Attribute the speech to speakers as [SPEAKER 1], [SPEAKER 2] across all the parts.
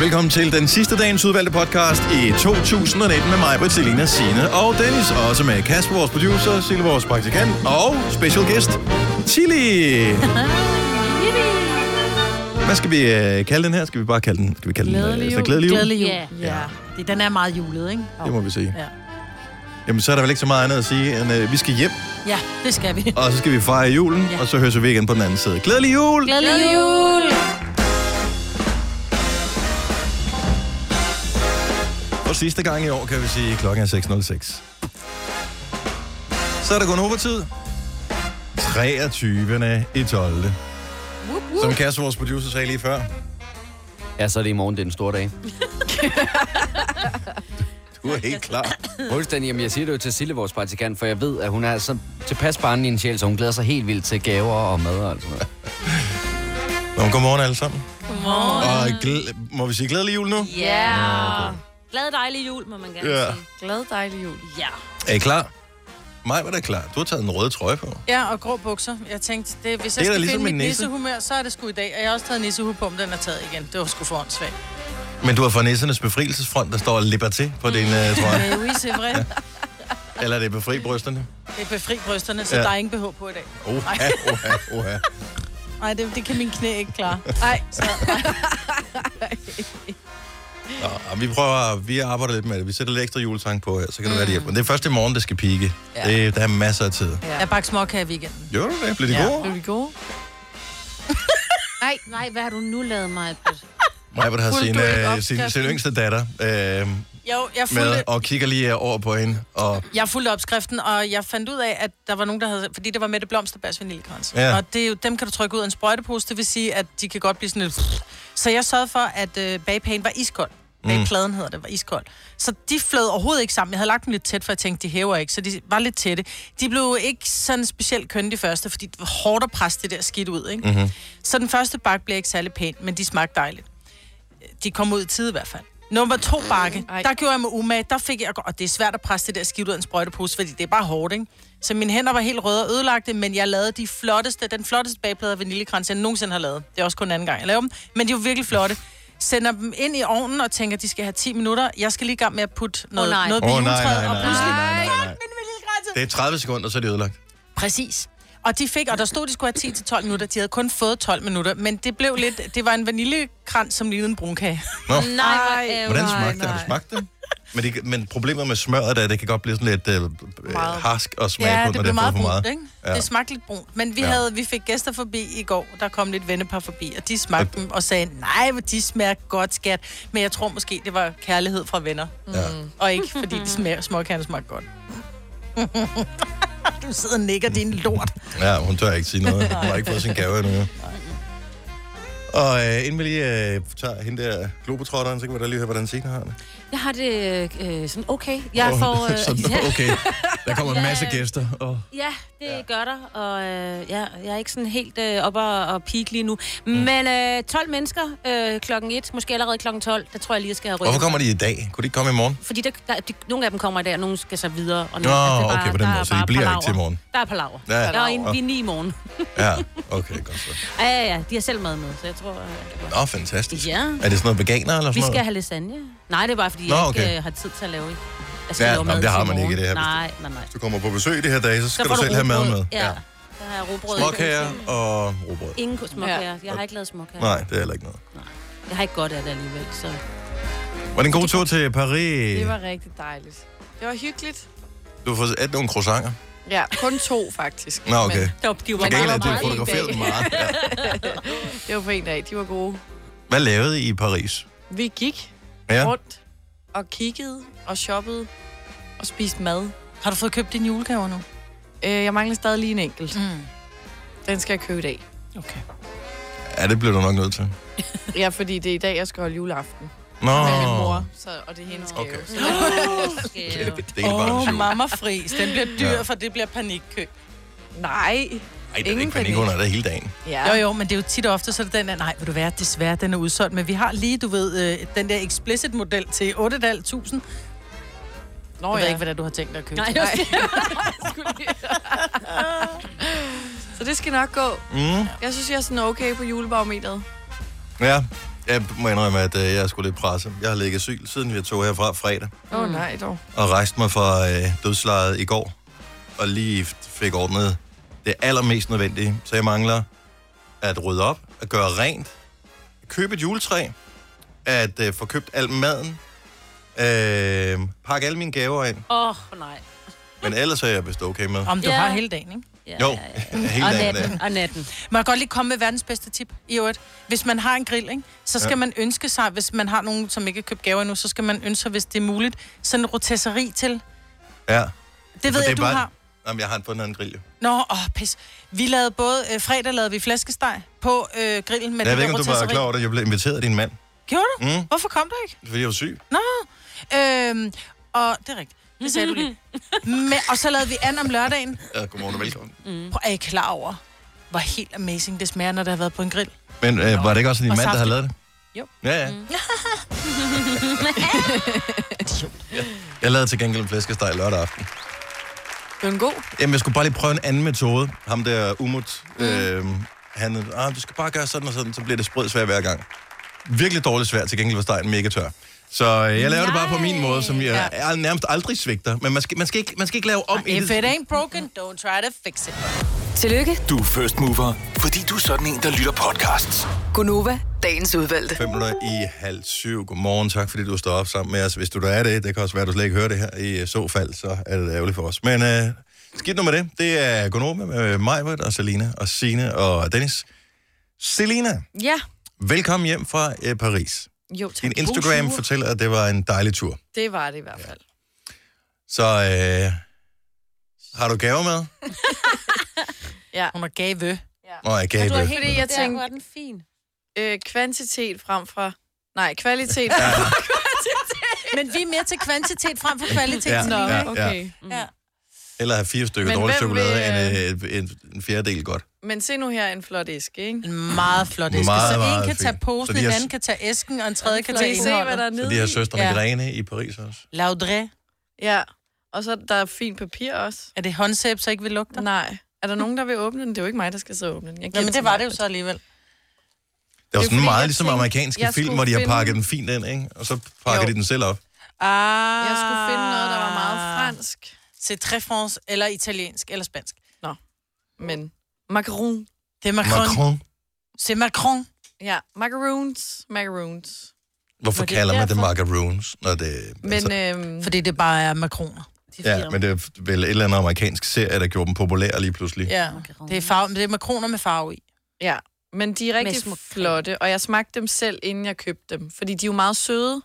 [SPEAKER 1] velkommen til den sidste dagens udvalgte podcast i 2019 med mig, Britt, Selina, Signe og Dennis. Og også med Kasper, vores producer, Sille, vores praktikant og special guest, Tilly.
[SPEAKER 2] Ah,
[SPEAKER 1] Hvad skal vi øh, kalde den her? Skal vi bare kalde den? Skal vi kalde den, øh, så glædelig jul?
[SPEAKER 3] Glædelig jul.
[SPEAKER 2] Ja.
[SPEAKER 3] Ja. Det, den er meget julet, ikke?
[SPEAKER 1] Det må vi sige.
[SPEAKER 3] Ja.
[SPEAKER 1] Jamen, så er der vel ikke så meget andet at sige, end øh, vi skal hjem,
[SPEAKER 3] Ja, det skal vi.
[SPEAKER 1] og så skal vi fejre julen,
[SPEAKER 3] Ja.
[SPEAKER 1] og så høres vi igen på den anden side. Glædelig jul!
[SPEAKER 2] Glædelig jul!
[SPEAKER 1] Og sidste gang i år, kan vi sige, klokken er 6.06. Så er der gået over tid. 23. i 12. Som Kasper, vores producer, sagde lige før.
[SPEAKER 4] Ja, så er det i morgen, det er en stor dag.
[SPEAKER 1] Du er helt klar.
[SPEAKER 4] Fuldstændig, jamen jeg siger det jo til Sille, vores praktikant, for jeg ved, at hun er så tilpas barn i en sjæl, så hun glæder sig helt vildt til gaver og mad og alt sådan noget.
[SPEAKER 1] Nå, godmorgen alle sammen. Godmorgen. Og glæ- må vi sige glædelig jul nu?
[SPEAKER 2] Ah. Ja. Glad dejlig jul, må man gerne
[SPEAKER 1] Ja.
[SPEAKER 2] sige.
[SPEAKER 5] Glad dejlig jul.
[SPEAKER 2] Ja.
[SPEAKER 1] Er I klar? Mig var da klar. Du har taget en rød trøje på.
[SPEAKER 3] Ja, og grå bukser. Jeg tænkte, det, hvis
[SPEAKER 1] Det er
[SPEAKER 3] jeg
[SPEAKER 1] da ligesom
[SPEAKER 3] skal ligesom finde
[SPEAKER 1] en
[SPEAKER 3] mit
[SPEAKER 1] nisse.
[SPEAKER 3] nissehumør, så er det sgu i dag. Og jeg har også taget nissehue på, men den er taget igen. Det var sgu for åndssvagt.
[SPEAKER 1] Men du har fra Nissernes Befrielsesfront, der står Liberté på din uh, trøje.
[SPEAKER 3] Øh, oui, c'est vrai.
[SPEAKER 1] Eller er det Befri Brysterne?
[SPEAKER 3] Det er befri brysterne, så
[SPEAKER 1] Ja.
[SPEAKER 3] ja. der er ingen behov på i dag.
[SPEAKER 1] Oha, oha, oha.
[SPEAKER 3] Nej, det, det kan min knæ ikke klare. Nej, så
[SPEAKER 1] Nå, og vi prøver, vi arbejder lidt med det. Vi sætter lidt ekstra julesang på her, så kan det være, det hjælper. Det er først i morgen, det skal pike. Ja. Det, der er masser af tid.
[SPEAKER 3] ja. jeg bakker småkage i weekenden.
[SPEAKER 1] Gjorde du det? Blev det ja.
[SPEAKER 3] Ja.
[SPEAKER 1] gode?
[SPEAKER 5] Blev de gode?
[SPEAKER 2] Nej, nej, hvad har du nu lavet mig?
[SPEAKER 1] Majbert har
[SPEAKER 5] Fulgte
[SPEAKER 1] sin,
[SPEAKER 5] du ikke
[SPEAKER 1] øh, sin,
[SPEAKER 5] opskriften?
[SPEAKER 1] sin yngste datter øh,
[SPEAKER 3] Jo, jeg fulgte,
[SPEAKER 1] med, og kigger lige over på hende. Og,
[SPEAKER 3] jeg fulgte opskriften, og jeg fandt ud af, at der var nogen, der havde... Fordi det var Mette Blomsterbærs vaniljekrans.
[SPEAKER 1] Ja.
[SPEAKER 3] Ja. Og det, er jo- dem kan du trykke ud af en sprøjtepose, det vil sige, at de kan godt blive sådan lidt... Så jeg sørgede for, at øh, bagpagen var iskold. Bagpladen hedder det, var iskold. Så de flød overhovedet ikke sammen. Jeg havde lagt dem lidt tæt, for jeg tænkte, de hæver ikke, så de var lidt tætte. De blev ikke sådan specielt kønne de første, fordi det var hårdt at presse det der skidt ud, ikke? Mm-hmm. Så den første bakke blev ikke særlig pæn, men de smagte dejligt. De kom ud i tide i hvert fald. Nummer to bakke,
[SPEAKER 5] Ej.
[SPEAKER 3] der gjorde jeg mig umage, der fik jeg, og det er svært at presse det der skidt ud af en sprøjtepose, fordi det er bare hårdt, ikke? Så mine hænder var helt røde og ødelagte, men jeg lavede de flotteste, den flotteste bagplade af vaniljekrans, jeg nogensinde har lavet. Det er også kun anden gang, jeg laver dem, men de var virkelig flotte. Sender dem ind i ovnen og tænker, de skal have 10 minutter. Jeg skal lige i gang med at putte noget,
[SPEAKER 2] nej.
[SPEAKER 3] oh, noget
[SPEAKER 1] Åh,
[SPEAKER 3] ved
[SPEAKER 1] nej,
[SPEAKER 3] juletræet,
[SPEAKER 1] nej,
[SPEAKER 3] og
[SPEAKER 1] nej,
[SPEAKER 3] pludselig...
[SPEAKER 1] nej, nej, nej.
[SPEAKER 3] Fuck, min vaniljekrans!
[SPEAKER 1] det er 30 sekunder, så er det ødelagt.
[SPEAKER 3] Præcis. Og de fik, og der stod, de skulle have 10-12 minutter. De havde kun fået 12 minutter, men det blev lidt... Det var en vaniljekrans, som lignede en brunkage.
[SPEAKER 1] Nå,
[SPEAKER 2] Øhm, Nej, hvor
[SPEAKER 5] Ej.
[SPEAKER 2] ærgerligt.
[SPEAKER 1] hvordan
[SPEAKER 5] nej,
[SPEAKER 1] smagte det? Har du
[SPEAKER 5] nej.
[SPEAKER 1] smagt det? Men, det, men problemet med smøret er, at det kan godt blive sådan lidt øh, øh,
[SPEAKER 5] Meget.
[SPEAKER 1] harsk og smage
[SPEAKER 3] Ja,
[SPEAKER 1] på,
[SPEAKER 3] det
[SPEAKER 1] når
[SPEAKER 3] blev
[SPEAKER 1] har
[SPEAKER 3] meget
[SPEAKER 1] fået for meget.
[SPEAKER 3] brunt, ikke?
[SPEAKER 1] Ja.
[SPEAKER 3] Ja. Det smagte lidt brunt. Men vi,
[SPEAKER 1] Ja.
[SPEAKER 3] ja. havde, vi fik gæster forbi i går, der kom lidt vennepar forbi, og de smagte dem og sagde, nej, hvor de smager godt, skat. Men jeg tror måske, det var kærlighed fra venner. Mm.
[SPEAKER 1] Ja.
[SPEAKER 3] Og ikke, fordi de smager, småkærne smagte godt. du sidder og nikker din lort.
[SPEAKER 1] Ja, hun tør ikke sige noget. Hun har ikke fået sin gave endnu. Og øh, inden vi lige øh, tager hende der globetrotteren, så kan vi da lige høre, hvordan Signe har det.
[SPEAKER 2] Jeg har det øh, sådan okay. Jeg
[SPEAKER 1] Åh,
[SPEAKER 2] får... Øh,
[SPEAKER 1] sådan,
[SPEAKER 2] ja,
[SPEAKER 1] okay, der kommer en masse
[SPEAKER 2] Ja.
[SPEAKER 1] gæster. Og...
[SPEAKER 2] ja, det gør der. Og øh, ja, jeg er ikke sådan helt øh, oppe og, og peak lige nu. Men øh, 12 mennesker øh, klokken 1, måske allerede klokken 12, der tror jeg lige, jeg skal have
[SPEAKER 1] Hvorfor
[SPEAKER 2] rykket.
[SPEAKER 1] kommer de i dag? Kunne de ikke komme i morgen?
[SPEAKER 2] Fordi der, der, de, nogle af dem kommer i dag, og nogle skal så videre. Og
[SPEAKER 1] Nå,
[SPEAKER 2] nogle, altså, det er
[SPEAKER 1] okay, på den
[SPEAKER 2] der
[SPEAKER 1] måde,
[SPEAKER 2] er
[SPEAKER 1] så I
[SPEAKER 2] bare
[SPEAKER 1] bliver ikke
[SPEAKER 2] palaver.
[SPEAKER 1] til i morgen.
[SPEAKER 2] Der er palaver.
[SPEAKER 1] Ja.
[SPEAKER 2] Ja. Der er en, vi er ni i morgen.
[SPEAKER 1] Ja, okay, godt så.
[SPEAKER 2] Ja, ja, ja, de har selv mad med, så jeg tror... Øh,
[SPEAKER 1] Nå, fantastisk.
[SPEAKER 2] Ja.
[SPEAKER 1] Er det sådan noget veganer eller
[SPEAKER 2] vi
[SPEAKER 1] sådan
[SPEAKER 2] skal
[SPEAKER 1] noget?
[SPEAKER 2] have lasagne. Nej, det er bare, fordi
[SPEAKER 1] Nå,
[SPEAKER 2] jeg ikke
[SPEAKER 1] okay.
[SPEAKER 2] øh, har tid til at lave. Altså, Jeg
[SPEAKER 1] Ja,
[SPEAKER 2] skal lave
[SPEAKER 1] nå,
[SPEAKER 2] mad
[SPEAKER 1] men det har
[SPEAKER 2] til
[SPEAKER 1] man ikke i
[SPEAKER 2] morgen.
[SPEAKER 1] det her
[SPEAKER 2] Nej, nej, nej.
[SPEAKER 1] Du kommer på besøg i det her dag, så skal
[SPEAKER 2] Så
[SPEAKER 1] du
[SPEAKER 2] får
[SPEAKER 1] selv have mad
[SPEAKER 2] rugbrød.
[SPEAKER 1] med.
[SPEAKER 2] Ja, der har jeg robrød.
[SPEAKER 1] Småkager og robrød.
[SPEAKER 2] Ingen ko- småkager. Jeg har ikke lavet småkager.
[SPEAKER 1] Nej, det er heller ikke noget.
[SPEAKER 2] Jeg har ikke godt af det alligevel, så...
[SPEAKER 1] Var det en god tur til Paris?
[SPEAKER 5] Det var rigtig dejligt. Det var hyggeligt.
[SPEAKER 1] Du har fået et nogle croissanter.
[SPEAKER 5] Ja, kun to faktisk.
[SPEAKER 1] Nå, okay.
[SPEAKER 5] Men
[SPEAKER 2] Det var, de var
[SPEAKER 1] Til gengæld er
[SPEAKER 2] meget,
[SPEAKER 1] det
[SPEAKER 2] meget, meget
[SPEAKER 1] fotograferet meget. Ja.
[SPEAKER 5] det var på en dag. De var gode.
[SPEAKER 1] Hvad lavede I i Paris?
[SPEAKER 5] Vi gik
[SPEAKER 1] Ja.
[SPEAKER 5] rundt og kiggede og shoppede og spiste mad.
[SPEAKER 3] Har du fået købt dine julegaver nu?
[SPEAKER 5] Øh, jeg mangler stadig lige en enkelt.
[SPEAKER 3] Mm.
[SPEAKER 5] Den skal jeg købe i dag.
[SPEAKER 3] Okay.
[SPEAKER 1] Ja, det blev du nok nødt til.
[SPEAKER 5] Ja, fordi det er i dag, jeg skal holde juleaften
[SPEAKER 1] Nå.
[SPEAKER 5] med min mor. Så, og det er hendes gave.
[SPEAKER 1] Okay.
[SPEAKER 5] Så
[SPEAKER 2] skæve.
[SPEAKER 1] Det er
[SPEAKER 3] Åh,
[SPEAKER 1] bare
[SPEAKER 3] oh,
[SPEAKER 1] en
[SPEAKER 3] mamma fris. Den bliver dyr,
[SPEAKER 1] Ja.
[SPEAKER 3] ja. for det bliver panikkøb.
[SPEAKER 5] Nej.
[SPEAKER 1] Ej, det er
[SPEAKER 5] Ingen
[SPEAKER 1] ikke panik
[SPEAKER 5] panik.
[SPEAKER 1] under det hele dagen.
[SPEAKER 5] Ja.
[SPEAKER 3] Jo, jo, men det er jo tit og ofte, så er det den der, nej, vil du være, desværre, den er udsolgt. Men vi har lige, du ved, øh, den der explicit-model til 8.500. Jeg
[SPEAKER 5] Nå,
[SPEAKER 3] ved
[SPEAKER 5] ja.
[SPEAKER 3] ikke, hvad det er, du har tænkt dig at købe.
[SPEAKER 2] Nej,
[SPEAKER 3] til.
[SPEAKER 2] det var-
[SPEAKER 5] Så det skal nok gå.
[SPEAKER 1] Mm.
[SPEAKER 5] Jeg synes, jeg er sådan okay på julebarometeret.
[SPEAKER 1] Ja, Jeg må indrømme, at øh, jeg er sgu lidt presset. Jeg har ligget syg, siden jeg tog herfra fredag,
[SPEAKER 5] Åh oh, nej dog.
[SPEAKER 1] og rejste mig fra øh, dødslejet i går, og lige f- fik ordnet det allermest nødvendige. Så jeg mangler at rydde op, at gøre rent, købe et juletræ, at øh, få købt al maden, øh, pakke alle mine gaver ind.
[SPEAKER 2] Åh, oh, nej.
[SPEAKER 1] Men ellers er jeg vist okay med.
[SPEAKER 3] Om du
[SPEAKER 2] Ja.
[SPEAKER 3] har hele dagen, ikke?
[SPEAKER 2] Ja,
[SPEAKER 1] Jo,
[SPEAKER 2] ja, ja.
[SPEAKER 1] hele
[SPEAKER 2] Og
[SPEAKER 1] dagen.
[SPEAKER 2] natten,
[SPEAKER 1] ja.
[SPEAKER 2] og natten.
[SPEAKER 3] Må jeg godt lige komme med verdens bedste tip i øvrigt. Hvis man har en grill, ikke? så skal
[SPEAKER 1] Ja.
[SPEAKER 3] ja. man ønske sig, hvis man har nogen, som ikke har købt gaver endnu, så skal man ønske sig, hvis det er muligt, sådan en rotisserie til. Det
[SPEAKER 1] Ja.
[SPEAKER 3] ved
[SPEAKER 1] det er
[SPEAKER 3] jeg, du
[SPEAKER 1] bare-
[SPEAKER 3] har.
[SPEAKER 1] Jamen, jeg har fundet en grill, jo.
[SPEAKER 3] Nå, åh, pis. Vi lavede både, øh, fredag lavede vi flæskesteg på øh, grillen med
[SPEAKER 1] Jeg
[SPEAKER 3] den
[SPEAKER 1] ved ikke,
[SPEAKER 3] der
[SPEAKER 1] om du var
[SPEAKER 3] rotisserie.
[SPEAKER 1] klar over det. Jeg blev inviteret af din mand,
[SPEAKER 3] Gjorde du?
[SPEAKER 1] Mm.
[SPEAKER 3] Mm. Hvorfor kom du ikke?
[SPEAKER 1] fordi jeg var syg.
[SPEAKER 3] Øhm, og det er rigtigt. Det sagde du lige. Men, og så lavede vi an om lørdagen.
[SPEAKER 1] Ja, godmorgen og velkommen.
[SPEAKER 5] Mm.
[SPEAKER 3] Prøv, er I klar over, hvor helt amazing det smager, når det har været på en grill?
[SPEAKER 1] Men øh, var det ikke også din
[SPEAKER 3] Og
[SPEAKER 1] mand, der havde
[SPEAKER 3] saftigt.
[SPEAKER 1] lavet det?
[SPEAKER 3] Jo.
[SPEAKER 1] Ja, ja. Mm. jeg lavede til gengæld en flæskesteg lørdag aften.
[SPEAKER 5] Det er en god.
[SPEAKER 1] Jamen, jeg skulle bare lige prøve en anden metode. Ham der Umut, øh, han, ah, du skal bare gøre sådan og sådan, så bliver det sprød svær hver gang. Virkelig dårligt svært, til gengæld var stegen mega tør. Så øh, jeg laver det bare på min måde, som jeg ja. nærmest aldrig svigter. Men man skal, man skal, ikke, man skal ikke lave om i
[SPEAKER 3] If
[SPEAKER 1] det.
[SPEAKER 3] it ain't broken, don't try to fix it.
[SPEAKER 6] Tillykke,
[SPEAKER 7] Du er first mover, fordi du er sådan en, der lytter podcasts.
[SPEAKER 6] Gunova, dagens udvalgte.
[SPEAKER 1] 5 minutter i halv syv. Godmorgen, tak fordi du står op sammen med os. Hvis du der er det, det kan også være, at du slet ikke hører det her. I øh, så fald, så er det ærgerligt for os. Men øh, skidt nu med det. Det er Gonova med Majbert og Selina og Sine og Dennis. Selina,
[SPEAKER 5] Ja.
[SPEAKER 1] velkommen hjem fra øh, Paris.
[SPEAKER 5] Jo, tak.
[SPEAKER 1] Din Instagram
[SPEAKER 5] Bonjour.
[SPEAKER 1] fortæller, at det var en dejlig tur.
[SPEAKER 5] Det var det i hvert fald.
[SPEAKER 1] Så øh, har du gaver med?
[SPEAKER 5] Ja.
[SPEAKER 3] Hun er gave.
[SPEAKER 2] Og
[SPEAKER 1] Nå, jeg
[SPEAKER 2] du har
[SPEAKER 1] gave.
[SPEAKER 2] helt
[SPEAKER 5] Fordi jeg
[SPEAKER 2] der,
[SPEAKER 5] tænkte-
[SPEAKER 2] hvor er den fin.
[SPEAKER 5] Øh, kvantitet frem fra... Nej, kvalitet.
[SPEAKER 3] Men vi er mere til kvantitet frem for kvalitet.
[SPEAKER 1] Ja,
[SPEAKER 5] Nå,
[SPEAKER 1] ja, ja.
[SPEAKER 5] okay. Mm. Ja.
[SPEAKER 1] Eller have fire stykker
[SPEAKER 5] Men
[SPEAKER 1] dårlig
[SPEAKER 5] hvem vil,
[SPEAKER 1] chokolade, end øh, en, en fjerdedel godt.
[SPEAKER 5] Men se nu her en flot æske, ikke?
[SPEAKER 3] En meget flot æske.
[SPEAKER 1] Meget,
[SPEAKER 3] Meget, så
[SPEAKER 1] meget
[SPEAKER 3] en kan tage
[SPEAKER 1] fint. Så
[SPEAKER 3] posen,
[SPEAKER 1] de
[SPEAKER 3] en
[SPEAKER 1] har-
[SPEAKER 3] anden kan tage æsken, og en tredje kan
[SPEAKER 2] flot
[SPEAKER 3] tage
[SPEAKER 5] Kan I se, hvad der
[SPEAKER 3] indholdet.
[SPEAKER 1] Så
[SPEAKER 5] er nede
[SPEAKER 1] de her
[SPEAKER 5] i?
[SPEAKER 1] søstrene
[SPEAKER 3] Ja.
[SPEAKER 1] ja. Grene i Paris også.
[SPEAKER 3] Laudré.
[SPEAKER 5] Ja. Og så der er fint papir også.
[SPEAKER 3] Er det håndsæb, så ikke vil lugte?
[SPEAKER 5] Nej. Er der nogen, der vil åbne den? Det er jo ikke mig, der skal sidde og åbne den. Jeg
[SPEAKER 3] Nå,
[SPEAKER 5] giver
[SPEAKER 3] men
[SPEAKER 5] den
[SPEAKER 3] det var
[SPEAKER 5] til
[SPEAKER 3] det jo så alligevel.
[SPEAKER 1] Det var
[SPEAKER 5] Det er
[SPEAKER 1] sådan
[SPEAKER 5] fordi,
[SPEAKER 1] meget
[SPEAKER 5] jeg
[SPEAKER 1] ligesom
[SPEAKER 5] tænkte,
[SPEAKER 1] amerikanske
[SPEAKER 5] jeg
[SPEAKER 1] film,
[SPEAKER 5] skulle
[SPEAKER 1] hvor de har
[SPEAKER 5] finde-
[SPEAKER 1] pakket den fint ind, ikke? Og så pakker
[SPEAKER 5] Jo.
[SPEAKER 1] de den selv op.
[SPEAKER 3] Ah.
[SPEAKER 5] Jeg skulle finde noget, der var meget fransk.
[SPEAKER 3] C'est très fransk, eller italiensk, eller spansk.
[SPEAKER 5] Men macaron.
[SPEAKER 3] Det er Macron. Macron.
[SPEAKER 1] Macron.
[SPEAKER 3] C'est Macron.
[SPEAKER 5] Ja, macaroons. Macaroons.
[SPEAKER 1] Hvorfor
[SPEAKER 3] det er
[SPEAKER 1] kalder man det
[SPEAKER 3] derfor.
[SPEAKER 1] macaroons? Når det,
[SPEAKER 5] Men
[SPEAKER 1] altså,
[SPEAKER 5] øhm,
[SPEAKER 3] Fordi det bare er makroner.
[SPEAKER 1] ja, men det er vel et eller andet amerikansk serie, der gjorde dem populære lige pludselig.
[SPEAKER 3] Ja. Det er, farve, det er makroner med farve i.
[SPEAKER 5] Ja, men de er rigtig
[SPEAKER 2] smuk
[SPEAKER 5] flotte, og jeg smagte dem selv, inden jeg købte dem. Fordi de er jo meget søde,
[SPEAKER 1] Mhm.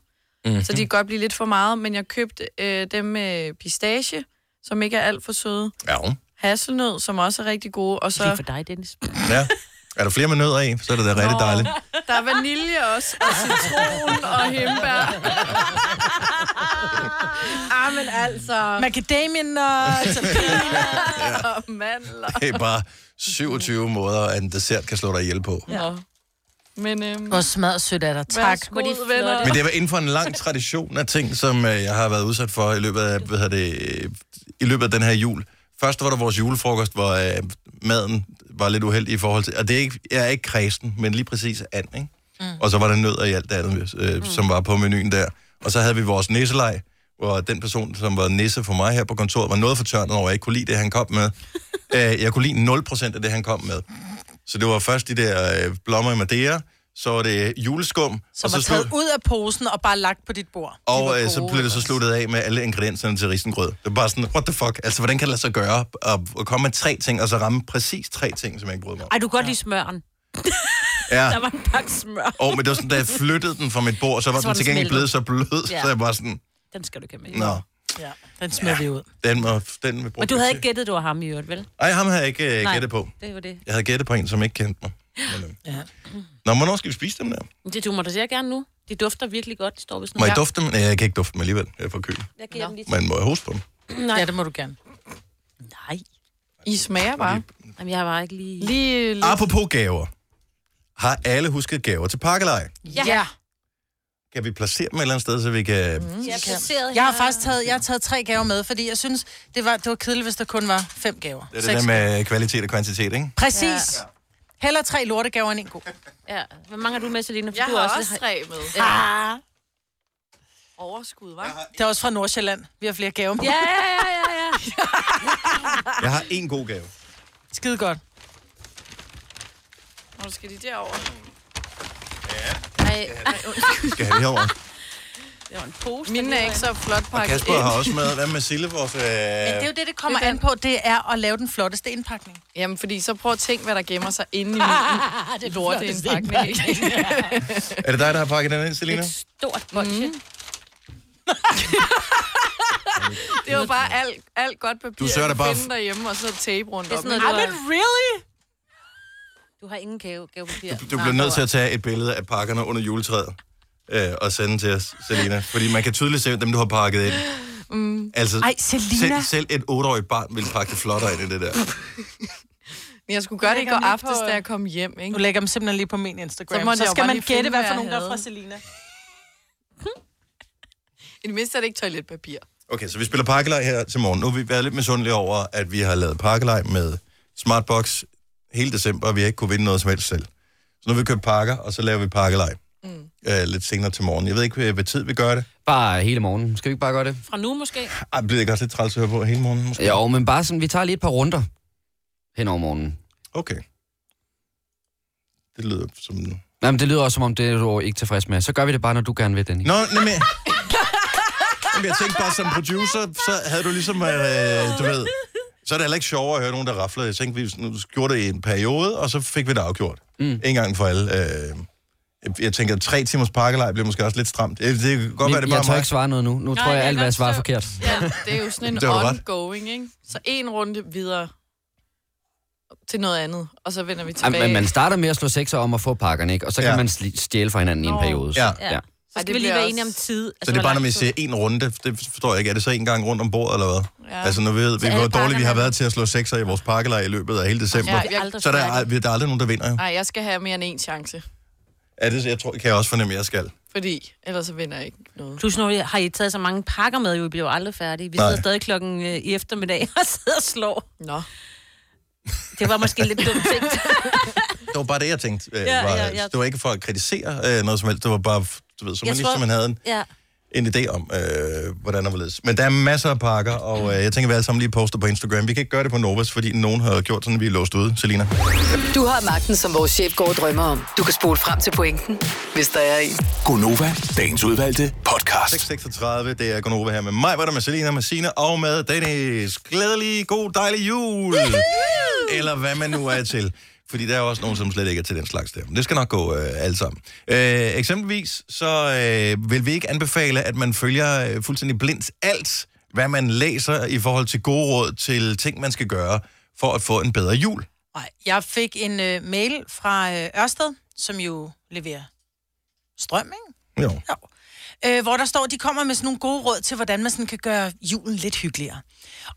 [SPEAKER 5] mm-hmm. så de kan godt blive lidt for meget. Men jeg købte øh, dem med pistache, som ikke er alt for søde.
[SPEAKER 1] Ja.
[SPEAKER 5] Hasselnød, som også er rigtig gode. Og så
[SPEAKER 2] Det er for dig, Dennis.
[SPEAKER 1] ja. Er der flere med nødder i, så er det da rigtig
[SPEAKER 5] Nå.
[SPEAKER 1] dejligt.
[SPEAKER 5] der er vanilje også, og citron og hembær. ah, men altså...
[SPEAKER 3] Macadamien og...
[SPEAKER 5] Og mandler.
[SPEAKER 1] Det er bare 27 måder, at en dessert kan slå dig ihjel på. Ja.
[SPEAKER 5] Ja. Men øhm,
[SPEAKER 3] Og smadret sødt af dig. Tak.
[SPEAKER 5] værsgo, venner.
[SPEAKER 1] Men det var inden for en lang tradition af ting, som øh, jeg har været udsat for i løbet af, hvad hedder det, øh, i løbet af den her jul. Først var der vores julefrokost, hvor øh, maden var lidt uheldig i forhold til... Og det er ikke, jeg er ikke kredsen, men lige præcis and, ikke? Mm. Og så var der nødder i alt det andet, øh, mm. som var på menuen der. Og så havde vi vores nisselej, hvor den person, som var nisse for mig her på kontoret, var noget fortørnet over, at jeg ikke kunne lide det, han kom med. øh, jeg kunne lide 0% af det, han kom med. Så det var først de der øh, blommer i Madeira, så var det juleskum.
[SPEAKER 3] Som
[SPEAKER 1] og altså, så
[SPEAKER 3] er
[SPEAKER 1] stod-
[SPEAKER 3] taget ud af posen og bare lagt på dit bord.
[SPEAKER 1] og øh, så blev det så sluttet af med alle ingredienserne til risengrød. Det var bare sådan, what the fuck? Altså, hvordan kan det lade sig gøre at, at komme med tre ting, og så ramme præcis tre ting, som jeg ikke brød mig om?
[SPEAKER 2] Ej, du kan godt lide smøren.
[SPEAKER 1] Ja,
[SPEAKER 2] Der var en pakke smør.
[SPEAKER 1] og men det var sådan, da jeg flyttede den fra mit bord, så var
[SPEAKER 2] Så
[SPEAKER 1] den
[SPEAKER 2] var
[SPEAKER 1] til
[SPEAKER 2] den
[SPEAKER 1] gengæld
[SPEAKER 2] smeltet.
[SPEAKER 1] blevet så blød,
[SPEAKER 2] Ja.
[SPEAKER 1] så jeg bare sådan,
[SPEAKER 2] Den skal du ikke have med.
[SPEAKER 1] nå,
[SPEAKER 3] Ja, den smed vi ud.
[SPEAKER 1] den må, den vil bruge
[SPEAKER 2] Men du havde
[SPEAKER 1] til."
[SPEAKER 2] ikke gættet, du var ham i øvrigt, vel?
[SPEAKER 1] Ej, ham havde jeg ikke øh,
[SPEAKER 2] Nej.
[SPEAKER 1] gættet på.
[SPEAKER 2] Det var det.
[SPEAKER 1] Jeg havde gættet på en, som ikke kendte mig. Men, øh.
[SPEAKER 3] Ja.
[SPEAKER 1] Nå, hvornår skal vi spise dem der?
[SPEAKER 2] Men Det, du må da sehr gerne nu. De dufter virkelig godt. De står ved sådan
[SPEAKER 1] Må jeg
[SPEAKER 2] her.
[SPEAKER 1] dufte dem? Nej, jeg kan ikke dufte dem alligevel. Jeg er for køl.
[SPEAKER 2] Jeg giver dem lige til.
[SPEAKER 1] Men må jeg hoste på dem?
[SPEAKER 2] Nej.
[SPEAKER 3] ja, det må du gerne.
[SPEAKER 2] Nej.
[SPEAKER 5] I smager bare.
[SPEAKER 2] Jamen, jeg var ikke lige...
[SPEAKER 5] Lige lidt.
[SPEAKER 1] Apropos gaver. Har alle husket gaver til pakkeleje?
[SPEAKER 2] Ja. Mm.
[SPEAKER 1] Kan vi placere dem et eller andet sted, så vi kan... Mm.
[SPEAKER 2] Jeg er placeret
[SPEAKER 3] Jeg har
[SPEAKER 2] her.
[SPEAKER 3] faktisk taget, jeg har taget tre gaver med, fordi jeg synes, det var, det var kedeligt, hvis der kun var fem gaver.
[SPEAKER 1] Det er det
[SPEAKER 3] Seks
[SPEAKER 1] der med kvalitet og kvantitet, ikke?
[SPEAKER 3] Præcis. Ja. Heller tre lortegaver end en god.
[SPEAKER 2] Ja. Hvor mange har du med, Selina? For
[SPEAKER 5] Jeg
[SPEAKER 2] du
[SPEAKER 5] har også tre med.
[SPEAKER 3] Ah.
[SPEAKER 5] Overskud, hva'?
[SPEAKER 3] Det er også fra Nordsjælland. Vi har flere gaver. Ja.
[SPEAKER 2] Ja, ja, ja, ja, ja.
[SPEAKER 1] Jeg har en god gave.
[SPEAKER 3] Skide godt.
[SPEAKER 5] Nå, skal de derover.
[SPEAKER 2] Ej, ej,
[SPEAKER 1] Skal have det herovre.
[SPEAKER 2] det var en pose.
[SPEAKER 5] Mine er ikke så flot
[SPEAKER 1] Og
[SPEAKER 5] pakket
[SPEAKER 1] Kasper har også med. Hvad med Sille, vores... Øh...
[SPEAKER 3] Men det er jo det, det kommer det an på. Det er at lave den flotteste indpakning.
[SPEAKER 5] Jamen, fordi så prøv at tænke, hvad der gemmer sig inde i min
[SPEAKER 3] Ah, det
[SPEAKER 5] lorteindpakning. ikke?
[SPEAKER 1] Er det dig, der har pakket den ind, Selina?
[SPEAKER 2] Et stort bolsje. Mm.
[SPEAKER 5] Det var bare alt, alt godt papir,
[SPEAKER 1] Du sørger da
[SPEAKER 5] jeg
[SPEAKER 1] bare
[SPEAKER 5] kunne finde derhjemme, og så tape rundt
[SPEAKER 2] Det er
[SPEAKER 5] om.
[SPEAKER 2] sådan
[SPEAKER 3] Ej,
[SPEAKER 2] noget,
[SPEAKER 3] men
[SPEAKER 2] du har,
[SPEAKER 3] really?
[SPEAKER 2] du har ingen gave, gavepapir.
[SPEAKER 1] Du bliver nødt til at tage et billede af pakkerne under juletræet øh, og sende til os, Selina. Fordi man kan tydeligt se, dem du har pakket ind. Mm. Altså,
[SPEAKER 3] Ej, Selina.
[SPEAKER 1] selv, selv et otteårigt barn vil pakke det flottere ind i det der.
[SPEAKER 5] Men jeg skulle gøre det i
[SPEAKER 3] lægger
[SPEAKER 5] går
[SPEAKER 3] den
[SPEAKER 5] aftes,
[SPEAKER 3] på-
[SPEAKER 5] da jeg kom hjem,
[SPEAKER 3] Nu
[SPEAKER 5] ikke?
[SPEAKER 3] lægger dem simpelthen lige på min Instagram.
[SPEAKER 5] Så
[SPEAKER 3] Så,
[SPEAKER 5] måtte jeg
[SPEAKER 3] så
[SPEAKER 5] jo
[SPEAKER 3] skal
[SPEAKER 5] bare
[SPEAKER 3] man
[SPEAKER 5] lige
[SPEAKER 3] gætte,
[SPEAKER 5] finde,
[SPEAKER 3] hvad
[SPEAKER 5] hvad
[SPEAKER 3] for
[SPEAKER 5] jeg
[SPEAKER 3] nogen der er
[SPEAKER 5] havde.
[SPEAKER 3] fra Selina.
[SPEAKER 5] I det mindste er det ikke toiletpapir.
[SPEAKER 1] Okay, så vi spiller pakkelej her til morgen. Nu har vi været lidt misundelige over, at vi har lavet pakkelej med Smartbox hele december, og vi har ikke kunne vinde noget som helst selv. Så nu har vi købt pakker, og så laver vi pakkelej mm. øh, lidt senere til morgen. Jeg ved ikke, øh, hvad tid vi gør det.
[SPEAKER 4] Bare hele morgen. Skal vi ikke bare gøre det?
[SPEAKER 2] Fra nu måske.
[SPEAKER 1] Ej, bliver det ikke også lidt træls at høre på hele morgenen, måske?
[SPEAKER 4] Jo, men bare sådan, vi tager lige et par runder hen over morgenen.
[SPEAKER 1] Okay. Det lyder som... Nå,
[SPEAKER 4] Jamen, det lyder også, som om det er du ikke tilfreds med. Så gør vi det bare, når du gerne vil, Dennis.
[SPEAKER 1] nej, men... Jamen, jeg tænkte bare, som producer, så havde du ligesom, øh, du ved... Så er det heller ikke sjovere at høre nogen, der rafler. Jeg tænkte, vi nu gjorde det i en periode, og så fik vi det afgjort. Mm. En gang for alle. Øh, jeg- jeg tænker, tre timers pakkelej bliver måske også lidt stramt. Øh, Det kan godt være, det
[SPEAKER 4] Men
[SPEAKER 1] er
[SPEAKER 4] jeg
[SPEAKER 1] bare
[SPEAKER 4] tør
[SPEAKER 1] mig.
[SPEAKER 4] ikke svare noget nu. Nu tror
[SPEAKER 5] jeg
[SPEAKER 4] jeg,
[SPEAKER 5] kan
[SPEAKER 4] alt, hvad jeg
[SPEAKER 5] godt
[SPEAKER 4] svarer er
[SPEAKER 5] forstå-
[SPEAKER 4] forkert.
[SPEAKER 5] Ja, det er jo sådan en
[SPEAKER 1] Det har du ret.
[SPEAKER 5] ongoing, ikke? Så en runde videre til noget andet, og så vender vi
[SPEAKER 4] Ej,
[SPEAKER 5] tilbage.
[SPEAKER 4] men man starter med at slå sekser om at få pakkerne, ikke? Og så kan
[SPEAKER 1] Ja.
[SPEAKER 4] man sli- stjæle fra hinanden i en
[SPEAKER 5] Nå.
[SPEAKER 4] periode. Så.
[SPEAKER 1] Ja.
[SPEAKER 2] Ja. Så
[SPEAKER 5] Ej,
[SPEAKER 2] skal
[SPEAKER 5] det
[SPEAKER 2] vi lige
[SPEAKER 5] bliver
[SPEAKER 2] være
[SPEAKER 5] også-
[SPEAKER 2] enige om tid.
[SPEAKER 6] Altså,
[SPEAKER 1] Så det er bare, når man siger en runde, det forstår jeg ikke. Er det så en gang rundt om bordet, eller hvad? Ja.
[SPEAKER 5] Ja.
[SPEAKER 1] Altså, nu ved vi,
[SPEAKER 2] alle
[SPEAKER 1] hvor dårligt vi har
[SPEAKER 2] pakkerne-
[SPEAKER 1] været til at slå sekser i vores pakkelej i løbet af hele december.
[SPEAKER 5] Ja,
[SPEAKER 1] Ja,
[SPEAKER 5] vi
[SPEAKER 1] ja. Så er der, er, der er aldrig nogen, der vinder, jo.
[SPEAKER 5] Nej, jeg skal have mere end en chance,
[SPEAKER 1] Ja, det jeg tror, kan jeg også fornemme, at jeg skal.
[SPEAKER 5] fordi ellers så vinder jeg ikke noget.
[SPEAKER 2] Plus, når I har I taget så mange pakker med, jo, I bliver jo aldrig færdige. Vi
[SPEAKER 1] Nej.
[SPEAKER 2] sidder stadig klokken øh, i eftermiddag og sidder og slår.
[SPEAKER 5] Nå.
[SPEAKER 2] Det var måske lidt dumt tænkt.
[SPEAKER 1] Det var bare det, jeg tænkte. Øh,
[SPEAKER 2] Ja,
[SPEAKER 1] var,
[SPEAKER 2] ja, ja.
[SPEAKER 1] Det var ikke for at kritisere øh, noget som helst. Det var bare, du ved, så man
[SPEAKER 2] Jeg
[SPEAKER 1] lige
[SPEAKER 2] tror-
[SPEAKER 1] så man havde en,
[SPEAKER 2] Ja.
[SPEAKER 1] en idé om, øh, hvordan det var ledes. Men der er masser af pakker, og øh, jeg tænker, at vi alle sammen lige poster på Instagram. Vi kan ikke gøre det på Novas, fordi nogen har gjort sådan, at vi er låst ude. Selina?
[SPEAKER 6] Du har magten, som vores chef går og drømmer om. Du kan spole frem til pointen, hvis der er en.
[SPEAKER 7] Gonova, dagens udvalgte podcast.
[SPEAKER 1] 636, det er Gonova her med mig, hvor er der med Selina, med Sina og med Dennis. Glædelig, god, dejlig jul! Eller hvad man nu er til. Fordi der er også nogen, som slet ikke er til den slags der. Men det skal nok gå øh, alt sammen. Øh, eksempelvis, så øh, vil vi ikke anbefale, at man følger øh, fuldstændig blindt alt, hvad man læser i forhold til gode råd til ting, man skal gøre for at få en bedre jul.
[SPEAKER 3] Nej, jeg fik en øh, mail fra øh, Ørsted, som jo leverer strøm, ikke?
[SPEAKER 1] Jo.
[SPEAKER 3] Jo. Øh, hvor der står, de kommer med sådan nogle gode råd til, hvordan man sådan kan gøre julen lidt hyggeligere.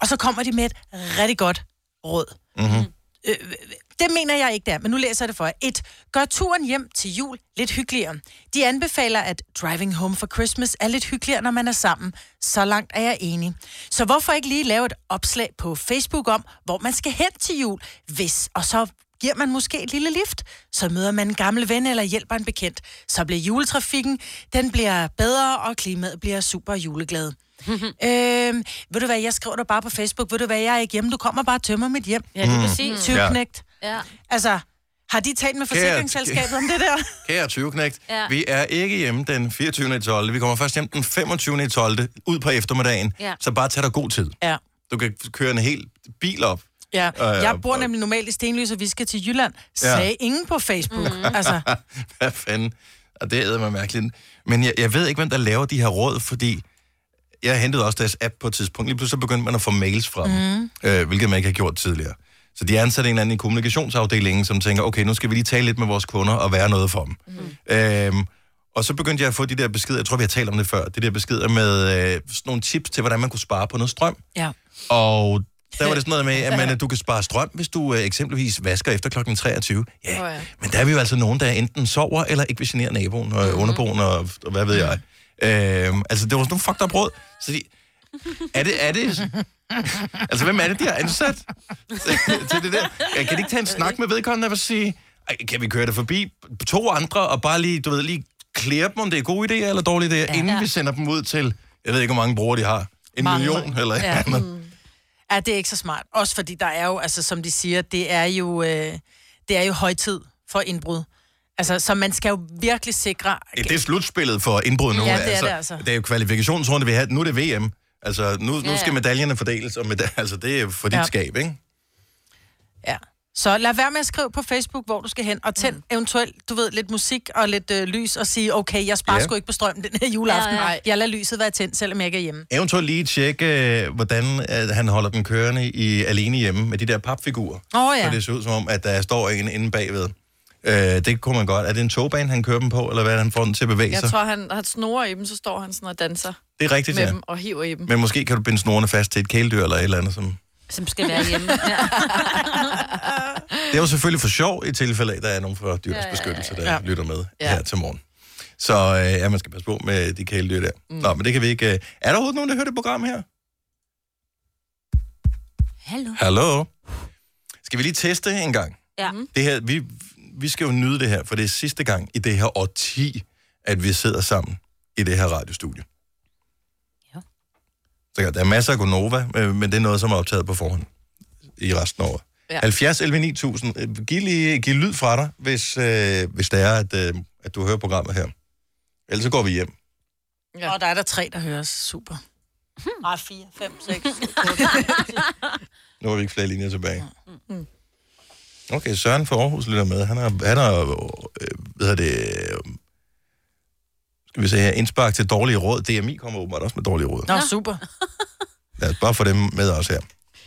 [SPEAKER 3] Og så kommer de med et rigtig godt råd.
[SPEAKER 1] Mhm.
[SPEAKER 3] Øh, det mener jeg ikke der, men nu læser jeg det for jer. 1. Gør turen hjem til jul lidt hyggeligere. De anbefaler, at driving home for Christmas er lidt hyggeligere, når man er sammen. Så langt er jeg enig. Så hvorfor ikke lige lave et opslag på Facebook om, hvor man skal hen til jul, hvis og så giver man måske et lille lift, så møder man en gammel ven eller hjælper en bekendt. Så bliver juletrafikken, den bliver bedre, og klimaet bliver super juleglad. øhm, ved du hvad, jeg skriver dig bare på Facebook, ved du hvad, jeg er ikke hjemme, du kommer bare og tømmer mit hjem.
[SPEAKER 2] Ja, det er
[SPEAKER 1] Mm.
[SPEAKER 2] præcis.
[SPEAKER 3] Tyvknægt.
[SPEAKER 2] Ja.
[SPEAKER 3] Altså, har de talt med forsikringsselskabet om det der?
[SPEAKER 1] Kære 20 knægt, ja.
[SPEAKER 2] Ja.
[SPEAKER 1] vi er ikke hjemme den 24. i 12. Vi kommer først hjem den 25. i 12. ud på eftermiddagen.
[SPEAKER 2] Ja.
[SPEAKER 1] Så bare tag dig god tid.
[SPEAKER 3] Ja.
[SPEAKER 1] Du kan køre en hel bil op.
[SPEAKER 3] Ja,
[SPEAKER 1] ja,
[SPEAKER 3] jeg bor
[SPEAKER 1] og-
[SPEAKER 3] nemlig normalt i Stenløs, og vi skal til Jylland. Sagde ingen på Facebook. Altså,
[SPEAKER 1] Mm. Hvad fanden? Og det æder mig mærkeligt. Men jeg, jeg ved ikke, hvem der laver de her råd, fordi jeg hentede også deres app på et tidspunkt. Lige pludselig begyndte man at få mails fra dem, mm. øh, hvilket man ikke har gjort tidligere. Så de ansatte en eller anden i kommunikationsafdelingen, som tænker, okay, nu skal vi lige tale lidt med vores kunder og være noget for dem. Mm. Øhm, og så begyndte jeg at få de der beskeder, jeg tror, vi har talt om det før, de der beskeder med øh, sådan nogle tips til, hvordan man kunne spare på noget strøm.
[SPEAKER 3] ja.
[SPEAKER 1] Og der var det sådan noget med, at man, at du kan spare strøm, hvis du øh, eksempelvis vasker efter klokken 23. Ja,
[SPEAKER 5] Åh
[SPEAKER 1] oh, ja,
[SPEAKER 5] ja.
[SPEAKER 1] men der er vi jo altså nogen, der enten sover, eller ikke vil genere naboen og mm-hmm. underboen, og, og hvad ved jeg. Øhm, altså, det var sådan nogle fucked up råd. Så de, er det, er det, altså, hvem er det, de har ansat til det der? Ja, Kan de ikke tage en snak med vedkommende og bare sige, Ej, kan vi køre det forbi to andre, og bare lige, du ved, lige klære dem, om det er gode idéer eller dårlige idéer, ja. inden vi sender dem ud til, jeg ved ikke, hvor mange brugere de har. En
[SPEAKER 3] Mange.
[SPEAKER 1] million eller ja.
[SPEAKER 3] Ja. Mm.
[SPEAKER 1] andet.
[SPEAKER 3] Ja, det er ikke så smart. Også fordi der er jo, altså som de siger, det er jo, øh, det er jo højtid for indbrud. Altså, så man skal jo virkelig sikre...
[SPEAKER 1] Ja, Det er slutspillet for indbrud nu.
[SPEAKER 3] Ja, det er det altså.
[SPEAKER 1] Det er jo kvalifikationsrunde, vi har. Nu er det VM. Altså, nu, nu skal medaljerne fordeles, og meda- altså, det er for dit
[SPEAKER 3] Ja.
[SPEAKER 1] skab, ikke?
[SPEAKER 3] Ja. Så lad være med at skrive på Facebook, hvor du skal hen, og tænd mm. eventuelt, du ved, lidt musik og lidt øh, lys, og sige, okay, jeg sparer
[SPEAKER 1] Ja.
[SPEAKER 3] yeah. sgu ikke på strømmen den her juleaften.
[SPEAKER 2] Ja,
[SPEAKER 3] Ja,
[SPEAKER 2] ja.
[SPEAKER 3] ja. Jeg lader lyset være tændt, selvom jeg ikke er hjemme.
[SPEAKER 1] Eventuelt lige tjekke, øh, hvordan øh, han holder den kørende i, alene hjemme med de der papfigurer.
[SPEAKER 3] Åh oh,
[SPEAKER 1] ja.
[SPEAKER 3] ja.
[SPEAKER 1] så det ser ud som om, at der står en inde bagved. Øh, det kunne man godt. Er det en togbane, han kører dem på, eller hvad er det, han får den til at bevæge
[SPEAKER 5] Jeg
[SPEAKER 1] sig?
[SPEAKER 5] tror, han har snorer i dem, så står han sådan og danser
[SPEAKER 1] Det er rigtigt,
[SPEAKER 5] med
[SPEAKER 1] ja.
[SPEAKER 5] dem og hiver i dem.
[SPEAKER 1] Men måske kan du binde snorene fast til et kæledyr eller et eller andet. Som...
[SPEAKER 2] som skal være hjemme. Ja.
[SPEAKER 1] Det er jo selvfølgelig for sjov i tilfælde af, at der er nogen fra dyrens beskyttelse, der ja.
[SPEAKER 3] Ja.
[SPEAKER 1] lytter med ja.
[SPEAKER 5] Ja.
[SPEAKER 1] her til morgen. Så øh, ja, man skal passe på med de kæledyr der. Mm. Nå, men det kan vi ikke... Øh... Er der overhovedet nogen, der hører det program her?
[SPEAKER 2] Hallo.
[SPEAKER 1] Hallo? Skal vi lige teste en gang?
[SPEAKER 2] Ja.
[SPEAKER 5] Mm-hmm.
[SPEAKER 1] Det her, vi, vi skal jo nyde det her, for det er sidste gang i det her årti, at vi sidder sammen i det her radiostudie.
[SPEAKER 2] Ja.
[SPEAKER 1] Så der er masser af Gonova, øh, men det er noget, som er optaget på forhånd i resten af året. Ja.
[SPEAKER 5] Ja.
[SPEAKER 1] 70 11 9000. Øh, Giv, lige, giv lyd fra dig, hvis, øh, hvis det er, at, øh, at du hører programmet her. Ellers så går vi hjem.
[SPEAKER 5] Ja.
[SPEAKER 3] Og der er der tre, der høres. Super.
[SPEAKER 1] Hmm.
[SPEAKER 3] Nej, fire, fem, seks.
[SPEAKER 1] Nu har vi ikke flere linjer tilbage. Okay, Søren fra Aarhus lytter med. Han har, han har øh, hvad hedder det, øh, skal vi se her, indspark til dårlige råd. DMI kommer åbenbart også med dårlige råd.
[SPEAKER 3] Nå, super.
[SPEAKER 1] Lad os bare få dem med os her.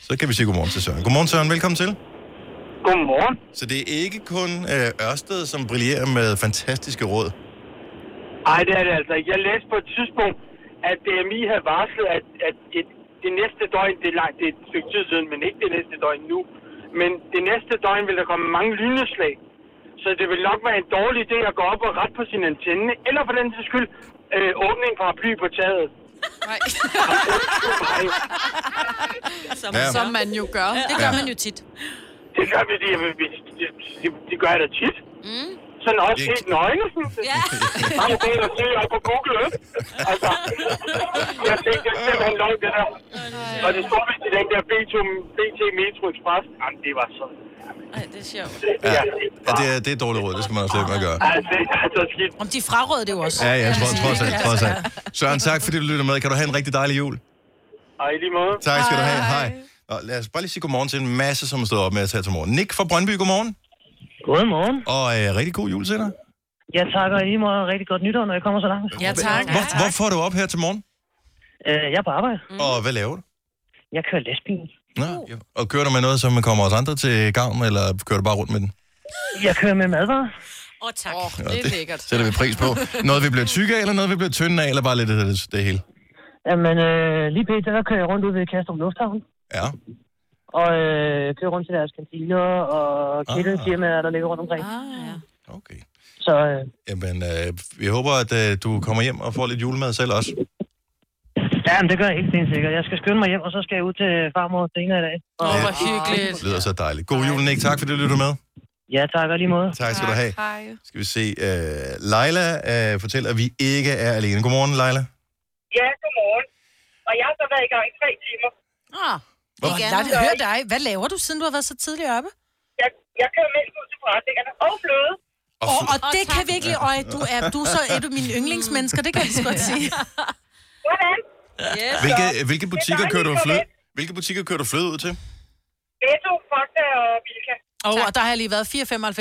[SPEAKER 1] Så kan vi sige godmorgen til Søren. Godmorgen Søren, velkommen til.
[SPEAKER 8] Godmorgen.
[SPEAKER 1] Så det er ikke kun øh, Ørsted, som brillerer med fantastiske råd.
[SPEAKER 8] Ej, det er det altså ikke. Jeg læste på et tidspunkt, at DMI havde varslet, at, at et, det næste døgn, det er langt, det er et stykke tid siden, men ikke det næste døgn nu, men det næste døgn vil der komme mange lynnedslag. Så det vil nok være en dårlig idé at gå op og rette på sin antenne, eller for den sags skyld, øh, åbne en paraply på taget.
[SPEAKER 5] Nej.
[SPEAKER 8] Ej,
[SPEAKER 2] Som,
[SPEAKER 1] Ja.
[SPEAKER 5] Som man jo gør.
[SPEAKER 3] Det gør man jo tit.
[SPEAKER 8] det gør vi, det, det, det, det, det gør jeg da tit. Mm. Sådan også
[SPEAKER 1] Det-
[SPEAKER 8] helt nøgne.
[SPEAKER 2] Ja.
[SPEAKER 8] Mange ting at søge op på Google, ikke? Altså, jeg tænkte, det er simpelthen løgn, det der. Og det stod vist i den der BT, BT Metro Express. Jamen, det var så...
[SPEAKER 5] Ej, det er sjovt.
[SPEAKER 8] Det,
[SPEAKER 1] Ja,
[SPEAKER 8] ja.
[SPEAKER 1] ja det, er, det er dårlige råd, det skal man også lade med at gøre.
[SPEAKER 8] Altså, det er så skidt.
[SPEAKER 3] Om de fraråder det jo også.
[SPEAKER 1] Ja, ja, trods, trods alt, trods alt. Søren, tak fordi du lytter med. Kan du have en rigtig dejlig jul?
[SPEAKER 8] Og i lige måde.
[SPEAKER 1] Tak skal du have. Hej. Og lad os bare lige sige godmorgen til en masse, som har stået op med at tage til morgen. Nick fra Brøndby, godmorgen.
[SPEAKER 8] Godmorgen.
[SPEAKER 1] Og øh, rigtig god jul til dig.
[SPEAKER 8] Jeg takker i måde rigtig godt nytår, når jeg kommer så langt.
[SPEAKER 3] Ja, tak.
[SPEAKER 1] Hvor, hvorfor er du op her til morgen?
[SPEAKER 8] Øh, jeg er på arbejde.
[SPEAKER 1] Mm. Og hvad laver du?
[SPEAKER 8] Jeg kører lastbil.
[SPEAKER 1] Nå, ja. Og kører du med noget, som kommer os andre til gavn, eller kører du bare rundt med den?
[SPEAKER 8] Jeg kører med madvarer.
[SPEAKER 2] Og tak.
[SPEAKER 5] Åh, oh, det er lækkert.
[SPEAKER 1] Sætter vi pris på. Noget, vi bliver tykke af, eller noget, vi bliver tynde af, eller bare lidt af det, det hele?
[SPEAKER 8] Jamen, øh, lige pt. der kører jeg rundt ud ved Kastrup Lufthavn.
[SPEAKER 1] Ja.
[SPEAKER 8] Og øh, kører rundt til deres kantiner og
[SPEAKER 1] Ah.
[SPEAKER 8] kældefirmaer, der ligger rundt omkring.
[SPEAKER 3] Ah.
[SPEAKER 1] Okay.
[SPEAKER 8] Så øh,
[SPEAKER 1] Jamen, øh, jeg håber, at øh, du kommer hjem og får lidt julemad selv også.
[SPEAKER 8] ja, men det gør jeg helt sikkert. Jeg skal skynde mig hjem, og så skal jeg ud til farmor senere i dag.
[SPEAKER 5] Åh,
[SPEAKER 1] Ja.
[SPEAKER 5] hvor hyggeligt.
[SPEAKER 1] Det lyder så dejligt. God jul, Nick. Tak, fordi du lytter med.
[SPEAKER 8] Ja, tak og lige måde.
[SPEAKER 1] Tak skal du have.
[SPEAKER 5] Hej.
[SPEAKER 1] Skal vi se. Øh, Leila øh, fortæller, at vi ikke er alene. Godmorgen, Leila.
[SPEAKER 8] Ja, godmorgen. Og jeg har så været i gang i tre timer.
[SPEAKER 3] Ah.
[SPEAKER 1] Hvorfor?
[SPEAKER 3] Lad det høre dig. Hvad laver du, siden du har været så tidligt oppe?
[SPEAKER 8] Jeg, jeg kører mælk ud til forretningerne og fløde.
[SPEAKER 1] Og,
[SPEAKER 3] Og,
[SPEAKER 1] fl-
[SPEAKER 3] og det kan virkelig... Øj, du er, du er så er du mine yndlingsmennesker, det kan jeg lige så godt sige.
[SPEAKER 8] Hvordan?
[SPEAKER 1] hvilke, øh, hvilke butikker
[SPEAKER 8] dejligt
[SPEAKER 1] kører du
[SPEAKER 8] at
[SPEAKER 1] fløde?
[SPEAKER 8] komme
[SPEAKER 1] Hvilke butikker kører du fløde ud til?
[SPEAKER 8] Netto, Fakta og Bilka.
[SPEAKER 3] Og, og der har jeg lige været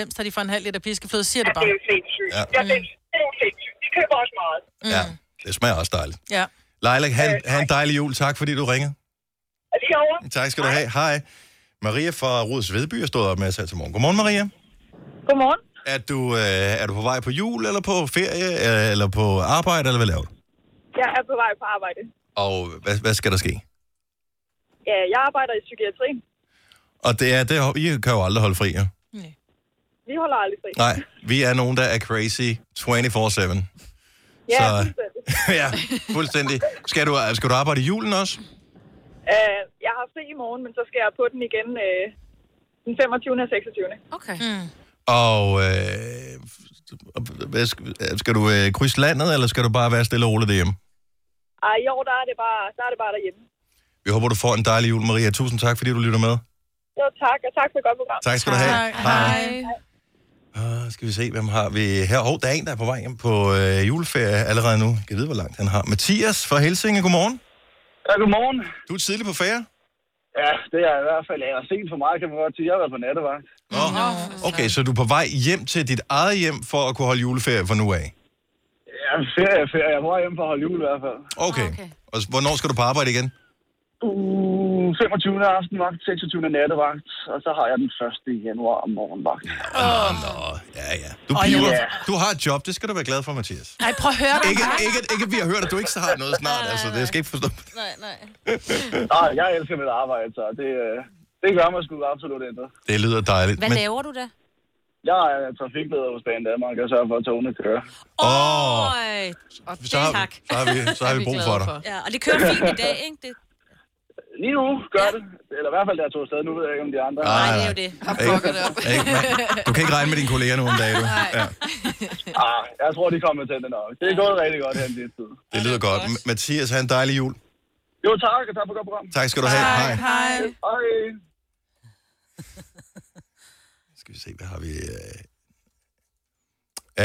[SPEAKER 3] 4,95, da de får en halv liter piskefløde, siger
[SPEAKER 8] Ja,
[SPEAKER 3] det
[SPEAKER 8] det er
[SPEAKER 3] bare.
[SPEAKER 8] jo sindssygt.
[SPEAKER 1] Ja.
[SPEAKER 8] Ja. Ja, det, er- det er jo sindssygt. De køber også meget.
[SPEAKER 1] Mm. Ja, det smager også dejligt.
[SPEAKER 3] Ja.
[SPEAKER 1] Leila, have, en- have en dejlig jul. Tak, fordi du ringer.
[SPEAKER 8] Og lige over.
[SPEAKER 1] Tak skal du have. Hej. Maria fra Rods Vedby er stået op med os her til morgen. Godmorgen, Maria.
[SPEAKER 8] Godmorgen.
[SPEAKER 1] Er du, øh, er du på vej på jul, eller på ferie, øh, eller på arbejde, eller hvad laver du?
[SPEAKER 8] Jeg er på vej på arbejde.
[SPEAKER 1] Og hvad, hvad skal der ske?
[SPEAKER 8] Ja, jeg arbejder i psykiatrien.
[SPEAKER 1] Og det er, det, I kan jo aldrig holde fri, ja.
[SPEAKER 8] Vi holder aldrig fri.
[SPEAKER 1] Nej, vi er nogen, der er crazy 24-7.
[SPEAKER 8] Ja,
[SPEAKER 1] så-
[SPEAKER 8] fuldstændig.
[SPEAKER 1] ja, fuldstændig. Skal du, øh, skal du arbejde i julen også?
[SPEAKER 8] Øh, jeg har fri i morgen, men så skal jeg på den igen øh, den 25. og 26.
[SPEAKER 2] Mm.
[SPEAKER 5] Okay.
[SPEAKER 1] Og øh, hvad skal, skal du øh, krydse landet, eller skal du bare være stille og rolig derhjemme?
[SPEAKER 9] Ej, jo, der er det bare, der, er det bare derhjemme.
[SPEAKER 1] Vi håber, du får en dejlig jul, Maria. Tusind tak, fordi du lytter med.
[SPEAKER 9] Jo, tak, og tak for et godt program.
[SPEAKER 1] Tak skal du have. Uh, skal vi se, hvem har vi her? Hov, der er en, der er på vej hjem på øh, juleferie allerede nu. Jeg kan vide, hvor langt han har. Mathias fra Helsinge, godmorgen.
[SPEAKER 10] Ja, godmorgen.
[SPEAKER 1] Du er tidlig på ferie?
[SPEAKER 10] Ja, det er jeg i hvert fald. Jeg er sent for meget, kan man godt sige. Jeg har været på nattevagt.
[SPEAKER 1] Okay, så du er på vej hjem til dit eget hjem for at kunne holde juleferie fra nu af.
[SPEAKER 10] Ja, ferie, er ferie. Jeg var hjemme for at holde jul i hvert fald.
[SPEAKER 3] Ah,
[SPEAKER 1] Okay. okay. Og s- hvornår skal du på arbejde igen?
[SPEAKER 10] Uh, 25. aftenvagt, 26. nattevagt, og så har jeg den 1. januar om morgenvagt.
[SPEAKER 1] Åh, nå. Ja, ja. Du,
[SPEAKER 10] Åh,
[SPEAKER 1] piver.
[SPEAKER 10] ja.
[SPEAKER 1] du har et job, det skal du være glad for, Mathias.
[SPEAKER 3] Nej, prøv at høre dig.
[SPEAKER 1] Ikke, ikke, ikke at vi har hørt, at du ikke har noget snart, altså. Det jeg skal ikke forstå.
[SPEAKER 3] Nej, nej.
[SPEAKER 10] Nej, jeg elsker mit arbejde, så det, øh, det gør mig sgu absolut intet.
[SPEAKER 1] Det lyder dejligt.
[SPEAKER 2] Hvad
[SPEAKER 1] men-
[SPEAKER 2] laver du da?
[SPEAKER 10] Jeg er trafikleder hos Banen Danmark, og sørger for, at togene kører.
[SPEAKER 1] Åh, oh,
[SPEAKER 2] Øj, og
[SPEAKER 1] så, har,
[SPEAKER 2] tak.
[SPEAKER 1] så, har vi, så har vi brug for dig.
[SPEAKER 2] Ja, og det kører fint i dag, ikke? Det,
[SPEAKER 10] Lige nu gør det. Eller i hvert fald, der tog afsted. Nu ved jeg ikke, om de andre...
[SPEAKER 1] Nej,
[SPEAKER 2] det er jo det.
[SPEAKER 1] Ikke, ikke, man- du kan ikke regne med dine kolleger nu om dagen, du. Ja,
[SPEAKER 10] Ah, jeg tror, de kommer til det nok. Det er gået rigtig godt her den sidste tid.
[SPEAKER 1] det lyder godt. M- Mathias, have en dejlig jul.
[SPEAKER 10] Jo, tak, og tak for godt program.
[SPEAKER 1] Tak skal du have. Hej.
[SPEAKER 3] Hej.
[SPEAKER 10] Hej.
[SPEAKER 1] Skal vi se, hvad har vi... Øh...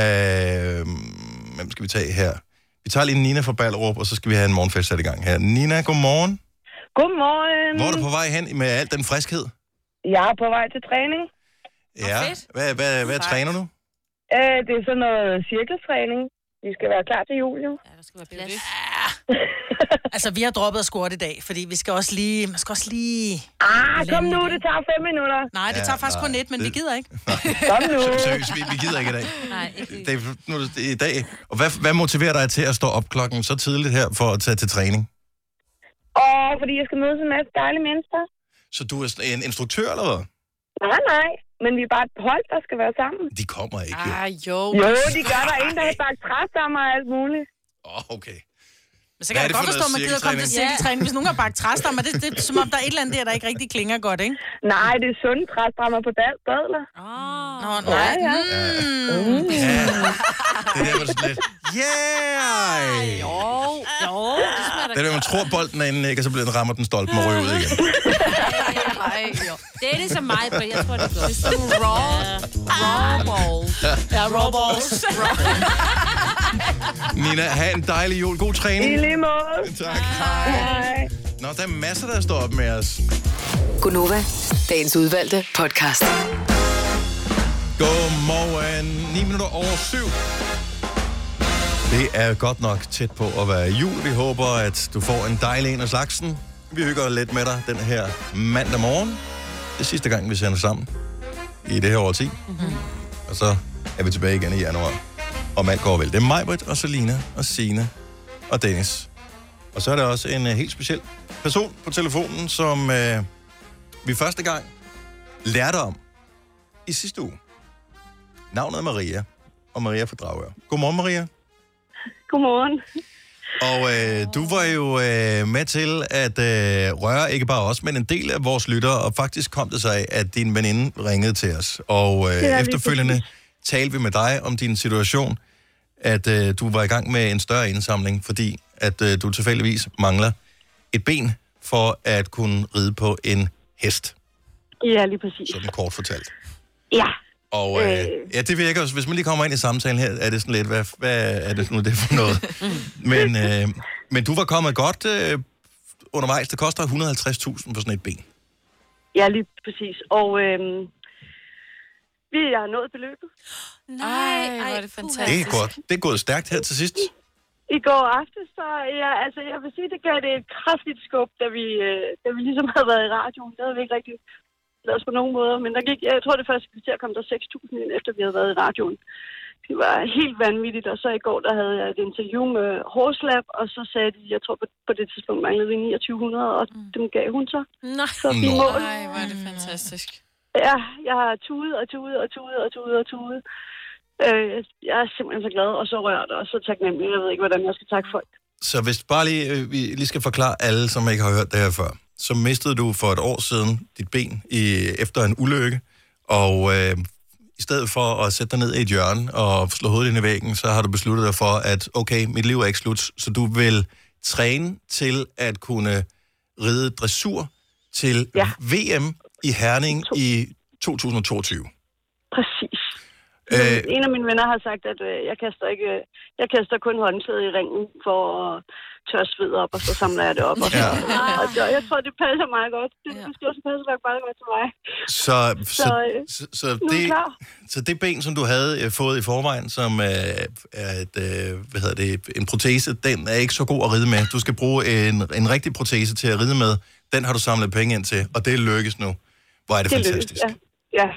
[SPEAKER 1] Øh... Hvem skal vi tage her? Vi tager lige Nina fra Ballerup, og så skal vi have en morgenfest sat i gang her. Nina, godmorgen.
[SPEAKER 9] Godmorgen.
[SPEAKER 1] Hvor er du på vej hen med al den friskhed?
[SPEAKER 9] Jeg er på vej til træning.
[SPEAKER 1] Ja. Hvad, hvad, hvad træner du?
[SPEAKER 9] Øh, det er sådan noget cirkeltræning. Vi skal være klar til jul, jo.
[SPEAKER 3] Altså, vi har droppet at squat i dag, fordi vi skal også lige... Man skal også lige...
[SPEAKER 9] Ah, kom nu, det tager fem minutter.
[SPEAKER 3] Nej, det
[SPEAKER 1] Ja,
[SPEAKER 3] tager faktisk
[SPEAKER 1] nej,
[SPEAKER 3] kun et, men
[SPEAKER 1] det-
[SPEAKER 3] vi gider ikke.
[SPEAKER 9] Kom nu.
[SPEAKER 1] Seriøst, vi, vi gider ikke i dag.
[SPEAKER 2] Nej, ikke
[SPEAKER 1] Det er, nu, er det- det er i dag. Og hvad, hvad motiverer dig til at stå op klokken så tidligt her for at tage til træning?
[SPEAKER 9] Og fordi jeg skal mødes en masse dejlige mennesker.
[SPEAKER 1] Så du er sådan en instruktør eller hvad?
[SPEAKER 9] Nej, nej. Men vi er bare et hold, der skal være sammen.
[SPEAKER 1] De kommer ikke jo.
[SPEAKER 5] Ah, jo.
[SPEAKER 9] Jo, de gør der er en, der har bagt træstammer og alt muligt.
[SPEAKER 1] Åh, oh, okay.
[SPEAKER 3] Men
[SPEAKER 1] Hvad
[SPEAKER 3] så kan
[SPEAKER 1] er
[SPEAKER 3] jeg
[SPEAKER 1] det
[SPEAKER 3] godt
[SPEAKER 1] for
[SPEAKER 3] forstå, at man
[SPEAKER 1] noget
[SPEAKER 3] gider komme til
[SPEAKER 2] cirkeltræning?
[SPEAKER 3] cirkeltræning, hvis nogen har bagt træstammer. Det, det er som om, der er et eller andet der, der ikke rigtig klinger godt, ikke?
[SPEAKER 9] Nej, det er sunde træstammer på bad- badler.
[SPEAKER 2] Åh,
[SPEAKER 3] Nå, nej.
[SPEAKER 9] ja.
[SPEAKER 3] Mm.
[SPEAKER 1] Ja. Det der var sådan lidt, yeah!
[SPEAKER 2] jo, jo, det smager
[SPEAKER 1] Det er, det, man tror, bolden er inde, ikke? og så bliver den rammer den stolpen og ryger ud igen.
[SPEAKER 5] Ej, jo.
[SPEAKER 2] Det er ligesom mig, for jeg tror, det er godt.
[SPEAKER 5] Sådan raw, raw ball.
[SPEAKER 3] Ja, raw balls.
[SPEAKER 1] Nina, have en dejlig jul. God
[SPEAKER 9] Mm. I
[SPEAKER 1] træning.
[SPEAKER 9] lige måde.
[SPEAKER 1] Tak.
[SPEAKER 9] Hej.
[SPEAKER 1] Nå, der er masser, der står op med os.
[SPEAKER 6] Gunova, dagens udvalgte podcast.
[SPEAKER 1] Godmorgen. 9 minutter over 7. Det er godt nok tæt på at være jul. Vi håber, at du får en dejlig en af slagsen. Vi hygger lidt med dig den her mandag morgen. Det er sidste gang, vi sender sammen i det her årti. Mm-hmm. Og så er vi tilbage igen i januar. Og alt går vel. Det er Majbrit og Selina og Sine og Dennis. Og så er der også en uh, helt speciel person på telefonen, som uh, vi første gang lærte om i sidste uge. Navnet er Maria, og Maria fra Dragør. Godmorgen, Maria.
[SPEAKER 9] Godmorgen.
[SPEAKER 1] Og øh, du var jo øh, med til at øh, røre ikke bare os, men en del af vores lyttere, og faktisk kom det sig af, at din veninde ringede til os. Og øh,
[SPEAKER 9] lige
[SPEAKER 1] ja, efterfølgende talte vi med dig om din situation, at øh, du var i gang med en større indsamling, fordi at øh, du tilfældigvis mangler et ben for at kunne ride på en hest,
[SPEAKER 9] Ja, lige præcis.
[SPEAKER 1] sådan kort fortalt.
[SPEAKER 9] Ja.
[SPEAKER 1] Og øh,
[SPEAKER 9] Øh.
[SPEAKER 1] ja, det virker også, hvis man lige kommer ind i samtalen her, er det sådan lidt, hvad, hvad er det nu det er for noget?
[SPEAKER 2] Mm.
[SPEAKER 1] men, øh, men du var kommet godt øh, undervejs. Det koster 150.000 for sådan et ben.
[SPEAKER 9] Ja, lige præcis. Og øhm, vi har nået beløbet.
[SPEAKER 2] Nej,
[SPEAKER 5] Ej, hvor er det
[SPEAKER 2] puha.
[SPEAKER 5] fantastisk.
[SPEAKER 1] Det er godt. Det er gået stærkt her til sidst.
[SPEAKER 9] I går aftes, så ja, altså, jeg vil sige, det gav det et kraftigt skub, da vi, øh, da vi ligesom havde været i radioen. Det havde vi ikke rigtig lavet på nogen måder, men der gik, jeg tror det første kvarter kom der 6.000 ind, efter vi havde været i radioen. Det var helt vanvittigt, og så i går, der havde jeg et interview med Horslab, og så sagde de, jeg tror på, på det tidspunkt manglede vi 2900, og
[SPEAKER 2] Mm.
[SPEAKER 9] dem gav hun så.
[SPEAKER 2] Nej.
[SPEAKER 9] Så vi
[SPEAKER 1] Nå.
[SPEAKER 9] mål.
[SPEAKER 5] Ej, Mm. hvor er det fantastisk.
[SPEAKER 9] Ja, jeg har tudet og tudet og tudet og tudet og tudet. Øh, jeg er simpelthen så glad og så rørt og så taknemmelig. Jeg ved ikke, hvordan jeg skal takke folk.
[SPEAKER 1] Så hvis bare lige, øh, vi lige skal forklare alle, som ikke har hørt det her før, så mistede du for et år siden dit ben i, efter en ulykke, og øh, i stedet for at sætte dig ned i et hjørne og slå hovedet ind i væggen, så har du besluttet dig for, at okay, mit liv er ikke slut, så du vil træne til at kunne ride dressur til ja. VM i Herning i 2022.
[SPEAKER 9] Præcis.
[SPEAKER 1] Øh,
[SPEAKER 9] Øh... En af mine venner har sagt, at øh, jeg kaster ikke, øh, jeg kaster kun håndklæde i ringen for at tørre sved op, og så samler jeg det op. Og, så,
[SPEAKER 1] Ja.
[SPEAKER 9] og det, jeg tror, det passer meget godt. Det, det skal også passe nok meget godt til mig.
[SPEAKER 1] Så, så,
[SPEAKER 9] Så, øh,
[SPEAKER 1] så, så, så,
[SPEAKER 9] nu er jeg
[SPEAKER 1] det,
[SPEAKER 9] klar.
[SPEAKER 1] så det ben, som du havde øh, fået i forvejen, som øh, er et, øh, hvad hedder det, en protese, den er ikke så god at ride med. Du skal bruge en, en rigtig protese til at ride med. Den har du samlet penge ind til, og det lykkes nu. Hvor er det, det
[SPEAKER 9] lykkes,
[SPEAKER 1] fantastisk.
[SPEAKER 9] Ja, ja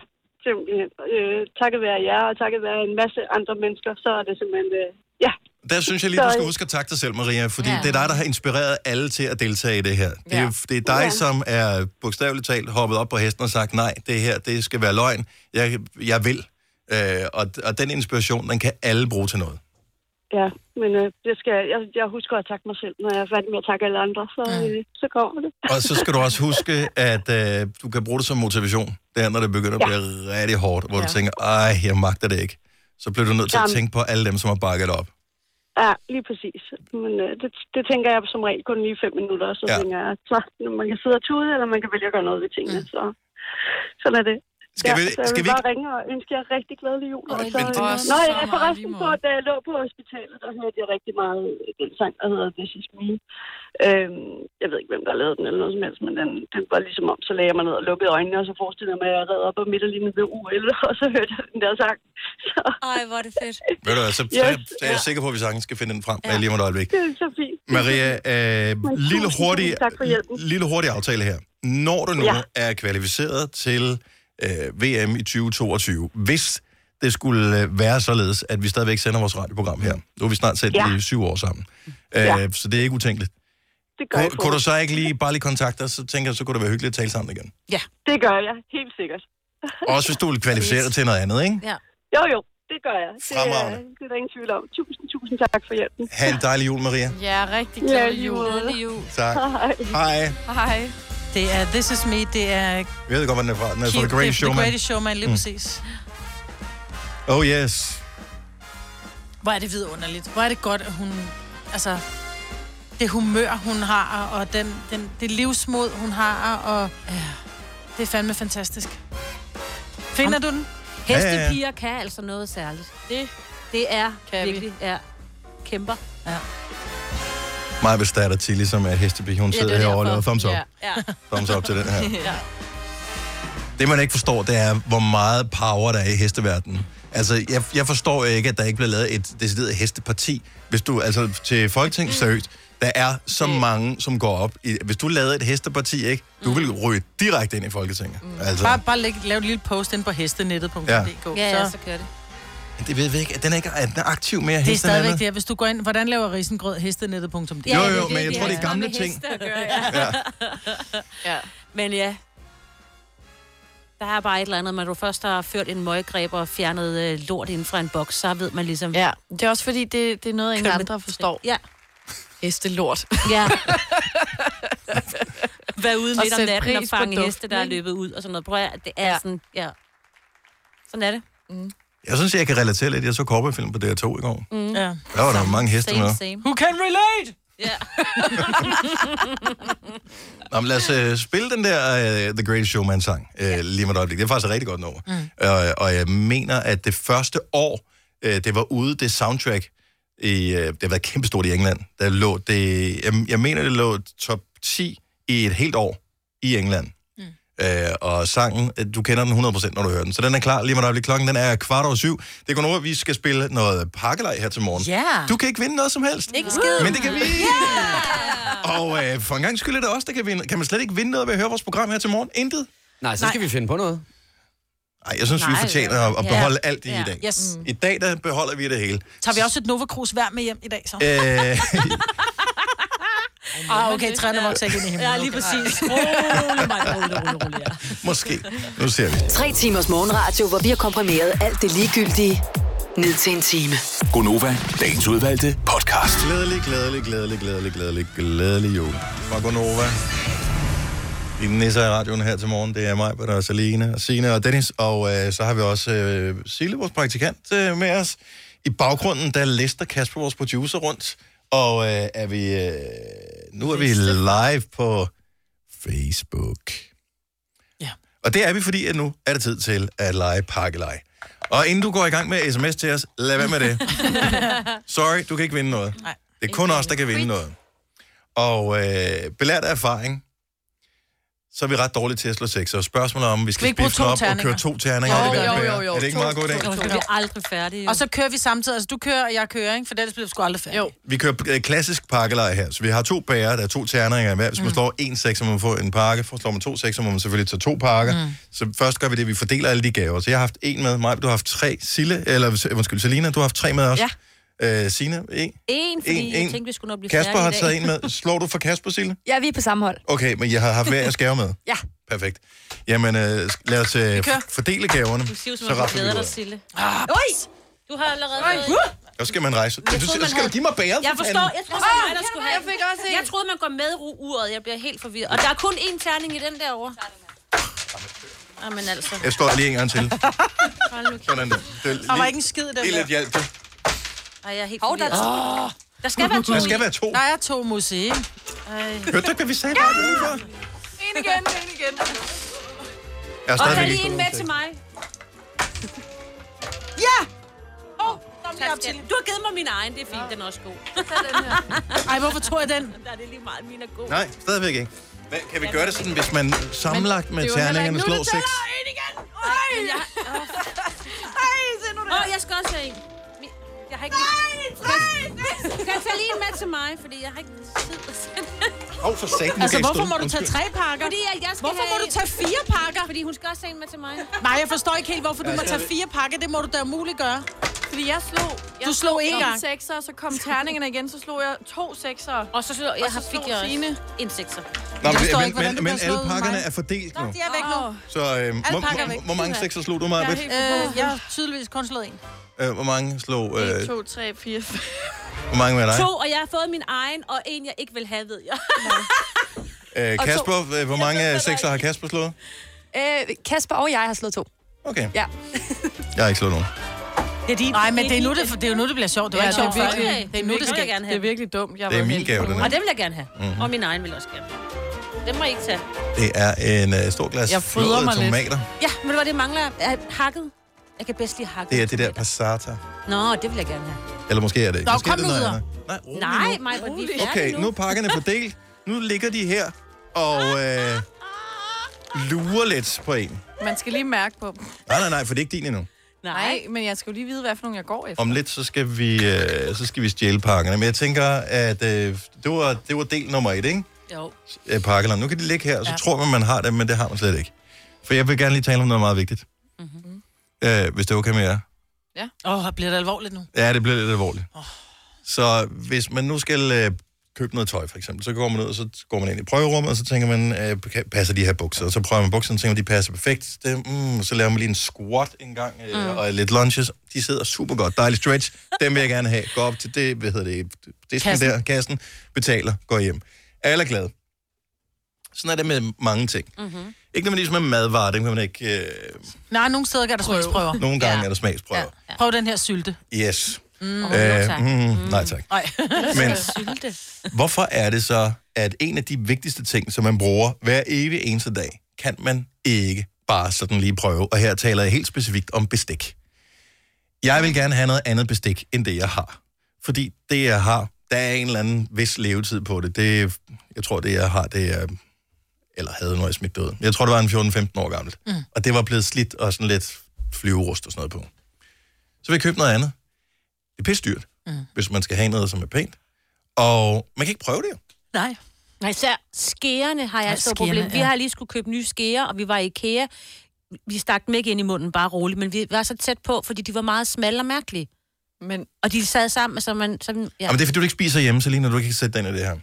[SPEAKER 9] simpelthen. Øh, takket være jer, og takket være en masse andre mennesker, så er det simpelthen... Øh, ja, øh,
[SPEAKER 1] Der synes jeg lige, du skal
[SPEAKER 9] Sorry.
[SPEAKER 1] huske at takke dig selv, Maria, fordi
[SPEAKER 9] Ja.
[SPEAKER 1] ja. det er dig, der har inspireret alle til at deltage i det her. Det er, det er dig,
[SPEAKER 9] Ja.
[SPEAKER 1] ja. som er bogstaveligt talt hoppet op på hesten og sagt, nej, det her, det skal være løgn. Jeg, jeg vil. Øh, og, og den inspiration, den kan alle bruge til noget.
[SPEAKER 9] ja men øh, det skal, jeg, jeg husker at takke mig selv, når jeg er færdig med at takke alle andre, så, øh, så kommer det.
[SPEAKER 1] Og så skal du også huske, at øh, du kan bruge det som motivation. Det er, når det begynder at blive rigtig hårdt, hvor ja.
[SPEAKER 9] Ja.
[SPEAKER 1] du tænker, ej, jeg magter det ikke. Så bliver du nødt til at
[SPEAKER 9] Jamen.
[SPEAKER 1] tænke på alle dem, som har bakket op.
[SPEAKER 9] Ja, lige præcis. Men øh, det, det tænker jeg som regel kun lige fem minutter, og så
[SPEAKER 1] Ja.
[SPEAKER 9] ja. tænker jeg, så man kan sidde og tude, eller man kan vælge at gøre noget ved tingene, så sådan er det.
[SPEAKER 1] Skal
[SPEAKER 9] ja,
[SPEAKER 1] vi-
[SPEAKER 9] så jeg
[SPEAKER 1] skal
[SPEAKER 9] vil
[SPEAKER 1] vi
[SPEAKER 9] bare ringe og ønske jer rigtig glædelig jul. og så,
[SPEAKER 5] men det var
[SPEAKER 9] Nå,
[SPEAKER 5] så
[SPEAKER 9] ja,
[SPEAKER 5] meget
[SPEAKER 9] forresten
[SPEAKER 5] lige
[SPEAKER 9] på, da jeg lå på hospitalet, der hørte jeg rigtig meget øh, den sang, der hedder This Is Me. Øhm, jeg ved ikke, hvem der lavede den eller noget som helst, men den, den var ligesom om, så lagde jeg mig ned og lukkede øjnene, og så forestillede jeg mig, at jeg red op og midt og lige med ved UL, og så hørte jeg den der sang. Så,
[SPEAKER 2] Ej, hvor er det fedt.
[SPEAKER 1] Ved du hvad, så, yes. så, er jeg, så er jeg sikker på, at vi sagtens skal finde den frem ja. lige om et øjeblik.
[SPEAKER 9] det er så fint.
[SPEAKER 1] Maria, øh,
[SPEAKER 9] Men
[SPEAKER 1] lille,
[SPEAKER 9] tusind,
[SPEAKER 1] hurtig,
[SPEAKER 9] tusind tak for hjælpen.
[SPEAKER 1] lille hurtig aftale her. Når du nu
[SPEAKER 9] Ja.
[SPEAKER 1] ja. er kvalificeret til øh, VM i 2022, hvis det skulle øh, være således, at vi stadigvæk sender vores radioprogram her. Nu har vi snart sendt ja.
[SPEAKER 9] Ja.
[SPEAKER 1] i syv år sammen. Øh,
[SPEAKER 9] Ja.
[SPEAKER 1] Så det er ikke utænkeligt.
[SPEAKER 9] Det gør
[SPEAKER 1] Kunne,
[SPEAKER 9] jeg
[SPEAKER 1] kunne du så ikke lige bare lige kontakte os, så tænker jeg, så kunne det være hyggeligt at tale sammen igen.
[SPEAKER 9] Ja. Det gør jeg, helt sikkert.
[SPEAKER 1] Også hvis du er kvalificeret til noget andet, ikke?
[SPEAKER 9] Ja. Jo, jo, det gør jeg. Det, er,
[SPEAKER 1] Fremragende.
[SPEAKER 9] det er der ingen tvivl om. Tusind, tusind tak for hjælpen.
[SPEAKER 1] Ha' en dejlig jul, Maria.
[SPEAKER 5] Ja, rigtig
[SPEAKER 9] Ja,
[SPEAKER 5] glædelig
[SPEAKER 9] lige
[SPEAKER 5] jul.
[SPEAKER 9] måde.
[SPEAKER 5] jul.
[SPEAKER 1] Tak. Hej.
[SPEAKER 5] Hej.
[SPEAKER 3] Det er This Is Me, det er
[SPEAKER 1] Jeg ved godt, hvor den er fra. Den er fra
[SPEAKER 3] Cute,
[SPEAKER 1] The Great
[SPEAKER 3] The
[SPEAKER 1] Showman.
[SPEAKER 3] Greatest Showman, lige
[SPEAKER 1] Mm.
[SPEAKER 3] præcis.
[SPEAKER 1] Oh yes.
[SPEAKER 3] Hvor er det vidunderligt. Hvor er det godt, at hun... Altså, det humør, hun har, og den, den, det livsmod, hun har, og... Ja, det er fandme fantastisk. Finder du den?
[SPEAKER 2] Hestepiger kan altså noget særligt. Det, det er kan virkelig er kæmper.
[SPEAKER 3] Ja.
[SPEAKER 1] Mig bestatter Tilly, som er hestepige. Hun sidder herovre og laver thumbs up.
[SPEAKER 2] Ja, ja.
[SPEAKER 1] Thumbs up til den her.
[SPEAKER 2] ja.
[SPEAKER 1] Det, man ikke forstår, det er, hvor meget power der er i hesteverdenen. Altså, jeg, jeg forstår ikke, at der ikke bliver lavet et decideret hesteparti. Hvis du, altså til
[SPEAKER 3] Mm.
[SPEAKER 1] Folketing, seriøst, der er så mange, som går op. I, hvis du lavede et hesteparti, ikke? Du ville ryge direkte ind i Folketinget. Altså,
[SPEAKER 3] Mm. Bare, bare læg, lav et lille post ind på hestenettet.dk.
[SPEAKER 1] Ja.
[SPEAKER 2] Ja, ja, så kører det.
[SPEAKER 1] det ved vi ikke. Den er ikke er den aktiv mere
[SPEAKER 3] Det er
[SPEAKER 1] hesten
[SPEAKER 3] stadigvæk det, at hvis du går ind, hvordan laver risengrød hestenettet.dk?
[SPEAKER 1] Jo, jo, men jeg tror, det er gamle ting.
[SPEAKER 2] ja. ja. Men ja, der er bare et eller andet, når du først har ført en møggreb og fjernet øh, lort inden fra en boks, så ved man ligesom...
[SPEAKER 5] Ja, det er også fordi, det, det er noget, ingen andre forstår.
[SPEAKER 2] Ja.
[SPEAKER 5] Hestelort.
[SPEAKER 2] Ja. Vær ude
[SPEAKER 5] Og
[SPEAKER 2] midt om
[SPEAKER 5] sætte
[SPEAKER 2] natten og
[SPEAKER 5] pris på
[SPEAKER 2] fange
[SPEAKER 5] duften,
[SPEAKER 2] heste, der er
[SPEAKER 5] ikke?
[SPEAKER 2] løbet ud og sådan noget. Prøv at, det er ja. sådan... Ja. Sådan er det. Mm.
[SPEAKER 1] Jeg synes, jeg kan relatere lidt. Jeg så korporfilm på DR2 i går.
[SPEAKER 2] Mm. Ja.
[SPEAKER 1] Der var der mange heste med.
[SPEAKER 3] Who can relate?
[SPEAKER 2] Ja.
[SPEAKER 1] Nå, men lad os øh, spille den der øh, The Greatest Showman-sang øh, lige med et øjeblik. Det er faktisk et rigtig godt nummer. Mm. Øh, og jeg mener, at det første år, øh, det var ude, det soundtrack, i, øh, det har været kæmpestort i England. Der lå det, jeg, jeg mener, det lå top 10 i et helt år i England. Mm. Øh, og sangen, øh, du kender den 100%, når du hører den. Så den er klar lige med et øjeblik. Klokken den er kvart over syv. Det er kun over, at vi skal spille noget pakkelej her til morgen.
[SPEAKER 3] Ja.
[SPEAKER 1] Du kan ikke vinde noget som helst.
[SPEAKER 3] Ikke en skid.
[SPEAKER 1] Men det kan vi.
[SPEAKER 3] Ah.
[SPEAKER 1] Yeah. Og øh, for en gang skyld er det også, der kan vinde. Kan man slet ikke vinde noget ved at høre vores program her til morgen? Intet?
[SPEAKER 4] Nej, så skal Nej. vi finde på noget.
[SPEAKER 1] Nej, jeg synes, Nej, vi
[SPEAKER 3] Nej,
[SPEAKER 1] fortjener
[SPEAKER 3] ja.
[SPEAKER 1] at, at beholde
[SPEAKER 3] Ja.
[SPEAKER 1] ja. alt i,
[SPEAKER 3] Ja.
[SPEAKER 1] i dag.
[SPEAKER 3] Yes.
[SPEAKER 1] I dag, der beholder vi det hele.
[SPEAKER 3] Tager vi også et Nova Cruz hver med hjem i dag, så?
[SPEAKER 1] Øh,
[SPEAKER 3] Ah, okay, træerne vokser ikke ind i himlen.
[SPEAKER 2] Ja, lige
[SPEAKER 3] Okay.
[SPEAKER 2] præcis.
[SPEAKER 3] Rolig mig,
[SPEAKER 2] rolig, rolig, rolig.
[SPEAKER 1] måske. Nu ser vi.
[SPEAKER 6] Tre timers morgenradio, hvor vi har komprimeret alt det ligegyldige ned til en time.
[SPEAKER 7] Gonova, dagens udvalgte podcast.
[SPEAKER 1] Glædelig, glædelig, glædelig, glædelig, glædelig, glædelig jul. Fra Gonova. Dine nisser i radioen her til morgen, det er mig, Britta, og Saline, og Signe og Dennis, og øh, så har vi også øh, Sille, vores praktikant, øh, med os. I baggrunden, der lister Kasper, vores producer, rundt, og øh, er vi, øh, nu er vi live på Facebook.
[SPEAKER 3] Ja.
[SPEAKER 1] Og det er vi, fordi at nu er det tid til at lege pakkeleje. Og inden du går i gang med sms til os, lad være med det. Sorry, du kan ikke vinde noget.
[SPEAKER 3] Nej.
[SPEAKER 1] Det er kun os, der kan vinde noget. Og øh, belært af erfaring, så er vi ret dårlige til at slå seks. Og spørgsmålet er, om, vi
[SPEAKER 3] Skal
[SPEAKER 1] skal
[SPEAKER 3] vi ikke bruge
[SPEAKER 1] spifte den op
[SPEAKER 3] to
[SPEAKER 1] og
[SPEAKER 3] terninger?
[SPEAKER 1] køre to terninger.
[SPEAKER 3] Jo,
[SPEAKER 1] er det hvad
[SPEAKER 3] jo,
[SPEAKER 1] det
[SPEAKER 3] jo,
[SPEAKER 1] er?
[SPEAKER 3] jo.
[SPEAKER 1] Er det ikke meget god idé?
[SPEAKER 3] To-
[SPEAKER 11] Vi er aldrig færdige.
[SPEAKER 3] Og så kører vi samtidig. Altså, du kører, og jeg kører, ikke? For ellers bliver vi sgu aldrig færdige. Jo.
[SPEAKER 1] Vi kører øh, klassisk pakkeleje her. Så vi har to bærer, der er to terninger i hver. Hvis man
[SPEAKER 3] Mm.
[SPEAKER 1] slår en seks, så må man få en pakke. For slår man to seks, så må man selvfølgelig tage to pakker.
[SPEAKER 3] Mm.
[SPEAKER 1] Så først gør vi det, vi fordeler alle de gaver. Så jeg har haft en med. Maj, du har haft tre. Sille, eller øh, undskyld, Selina, du har haft tre med også. Ja. Øh, Sine, en.
[SPEAKER 11] En,
[SPEAKER 1] En-
[SPEAKER 11] fordi en,
[SPEAKER 1] en.
[SPEAKER 11] jeg tænkte, vi skulle nok blive
[SPEAKER 1] Kasper
[SPEAKER 11] færdige
[SPEAKER 1] har
[SPEAKER 11] i dag.
[SPEAKER 1] taget en med. Slår du for Kasper, Sille?
[SPEAKER 12] Ja, vi er på samme hold.
[SPEAKER 1] Okay, men jeg har haft hver jeres gave med.
[SPEAKER 12] Ja.
[SPEAKER 1] Perfekt. Jamen, øh, lad os øh,
[SPEAKER 11] kører.
[SPEAKER 1] f- fordele gaverne.
[SPEAKER 11] Du siger jo, som
[SPEAKER 1] så
[SPEAKER 11] om du
[SPEAKER 1] rafler vi
[SPEAKER 11] glæder
[SPEAKER 1] ud.
[SPEAKER 11] dig, Sille. Ah, du har allerede...
[SPEAKER 1] Så skal man rejse.
[SPEAKER 11] Jeg
[SPEAKER 1] du,
[SPEAKER 11] troede,
[SPEAKER 1] skal
[SPEAKER 11] man
[SPEAKER 1] du
[SPEAKER 11] havde-
[SPEAKER 1] give mig bæret?
[SPEAKER 11] Jeg
[SPEAKER 1] for
[SPEAKER 11] forstår,
[SPEAKER 1] fanden.
[SPEAKER 11] jeg troede, det var mig, der
[SPEAKER 12] Åh,
[SPEAKER 11] skulle have.
[SPEAKER 12] jeg fik også en.
[SPEAKER 11] Jeg troede, man går med ru- uret. Jeg bliver helt forvirret. Og der er kun én terning i den derovre. Jamen altså.
[SPEAKER 1] Jeg slår lige en gang til.
[SPEAKER 11] Hold nu kæft.
[SPEAKER 1] Sådan der. Det er
[SPEAKER 3] Der var ikke en skid i den
[SPEAKER 1] Det er lidt
[SPEAKER 3] der.
[SPEAKER 1] hjælp. det.
[SPEAKER 11] Ej, jeg er helt
[SPEAKER 3] Hov, der er
[SPEAKER 11] forvirret.
[SPEAKER 3] to.
[SPEAKER 11] Der skal være to.
[SPEAKER 1] Der skal være to.
[SPEAKER 3] Ah. Der er to museer.
[SPEAKER 1] Hørte du ikke, hvad vi sagde? Ja.
[SPEAKER 5] En igen, en igen.
[SPEAKER 1] Jeg er
[SPEAKER 11] Og
[SPEAKER 1] stadigvæk
[SPEAKER 11] tag lige
[SPEAKER 1] ikke
[SPEAKER 11] en
[SPEAKER 1] kommet
[SPEAKER 11] med
[SPEAKER 1] til.
[SPEAKER 11] til mig.
[SPEAKER 3] Ja!
[SPEAKER 11] Åh, Du har givet mig min egen, det er fint, den er også god.
[SPEAKER 3] Ej, hvorfor tror jeg den?
[SPEAKER 11] Der er det lige meget, min er god.
[SPEAKER 1] Nej, stadigvæk ikke. Hvad, kan vi gøre det sådan, hvis man sammenlagt med
[SPEAKER 11] det er jo heller
[SPEAKER 1] terningerne
[SPEAKER 11] ikke-
[SPEAKER 1] slår
[SPEAKER 11] Nu er det
[SPEAKER 1] seks?
[SPEAKER 11] en igen! Ej, men jeg... Ej, se nu der. Åh, jeg skal også have en. Mi- Jeg har ikke... Nej, Kan jeg tage lige en med til mig, fordi jeg har ikke tid at sende.
[SPEAKER 1] Hov, for satan.
[SPEAKER 3] Altså, hvorfor må du tage tre pakker?
[SPEAKER 11] Fordi jeg, jeg skal
[SPEAKER 3] Hvorfor må
[SPEAKER 11] have
[SPEAKER 3] du tage fire pakker?
[SPEAKER 11] Fordi hun skal også have en med til mig.
[SPEAKER 3] Nej, jeg forstår ikke helt, hvorfor du
[SPEAKER 1] Ja,
[SPEAKER 3] må
[SPEAKER 1] skal
[SPEAKER 3] tage
[SPEAKER 1] vi-
[SPEAKER 3] fire pakker. Det må du da umuligt gøre.
[SPEAKER 5] Fordi jeg slog... Jeg
[SPEAKER 3] Du slog én
[SPEAKER 5] en
[SPEAKER 3] gang.
[SPEAKER 5] sekser, så kom terningerne igen, så slog jeg to sekser.
[SPEAKER 11] Og så, så jeg har fik jeg
[SPEAKER 5] Signe.
[SPEAKER 11] også en sekser.
[SPEAKER 1] Nå,
[SPEAKER 3] Jeg forstår
[SPEAKER 1] men,
[SPEAKER 3] ikke, hvordan
[SPEAKER 1] men,
[SPEAKER 3] det
[SPEAKER 1] men
[SPEAKER 3] bliver
[SPEAKER 1] alle
[SPEAKER 3] slået
[SPEAKER 1] pakkerne
[SPEAKER 3] med
[SPEAKER 1] er fordelt nu.
[SPEAKER 3] De er væk nu.
[SPEAKER 1] Så øh, hvor,
[SPEAKER 3] pakker er
[SPEAKER 1] hvor,
[SPEAKER 3] væk.
[SPEAKER 1] hvor mange
[SPEAKER 3] Uha.
[SPEAKER 1] sekser slog du,
[SPEAKER 5] Jeg
[SPEAKER 1] Maja?
[SPEAKER 5] er helt
[SPEAKER 3] Øh, jeg har tydeligvis kun slået en.
[SPEAKER 1] Øh, hvor mange slog... Øh,
[SPEAKER 5] 1, 2, 3, 4, 5.
[SPEAKER 1] hvor mange med dig?
[SPEAKER 11] To, og jeg har fået min egen, og en, jeg ikke vil have, ved jeg.
[SPEAKER 1] Øh, Kasper, øh, hvor mange sekser har Kasper slået?
[SPEAKER 12] Øh, Kasper og jeg har slået to.
[SPEAKER 1] Okay,
[SPEAKER 12] Ja.
[SPEAKER 1] jeg har ikke slået nogen.
[SPEAKER 3] Det er Nej, men det er, nu, det, det er jo nu, det bliver sjovt. Det var
[SPEAKER 5] Ja,
[SPEAKER 3] ikke
[SPEAKER 5] det er
[SPEAKER 3] sjovt før.
[SPEAKER 5] virkelig-
[SPEAKER 3] Det er nu, det
[SPEAKER 11] vil jeg
[SPEAKER 3] skal.
[SPEAKER 11] gerne
[SPEAKER 5] Det er
[SPEAKER 11] have.
[SPEAKER 5] virkelig dumt. Jeg
[SPEAKER 1] Det er
[SPEAKER 5] var
[SPEAKER 1] min
[SPEAKER 5] heldig.
[SPEAKER 1] gave, den her. Mhm.
[SPEAKER 11] Og den vil jeg gerne have. Og min egen vil jeg også gerne. Den må I ikke tage.
[SPEAKER 1] Det er en øh, stor glas
[SPEAKER 5] Jeg fryder
[SPEAKER 1] flåede
[SPEAKER 5] mig lidt.
[SPEAKER 1] tomater.
[SPEAKER 11] Ja, men hvad det mangler? Er hakket? Jeg kan bedst lide hakket.
[SPEAKER 1] Det er det der passata.
[SPEAKER 11] Nå, det vil jeg gerne have.
[SPEAKER 1] Eller måske er det ikke.
[SPEAKER 3] Nå,
[SPEAKER 1] Måske er
[SPEAKER 3] kom
[SPEAKER 1] det
[SPEAKER 3] nu
[SPEAKER 1] noget
[SPEAKER 3] videre.
[SPEAKER 1] andet. Nej, rolig
[SPEAKER 11] Nej,
[SPEAKER 1] nu.
[SPEAKER 11] mig vi er
[SPEAKER 1] Okay,
[SPEAKER 11] færdige
[SPEAKER 1] nu er pakkerne fordelt. Nu ligger de her og øh, lurer lidt på en.
[SPEAKER 5] Man skal lige mærke på dem.
[SPEAKER 1] Nej, nej, nej, for det er ikke din endnu.
[SPEAKER 5] Nej, men jeg skal jo lige vide, hvad for nogen jeg går efter.
[SPEAKER 1] Om lidt, så skal vi, øh, så skal vi stjæle pakkerne. Men jeg tænker, at øh, det, var, det var del nummer et, ikke?
[SPEAKER 11] Jo.
[SPEAKER 1] Øh, Pakkeland. Nu kan de ligge her, og så ja.
[SPEAKER 5] Ja.
[SPEAKER 1] tror man, man har det, men det har man slet ikke. For jeg vil gerne lige tale om noget meget vigtigt. Mm-hmm. Øh, hvis det er okay med jer.
[SPEAKER 3] Åh, oh, bliver det alvorligt nu?
[SPEAKER 1] Ja, det bliver lidt alvorligt. Oh. Så hvis man nu skal øh, købe noget tøj, for eksempel, så går man ud, og så går man ind i prøverummet, og så tænker man, øh, kan- passer de her bukser? Og så prøver man bukserne, og tænker, man, de passer perfekt. Det, mm, så laver man lige en squat en gang, øh, mm. og lidt lunges. De sidder super godt. Dejlig stretch. Dem vil jeg gerne have. Gå op til det, hvad hedder det, disken kassen.
[SPEAKER 3] Kassen.
[SPEAKER 1] der, kassen, betaler, går hjem. Alle er glade. Sådan er det med mange ting. Mm-hmm. Ikke nødvendigvis med madvarer, dem kan man ikke... Øh,
[SPEAKER 3] Nej, nogle steder kan der smagsprøver.
[SPEAKER 1] nogle gange ja. er der smagsprøver.
[SPEAKER 3] Ja. Prøv den her sylte.
[SPEAKER 1] Ja. Yes. Mm.
[SPEAKER 11] jo,
[SPEAKER 1] Øh,
[SPEAKER 11] tak.
[SPEAKER 1] mm, nej tak.
[SPEAKER 3] Nej.
[SPEAKER 1] Men
[SPEAKER 11] Sylte.
[SPEAKER 1] Hvorfor er det så, at en af de vigtigste ting, som man bruger hver evig eneste dag, kan man ikke bare sådan lige prøve? Og her taler jeg helt specifikt om bestik. Jeg vil gerne have noget andet bestik, end det jeg har. Fordi det jeg har, der er en eller anden vis levetid på det. det jeg tror, det jeg har, det er... Eller havde, når jeg smidt det ud. Jeg tror, det var en 14-15 år gammelt. Mm. Og det var blevet slidt og sådan lidt flyverust og sådan noget på. Så vil jeg købe noget andet. Det er pisse dyrt, mm. hvis man skal have noget, som er pænt. Og man kan ikke prøve det jo.
[SPEAKER 3] Nej.
[SPEAKER 11] Nej, især skærerne har jeg altså
[SPEAKER 3] Ja,
[SPEAKER 11] et stort
[SPEAKER 3] skeerne,
[SPEAKER 11] problem. Vi
[SPEAKER 3] ja.
[SPEAKER 11] har lige skulle købe nye skeer, og vi var i IKEA. Vi stak dem ikke ind i munden, bare roligt, men vi var så tæt på, fordi de var meget smalle og mærkelige.
[SPEAKER 5] Men,
[SPEAKER 11] Og de sad sammen, så man... Så, ja.
[SPEAKER 1] Jamen, det er fordi, du ikke spiser hjemme, så lige når du ikke kan sætte dig ind i det her.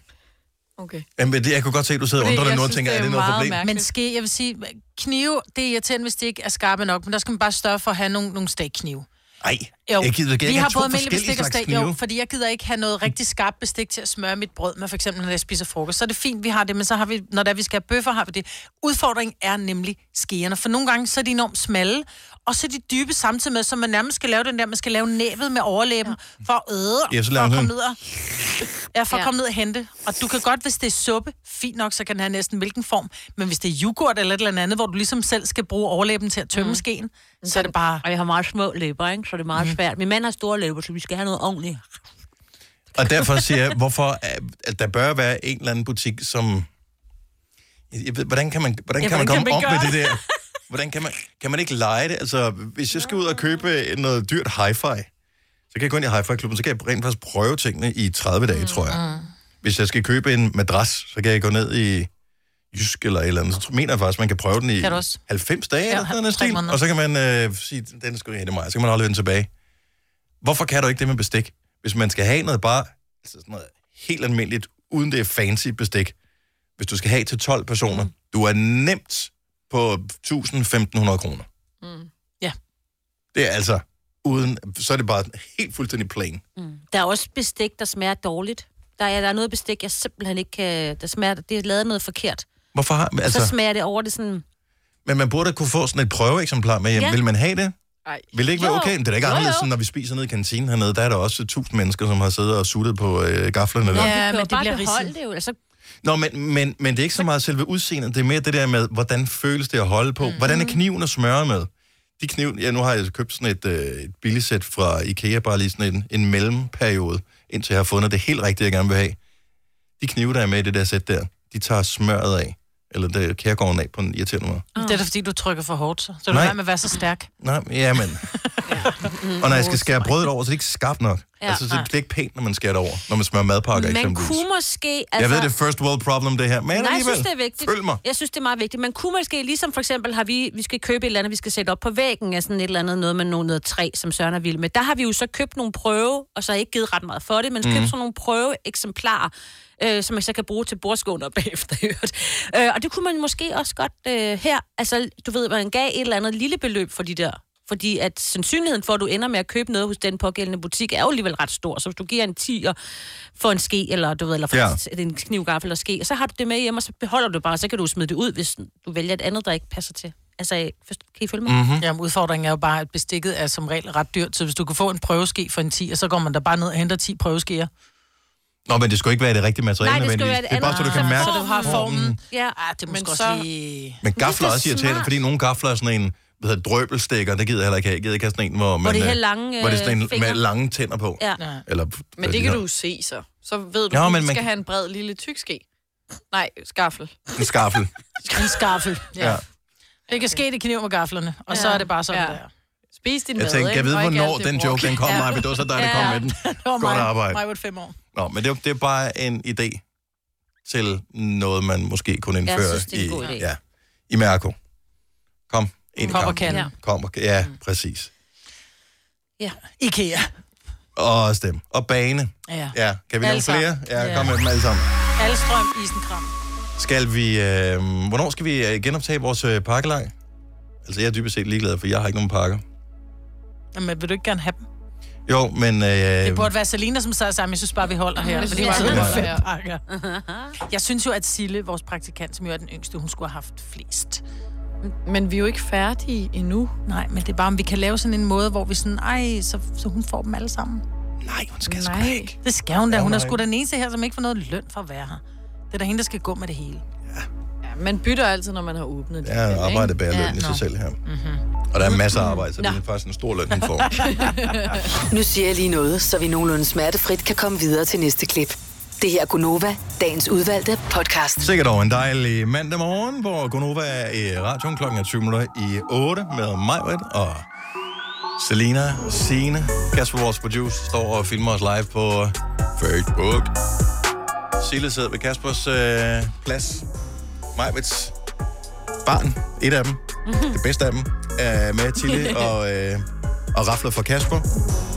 [SPEAKER 5] okay.
[SPEAKER 1] Jamen, det, jeg kunne godt se, at du sidder og
[SPEAKER 5] Fordi
[SPEAKER 1] undrer dig
[SPEAKER 5] jeg
[SPEAKER 1] nu og
[SPEAKER 5] synes,
[SPEAKER 1] tænker,
[SPEAKER 5] det
[SPEAKER 1] er
[SPEAKER 5] er
[SPEAKER 1] det noget
[SPEAKER 5] meget
[SPEAKER 1] problem?
[SPEAKER 5] mærkeligt.
[SPEAKER 3] Men ske, jeg vil sige, knive, det er irriterende, hvis de ikke er skarpe nok, men der skal man bare større for at have nogle, nogle stakknive.
[SPEAKER 1] Ej, jeg gider ikke.
[SPEAKER 3] vi har
[SPEAKER 1] to
[SPEAKER 3] både almindelig
[SPEAKER 1] forskellige
[SPEAKER 3] bestik og
[SPEAKER 1] slags
[SPEAKER 3] steg,
[SPEAKER 1] knive.
[SPEAKER 3] jo, fordi jeg gider ikke have noget rigtig skarpt bestik til at smøre mit brød med, for eksempel når jeg spiser frokost. Så er det fint, vi har det, men så har vi, når der vi skal have bøffer, har vi det. Udfordringen er nemlig skeerne, for nogle gange så er de enormt smalle, og så er de dybe samtidig med, så man nærmest skal lave den der, man skal lave nævet med overlæben for at æde,
[SPEAKER 1] Ja, så
[SPEAKER 3] for
[SPEAKER 1] laver
[SPEAKER 3] at
[SPEAKER 1] man
[SPEAKER 3] komme
[SPEAKER 1] den.
[SPEAKER 3] ned og, ja, for at
[SPEAKER 13] Ja.
[SPEAKER 3] komme ned og hente. Og du kan godt, hvis det er suppe, fint nok, så kan den have næsten hvilken form. Men hvis det er yoghurt eller et eller andet, hvor du ligesom selv skal bruge overlæben til at tømme mm. skeen, så er det bare...
[SPEAKER 11] Og jeg har meget små læber, ikke? så det er meget
[SPEAKER 1] Mhm.
[SPEAKER 11] mm. svært. Min mand har store læber, så vi skal have noget ordentligt.
[SPEAKER 1] Og derfor siger jeg, hvorfor øh, at der bør være en eller anden butik, som... Jeg ved, hvordan kan man, hvordan
[SPEAKER 14] Ja,
[SPEAKER 1] ja, kan man
[SPEAKER 14] hvordan
[SPEAKER 1] komme
[SPEAKER 14] kan man
[SPEAKER 1] op
[SPEAKER 14] gøre
[SPEAKER 1] med det der? Hvordan kan man, kan man ikke lege det? Altså, hvis jeg skal ud og købe noget dyrt hi-fi, så kan jeg gå ind i hi-fi-klubben, så kan jeg rent faktisk prøve tingene i 30 dage, tror jeg.
[SPEAKER 5] Mm.
[SPEAKER 1] Hvis jeg skal købe en madras, så kan jeg gå ned i Jysk eller et eller andet. Så tror- mener jeg faktisk, man kan prøve den i
[SPEAKER 3] Kan du også?
[SPEAKER 1] 90 dage,
[SPEAKER 3] Ja,
[SPEAKER 1] eller sådan
[SPEAKER 3] tre
[SPEAKER 1] noget stil.
[SPEAKER 3] måneder.
[SPEAKER 1] Og så kan man øh, sige, den skal jeg have mig, så kan man aflevere den tilbage. Hvorfor kan du ikke det med bestik? Hvis man skal have noget bare altså sådan noget helt almindeligt, uden det er fancy bestik, hvis du skal have til 12 personer,
[SPEAKER 3] Mm.
[SPEAKER 1] du er nemt på 1.000-1.500 kroner.
[SPEAKER 3] Mm. Ja.
[SPEAKER 1] Det er altså uden, så er det bare helt fuldstændig plain.
[SPEAKER 11] Der er også bestik, der smager dårligt. Der er, der er noget bestik, jeg simpelthen ikke kan... Der smager, det er lavet noget forkert.
[SPEAKER 1] Hvorfor har,
[SPEAKER 11] Altså, så
[SPEAKER 1] altså,
[SPEAKER 11] smager det over det sådan...
[SPEAKER 1] men man burde kunne få sådan et prøveeksemplar med hjem.
[SPEAKER 11] Ja.
[SPEAKER 1] Ja. Vil man have det?
[SPEAKER 5] Ej.
[SPEAKER 1] Vil det ikke være
[SPEAKER 11] Jo.
[SPEAKER 1] okay? Men det er da ikke
[SPEAKER 11] Jo,
[SPEAKER 1] anderledes,
[SPEAKER 11] jo.
[SPEAKER 1] sådan, når vi spiser ned i kantinen hernede. Der er der også tusind mennesker, som har siddet og suttet på øh, gaflerne.
[SPEAKER 11] Nå,
[SPEAKER 1] der.
[SPEAKER 11] du kan jo
[SPEAKER 3] men det
[SPEAKER 11] bare
[SPEAKER 3] bliver
[SPEAKER 11] beholde
[SPEAKER 3] ridset.
[SPEAKER 11] det jo. Altså,
[SPEAKER 1] Nå, men, men, men det er ikke så meget selve udseendet. Det er mere det der med, hvordan føles det at holde
[SPEAKER 11] Mm.
[SPEAKER 1] på? Hvordan er kniven at smøre med? De kniv, ja, nu har jeg købt sådan et, øh, et billigsæt fra Ikea, bare lige sådan en, en mellemperiode, indtil jeg har fundet det helt rigtige, jeg gerne vil have. De knive, der er med i det der sæt der, de tager smøret af, eller det kærgården af på en irriterende måde.
[SPEAKER 3] Det er da fordi, du trykker for hårdt, så. Så du
[SPEAKER 1] Nej.
[SPEAKER 3] er med at være så stærk.
[SPEAKER 1] Nej, ja, men...
[SPEAKER 3] Mm.
[SPEAKER 1] Og når jeg skal skære brødet over, så er det ikke skarpt nok.
[SPEAKER 11] Ja.
[SPEAKER 1] Ja. Altså, så
[SPEAKER 11] Nej.
[SPEAKER 1] det bliver ikke pænt, når man skærer det over, når man smører madpakker
[SPEAKER 11] man
[SPEAKER 1] eksempelvis.
[SPEAKER 11] kunne måske...
[SPEAKER 1] Altså... Jeg ved, det er first world problem, det her, men
[SPEAKER 11] Nej, jeg
[SPEAKER 1] alligevel,
[SPEAKER 11] synes, det er vigtigt.
[SPEAKER 1] følg mig.
[SPEAKER 11] Jeg synes, det er meget vigtigt. Man kunne måske, ligesom for eksempel, har vi, vi skal købe et eller andet, vi skal sætte op på væggen af sådan et eller andet, noget med nogle, noget træ, som Søren er vild med. Der har vi jo så købt nogle prøve, og så ikke givet ret meget for det, men
[SPEAKER 13] Mhm.
[SPEAKER 11] købt sådan nogle prøveeksemplarer, øh, som man så kan bruge til bordskåner bagefter. i øvrigt. øh, og det kunne man måske også godt øh, her. Altså, du ved, man gav et eller andet lille beløb for de der fordi at sandsynligheden for, at du ender med at købe noget hos den pågældende butik, er jo alligevel ret stor. Så hvis du giver en 10'er for en ske, eller du ved, eller for
[SPEAKER 13] Ja.
[SPEAKER 11] ja det er en knivgaffel eller ske, og så har du det med hjem, og så beholder du det bare, og så kan du smide det ud, hvis du vælger et andet, der ikke passer til. Altså, først, kan I følge mig?
[SPEAKER 1] Mhm.
[SPEAKER 3] Mm-hmm. Jamen, udfordringen er jo bare, at bestikket er som regel ret dyrt, så hvis du kan få en prøveske for en 10, og så går man da bare ned og henter 10 prøveskeer.
[SPEAKER 1] Nå, men det skulle ikke være det rigtige materiale,
[SPEAKER 3] Nej, det skulle
[SPEAKER 1] nødvendigvis.
[SPEAKER 3] være et
[SPEAKER 1] det er bare, så du
[SPEAKER 3] andet-
[SPEAKER 1] kan
[SPEAKER 3] så-
[SPEAKER 1] mærke mm.
[SPEAKER 3] så du har formen.
[SPEAKER 11] Ja,
[SPEAKER 3] ah, det er måske
[SPEAKER 5] så-
[SPEAKER 3] også lige...
[SPEAKER 1] Men gafler er
[SPEAKER 11] det
[SPEAKER 1] også irriterende,
[SPEAKER 11] smart.
[SPEAKER 1] fordi nogle gafler er sådan en hvad hedder, det, drøbelstikker, det gider jeg heller ikke have. Jeg gider ikke have sådan en, hvor, man,
[SPEAKER 11] de
[SPEAKER 1] øh,
[SPEAKER 11] her lange,
[SPEAKER 1] hvor det er
[SPEAKER 11] øh,
[SPEAKER 1] sådan en
[SPEAKER 11] fingre.
[SPEAKER 1] med lange tænder på.
[SPEAKER 11] Ja.
[SPEAKER 1] Eller,
[SPEAKER 5] Men det kan du jo se så. Så ved du,
[SPEAKER 1] Nå,
[SPEAKER 5] ja,
[SPEAKER 1] men
[SPEAKER 5] men
[SPEAKER 1] man
[SPEAKER 5] du skal
[SPEAKER 1] kan-
[SPEAKER 5] have en bred lille tykske. Nej, skaffel.
[SPEAKER 1] En skaffel.
[SPEAKER 3] En skaffel, ja.
[SPEAKER 1] Ja.
[SPEAKER 3] ja. Det kan ske, det kniv med gaflerne, og ja. så er det bare sådan ja. der.
[SPEAKER 5] Spis din
[SPEAKER 1] Jeg tænkte, kan jeg vide, hvornår den joke, den kom, Maja, men det var så dig, der kom med den. Godt arbejde.
[SPEAKER 3] Mig var fem år.
[SPEAKER 1] Nå, men det, er- det er bare en idé til noget, man måske kunne
[SPEAKER 3] Jeg
[SPEAKER 1] indføre
[SPEAKER 3] synes, det er en god idé.
[SPEAKER 1] i, ja, i Mærko. Kom, ind i
[SPEAKER 3] Kom og Mm.
[SPEAKER 1] kampen.
[SPEAKER 3] kan. Ja.
[SPEAKER 1] Kom og kan. Ja, præcis.
[SPEAKER 11] Ja.
[SPEAKER 3] Ikea.
[SPEAKER 1] Og stem. Og bane.
[SPEAKER 3] Ja.
[SPEAKER 1] Ja, kan vi
[SPEAKER 3] Alle
[SPEAKER 1] nævne flere?
[SPEAKER 3] sammen.
[SPEAKER 1] Ja,
[SPEAKER 3] Ja.
[SPEAKER 1] kom med dem alle sammen.
[SPEAKER 3] Alstrøm, isenkram.
[SPEAKER 1] Skal vi, øh, hvornår skal vi øh, genoptage vores øh, pakkelej? Altså, jeg er dybest set ligeglad, for jeg har ikke nogen pakker.
[SPEAKER 3] Jamen, vil du ikke gerne have dem?
[SPEAKER 1] Jo, men... Øh,
[SPEAKER 3] Det burde være Selina, som sad sammen. Jeg synes bare, vi holder her.
[SPEAKER 5] Jeg
[SPEAKER 3] Fordi
[SPEAKER 5] synes
[SPEAKER 3] hun
[SPEAKER 5] bare, vi
[SPEAKER 3] sidder med
[SPEAKER 5] holder her.
[SPEAKER 3] fem pakker. Jeg synes jo, at Sille, vores praktikant, som jo er den yngste, hun skulle have haft flest.
[SPEAKER 5] Men vi er jo ikke færdige endnu.
[SPEAKER 3] Nej, men det er bare, om vi kan lave sådan en måde, hvor vi sådan, ej, så, så hun får dem alle sammen.
[SPEAKER 1] Nej, hun
[SPEAKER 3] skal sgu ikke. Det skal hun
[SPEAKER 5] Ja,
[SPEAKER 3] da.
[SPEAKER 5] hun
[SPEAKER 3] Hun er
[SPEAKER 5] har
[SPEAKER 3] sgu
[SPEAKER 5] ikke.
[SPEAKER 3] den eneste her, som ikke får noget løn for at være her. Det er da hende, der skal gå med det hele.
[SPEAKER 5] Ja, man bytter altid, når man har åbnet det.
[SPEAKER 1] Ja, arbejde bærer løn i
[SPEAKER 5] nå.
[SPEAKER 1] sig selv her.
[SPEAKER 3] Mhm.
[SPEAKER 1] Og der er masser af
[SPEAKER 3] Mm.
[SPEAKER 1] arbejde, så det er faktisk en stor løn, hun får.
[SPEAKER 6] Nu siger jeg lige noget, så vi nogenlunde smertefrit kan komme videre til næste klip. Det her er Gunova, dagens udvalgte podcast.
[SPEAKER 1] Sikkert over en dejlig mandag morgen, hvor Gunova er i radioen klokken er 20 minutter i 8 med mig og Selina, Sine, Kasper, vores producer, står og filmer os live på Facebook. Sille sidder ved Kaspers øh, plads. Majvits barn, et af dem,
[SPEAKER 3] Mhm.
[SPEAKER 1] det bedste af dem, er med Tilly og, øh, og rafler for Kasper.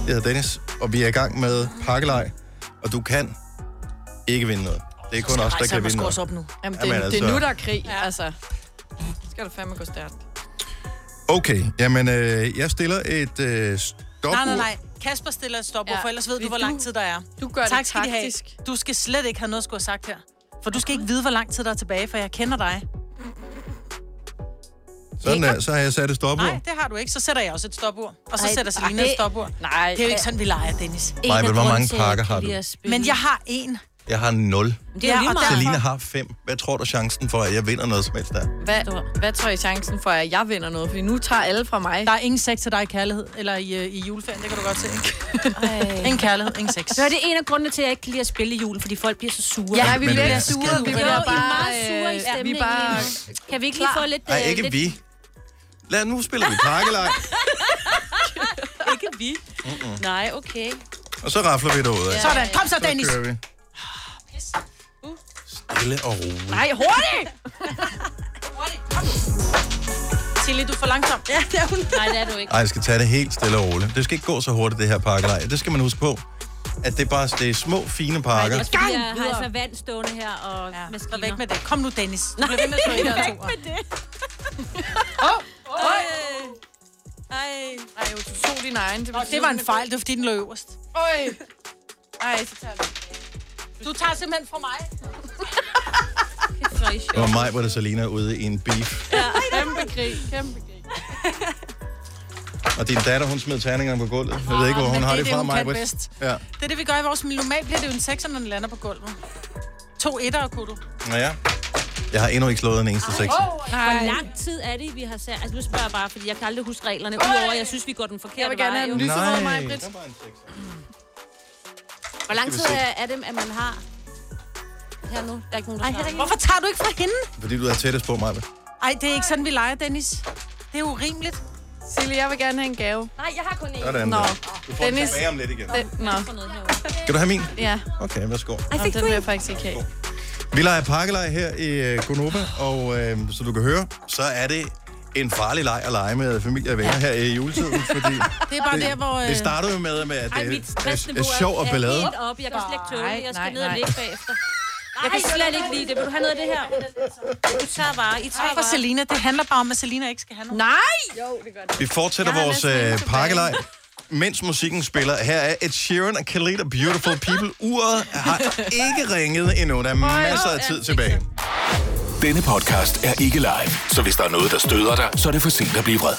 [SPEAKER 1] Jeg hedder Dennis, og vi er i gang med pakkelej, og du kan ikke vinde noget. Det er kun os, der kan vinde noget.
[SPEAKER 3] nu.
[SPEAKER 5] Jamen, det,
[SPEAKER 1] Jamen,
[SPEAKER 5] Jamen, altså... det
[SPEAKER 1] altså-
[SPEAKER 5] er nu, der er krig, ja. altså. Skal du fandme gå stærkt.
[SPEAKER 1] Okay, jamen øh, jeg stiller et øh, stopur.
[SPEAKER 3] Nej, nej, nej. Kasper stiller et stopord, ja.
[SPEAKER 5] Ja.
[SPEAKER 3] for ellers ved du,
[SPEAKER 5] Vil
[SPEAKER 3] hvor
[SPEAKER 5] du-
[SPEAKER 3] lang tid der er.
[SPEAKER 5] du gør det
[SPEAKER 3] tak, skal I have.
[SPEAKER 5] taktisk.
[SPEAKER 3] Du skal slet ikke have noget at skulle have sagt her. For du skal ikke vide, hvor lang tid der er tilbage, for jeg kender dig.
[SPEAKER 1] Sådan der, så har jeg sat et stopur.
[SPEAKER 3] Nej, det har du ikke. Så sætter jeg også et stopur. Og så
[SPEAKER 11] Ej,
[SPEAKER 3] sætter Selina
[SPEAKER 11] ej.
[SPEAKER 3] et stopur. Nej. Det er jo ikke sådan, vi leger, Dennis.
[SPEAKER 1] Maja, men hvor mange pakker har du?
[SPEAKER 3] Men jeg har en.
[SPEAKER 1] Jeg har 0.
[SPEAKER 3] Det er jo lige meget.
[SPEAKER 1] Selina har 5. Hvad tror du chancen for, at jeg vinder noget som helst der?
[SPEAKER 5] Hvad, hvad tror I chancen for, at jeg vinder noget? Fordi nu tager alle fra mig.
[SPEAKER 3] Der er ingen sex til dig i kærlighed, eller i, øh, i juleferien, det kan du godt se. ingen kærlighed, ingen sex.
[SPEAKER 11] Så er det en af grundene til, at jeg ikke kan lide at spille i julen, fordi folk bliver så sure.
[SPEAKER 5] Ja, vi Men- bliver
[SPEAKER 1] sure,
[SPEAKER 5] vi bliver
[SPEAKER 11] jo, I er
[SPEAKER 5] bare,
[SPEAKER 11] meget sure i
[SPEAKER 5] øh, ja, vi
[SPEAKER 11] stemningen.
[SPEAKER 5] er bare
[SPEAKER 11] lige nu. Kan vi ikke lige få lidt...
[SPEAKER 1] Nej,
[SPEAKER 11] øh,
[SPEAKER 1] ikke
[SPEAKER 11] lidt...
[SPEAKER 1] vi. Lad nu spiller vi pakkelej,
[SPEAKER 11] ikke vi.
[SPEAKER 1] Mm-mm.
[SPEAKER 11] Nej, okay.
[SPEAKER 1] og så rafler vi derud.
[SPEAKER 11] Ja. Sådan. Kom så, Dennis.
[SPEAKER 1] Så kører vi. Stille og roligt.
[SPEAKER 3] Nej, hurtigt! Tilly, du er for langsom. Ja, det er hun.
[SPEAKER 11] Nej, det er du ikke.
[SPEAKER 1] Ej, jeg skal tage det helt stille og roligt. Det skal ikke gå så hurtigt, det her pakkelej. Det skal man huske på, at det er bare det er små, fine pakker.
[SPEAKER 11] Også fordi jeg har
[SPEAKER 3] videre.
[SPEAKER 11] altså vand stående her og ja. maskiner.
[SPEAKER 3] væk med det. Kom nu, Dennis. Du
[SPEAKER 11] Nej,
[SPEAKER 3] bliver ved med at slå etter og
[SPEAKER 11] væk
[SPEAKER 3] toer.
[SPEAKER 11] med det.
[SPEAKER 3] Åh!
[SPEAKER 5] Åh!
[SPEAKER 3] Ej.
[SPEAKER 5] Ej, Ej, jo, du tog din egen.
[SPEAKER 3] Nå, det var en fejl, det var fordi den lå øverst.
[SPEAKER 5] Øj. Ej, så tager vi.
[SPEAKER 3] Du tager simpelthen fra mig.
[SPEAKER 1] Det var mig, hvor det Selina ude i en beef.
[SPEAKER 5] Ja, kæmpe krig, kæmpe krig.
[SPEAKER 1] Og din datter, hun smed terningerne på gulvet. Jeg ved ikke, hvor
[SPEAKER 3] men
[SPEAKER 1] hun har
[SPEAKER 3] det
[SPEAKER 1] det
[SPEAKER 3] er det,
[SPEAKER 1] fra
[SPEAKER 3] hun
[SPEAKER 1] mig.
[SPEAKER 3] kan bedst.
[SPEAKER 1] Ja.
[SPEAKER 3] Det er det, vi gør i vores miljø. Normalt bliver det jo en sekser, når den lander på gulvet. To etter, kunne du.
[SPEAKER 1] Nå ja. Jeg har endnu ikke slået en eneste seks.
[SPEAKER 11] Hvor lang tid er det, vi har sat? Altså, nu spørger jeg bare, fordi jeg kan aldrig huske reglerne, udover at jeg synes, vi går den forkerte
[SPEAKER 5] Jeg vil gerne
[SPEAKER 11] vej.
[SPEAKER 5] have
[SPEAKER 11] jo.
[SPEAKER 5] den lyserøde, Maja Britt.
[SPEAKER 11] Hvor lang
[SPEAKER 1] Skal
[SPEAKER 11] tid
[SPEAKER 1] vi se.
[SPEAKER 11] er, er det, at man har... Her nu, der er ikke nogen, der Ej,
[SPEAKER 3] Hvorfor tager du ikke fra hende?
[SPEAKER 1] Fordi du er tættest på mig.
[SPEAKER 3] Ej, det er ikke sådan, vi leger, Dennis. Det er urimeligt.
[SPEAKER 5] Silje, jeg vil gerne have en gave.
[SPEAKER 11] Nej, jeg har kun én.
[SPEAKER 1] Sådan
[SPEAKER 5] Nå.
[SPEAKER 1] der. øh, Du får den
[SPEAKER 5] Dennis.
[SPEAKER 1] tilbage om lidt igen.
[SPEAKER 5] Den, nå.
[SPEAKER 1] Skal du have min?
[SPEAKER 5] Ja.
[SPEAKER 1] Okay, værsgo.
[SPEAKER 5] Ej, fik den vil jeg faktisk ikke have.
[SPEAKER 1] Vi leger pakkelej her i øh, Konoba, og øh, så du kan høre, så er det en farlig leg at lege med familie og venner her i juletiden, fordi
[SPEAKER 3] Det er bare der, hvor... øh,
[SPEAKER 1] det starter jo med, med at det
[SPEAKER 11] Ej, mit
[SPEAKER 1] er, er,
[SPEAKER 11] stressniveau
[SPEAKER 1] er sjov og ballade.
[SPEAKER 11] helt oppe. Jeg kan slet ikke tåle det. Jeg skal
[SPEAKER 5] Nej,
[SPEAKER 11] ned og
[SPEAKER 5] nej.
[SPEAKER 11] ligge bagefter. Jeg kan slet ikke lide det. Vil du have noget af det her? Du tager bare. I tager
[SPEAKER 3] Tak for
[SPEAKER 11] bare.
[SPEAKER 3] Selina. Det handler bare om, at Selina ikke skal have noget.
[SPEAKER 5] Nej!
[SPEAKER 3] Jo, det gør det.
[SPEAKER 1] Vi fortsætter
[SPEAKER 3] Jeg har
[SPEAKER 1] vores
[SPEAKER 3] næsten
[SPEAKER 1] øh,
[SPEAKER 3] ingen
[SPEAKER 1] pakkelej, mens musikken spiller. Her er Ed Sheeran og Khalid og Beautiful People. Uret har ikke ringet endnu. Der er masser af tid tilbage.
[SPEAKER 7] Denne podcast er ikke live, så hvis der er noget, der støder dig, så er det for sent at blive vred.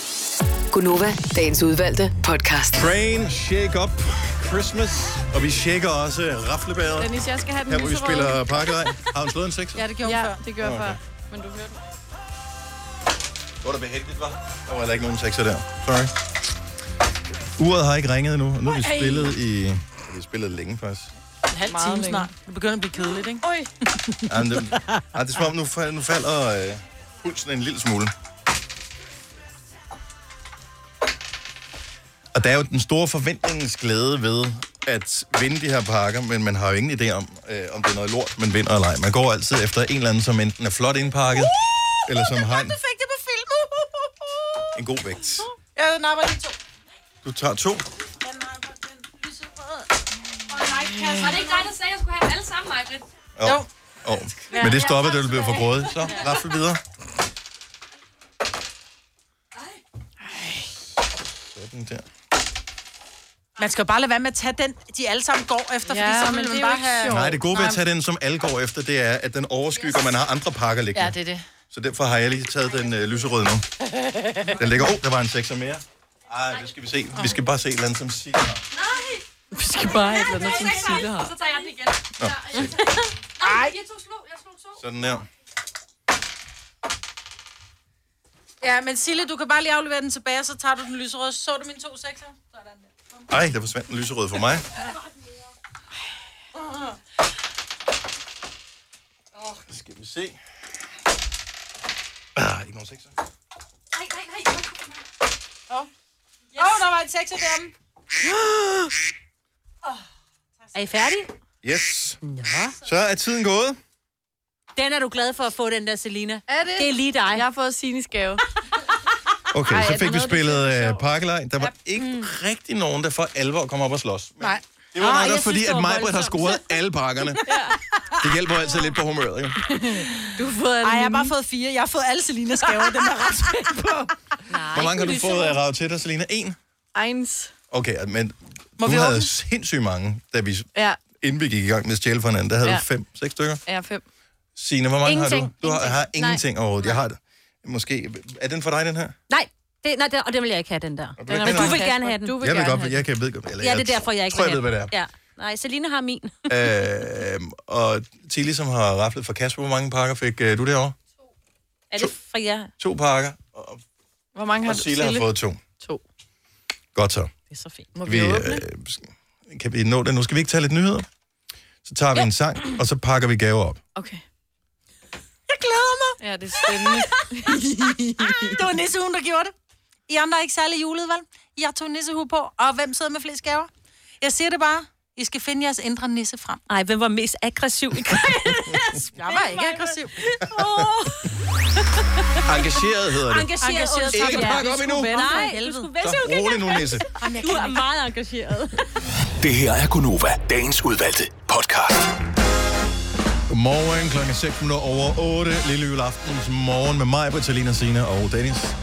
[SPEAKER 6] Gunova, dagens udvalgte podcast.
[SPEAKER 1] Train, shake up, Christmas. Og vi shaker også raflebader.
[SPEAKER 5] Dennis, jeg skal have den
[SPEAKER 1] Her hvor vi
[SPEAKER 5] lyserøde.
[SPEAKER 1] spiller pakkelej. Har hun slået en sekser?
[SPEAKER 5] Ja, det gjorde ja, før. det gjorde
[SPEAKER 1] Nå,
[SPEAKER 5] okay.
[SPEAKER 1] okay.
[SPEAKER 5] før. Men du hørte
[SPEAKER 1] Det var da behageligt, var. Der var heller ikke nogen sekser der. Sorry. Uret har ikke ringet endnu. og Nu har vi
[SPEAKER 3] Ej.
[SPEAKER 1] spillet i... Vi har spillet længe faktisk.
[SPEAKER 3] En halv
[SPEAKER 5] Meget
[SPEAKER 3] time
[SPEAKER 5] længe.
[SPEAKER 3] snart. Det begynder at blive kedeligt, ikke?
[SPEAKER 5] Oj.
[SPEAKER 1] Ja, men det, ja, det er som om, nu, fal- nu falder øh, pulsen en lille smule. Og der er jo den store forventningens glæde ved at vinde de her pakker, men man har jo ingen idé om, øh, om det er noget lort, man vinder eller ej. Man går altid efter en eller anden, som enten er flot indpakket, uh, eller som har en,
[SPEAKER 3] Du fik det på film.
[SPEAKER 1] en god vægt.
[SPEAKER 3] Ja, den arbejder de to.
[SPEAKER 1] Du tager to.
[SPEAKER 2] Var det ikke dig, der sagde, at jeg skulle have dem alle sammen, Majbrit?
[SPEAKER 1] Jo. jo. Men det stoppede, da du blev for grådig. Så, raffel videre. Sådan der.
[SPEAKER 3] Man skal jo bare lade være med at tage den, de alle sammen går efter,
[SPEAKER 5] Ja,
[SPEAKER 3] fordi så
[SPEAKER 5] men
[SPEAKER 3] vil
[SPEAKER 5] det
[SPEAKER 3] man
[SPEAKER 5] er jo
[SPEAKER 3] bare
[SPEAKER 5] ikke
[SPEAKER 3] have...
[SPEAKER 5] sjovt.
[SPEAKER 1] Nej, det gode ved at
[SPEAKER 5] Nej.
[SPEAKER 1] tage den, som alle går efter, det er, at den overskygger, man har andre pakker liggende.
[SPEAKER 5] Ja, det er det.
[SPEAKER 1] Så derfor har jeg lige taget den øh, lyserøde nu. Den ligger... Åh, oh, der var en sekser mere. Ej, det skal vi se. Vi skal bare se et eller andet, som siger.
[SPEAKER 5] Vi skal bare have et eller andet, som Sille har.
[SPEAKER 2] Så tager jeg den igen.
[SPEAKER 1] Nå,
[SPEAKER 2] Nej, jeg tog slå. Jeg slog to.
[SPEAKER 1] sådan der.
[SPEAKER 3] Ja, men Sille, du kan bare lige aflevere den tilbage, og så tager du den lyserøde. Så du mine to sekser? Sådan der.
[SPEAKER 1] Ej, der forsvandt den lyserøde for mig. Så skal vi se. Ah, ikke nogen sekser.
[SPEAKER 2] Nej, nej, nej.
[SPEAKER 3] Åh, oh, der var en sekser derhjemme.
[SPEAKER 11] Er I færdige?
[SPEAKER 1] Yes. Så er tiden gået.
[SPEAKER 11] Den er du glad for at få, den der Selina.
[SPEAKER 5] Er det?
[SPEAKER 11] Det er lige dig.
[SPEAKER 5] Jeg har fået Sines gave.
[SPEAKER 1] Okay,
[SPEAKER 5] Ej, er
[SPEAKER 1] så
[SPEAKER 5] der
[SPEAKER 1] fik vi
[SPEAKER 5] noget, du
[SPEAKER 1] spillet øh, pakkelej. Der var ikke rigtig nogen, der for alvor kom op og slås. Ah,
[SPEAKER 5] Nej. Ah,
[SPEAKER 1] Det var
[SPEAKER 5] jeg
[SPEAKER 1] netop
[SPEAKER 5] synes,
[SPEAKER 1] fordi,
[SPEAKER 5] det
[SPEAKER 1] at
[SPEAKER 5] var
[SPEAKER 1] Majbrit har
[SPEAKER 5] voldsomt.
[SPEAKER 1] scoret alle pakkerne. Det hjælper jo altid lidt på humøret, ikke?
[SPEAKER 5] Du har fået alle
[SPEAKER 3] Ej, jeg har
[SPEAKER 5] mine.
[SPEAKER 3] bare fået fire. Jeg har fået alle Selinas gaver, den er ret spændt på.
[SPEAKER 1] Hvor mange har du fået af ravet til dig, Selina? En?
[SPEAKER 5] Ejens.
[SPEAKER 1] Okay, men
[SPEAKER 5] Må
[SPEAKER 1] Må du
[SPEAKER 5] vi
[SPEAKER 1] havde
[SPEAKER 5] åbne?
[SPEAKER 1] sindssygt mange, da vi,
[SPEAKER 5] Ja,
[SPEAKER 1] inden vi gik i gang med at stjæle fra hinanden. Der havde
[SPEAKER 5] Ja.
[SPEAKER 1] ja. du fem, seks stykker.
[SPEAKER 5] er fem.
[SPEAKER 1] Signe, hvor mange har
[SPEAKER 11] Ingenting.
[SPEAKER 1] du? Du har, har
[SPEAKER 11] Ingenting.
[SPEAKER 1] ingenting overhovedet. Jeg har det. Måske, er den for dig, den her?
[SPEAKER 11] Nej, det, nej det, og den vil jeg ikke have, den der.
[SPEAKER 1] vil ikke
[SPEAKER 11] Men
[SPEAKER 1] have
[SPEAKER 11] du
[SPEAKER 1] den?
[SPEAKER 11] vil gerne have den.
[SPEAKER 1] jeg vil godt, jeg kan ved godt.
[SPEAKER 11] Ja, det er derfor, jeg ikke
[SPEAKER 1] tror,
[SPEAKER 11] vil
[SPEAKER 1] jeg ved, hvad det er.
[SPEAKER 11] Ja. Nej, Selina har min.
[SPEAKER 1] øh, og Tilly, som har raflet for Kasper, hvor mange pakker fik øh, du derovre?
[SPEAKER 11] Er det fra jer?
[SPEAKER 1] To pakker, og,
[SPEAKER 5] Hvor mange har
[SPEAKER 1] og
[SPEAKER 5] du?
[SPEAKER 1] Silla har fået to.
[SPEAKER 5] To.
[SPEAKER 1] Godt så.
[SPEAKER 11] Det er så fint.
[SPEAKER 5] Må
[SPEAKER 1] Vi, øh, sk- kan vi nå det? Nu skal vi ikke tage lidt nyheder. Så tager vi en sang, og så pakker vi gaver op.
[SPEAKER 5] Okay.
[SPEAKER 3] Jeg glæder mig.
[SPEAKER 5] Ja, det er spændende.
[SPEAKER 3] det var nissehuen, der gjorde det. I andre er ikke særlig julet, vel? Jeg tog nissehue på, og hvem sidder med flest gaver? Jeg siger det bare. I skal finde jeres indre nisse frem.
[SPEAKER 11] Nej, hvem var mest aggressiv i
[SPEAKER 3] Jeg var ikke aggressiv.
[SPEAKER 1] Engageret hedder det.
[SPEAKER 11] Engageret,
[SPEAKER 3] Engageret,
[SPEAKER 11] undskyld,
[SPEAKER 1] Ikke
[SPEAKER 11] ja.
[SPEAKER 1] pakke op
[SPEAKER 11] Du
[SPEAKER 1] endnu.
[SPEAKER 11] skulle vende dig,
[SPEAKER 3] Nej,
[SPEAKER 11] for helvede.
[SPEAKER 3] du skulle
[SPEAKER 11] vende
[SPEAKER 1] Så
[SPEAKER 11] dig, okay?
[SPEAKER 1] rolig nu, Nisse.
[SPEAKER 11] Du er meget engageret.
[SPEAKER 7] Det her er Gunova, dagens udvalgte podcast.
[SPEAKER 1] Godmorgen klokken er 6 minutter over 8. Lille juleaftens morgen med mig, Britalina Sina og Dennis.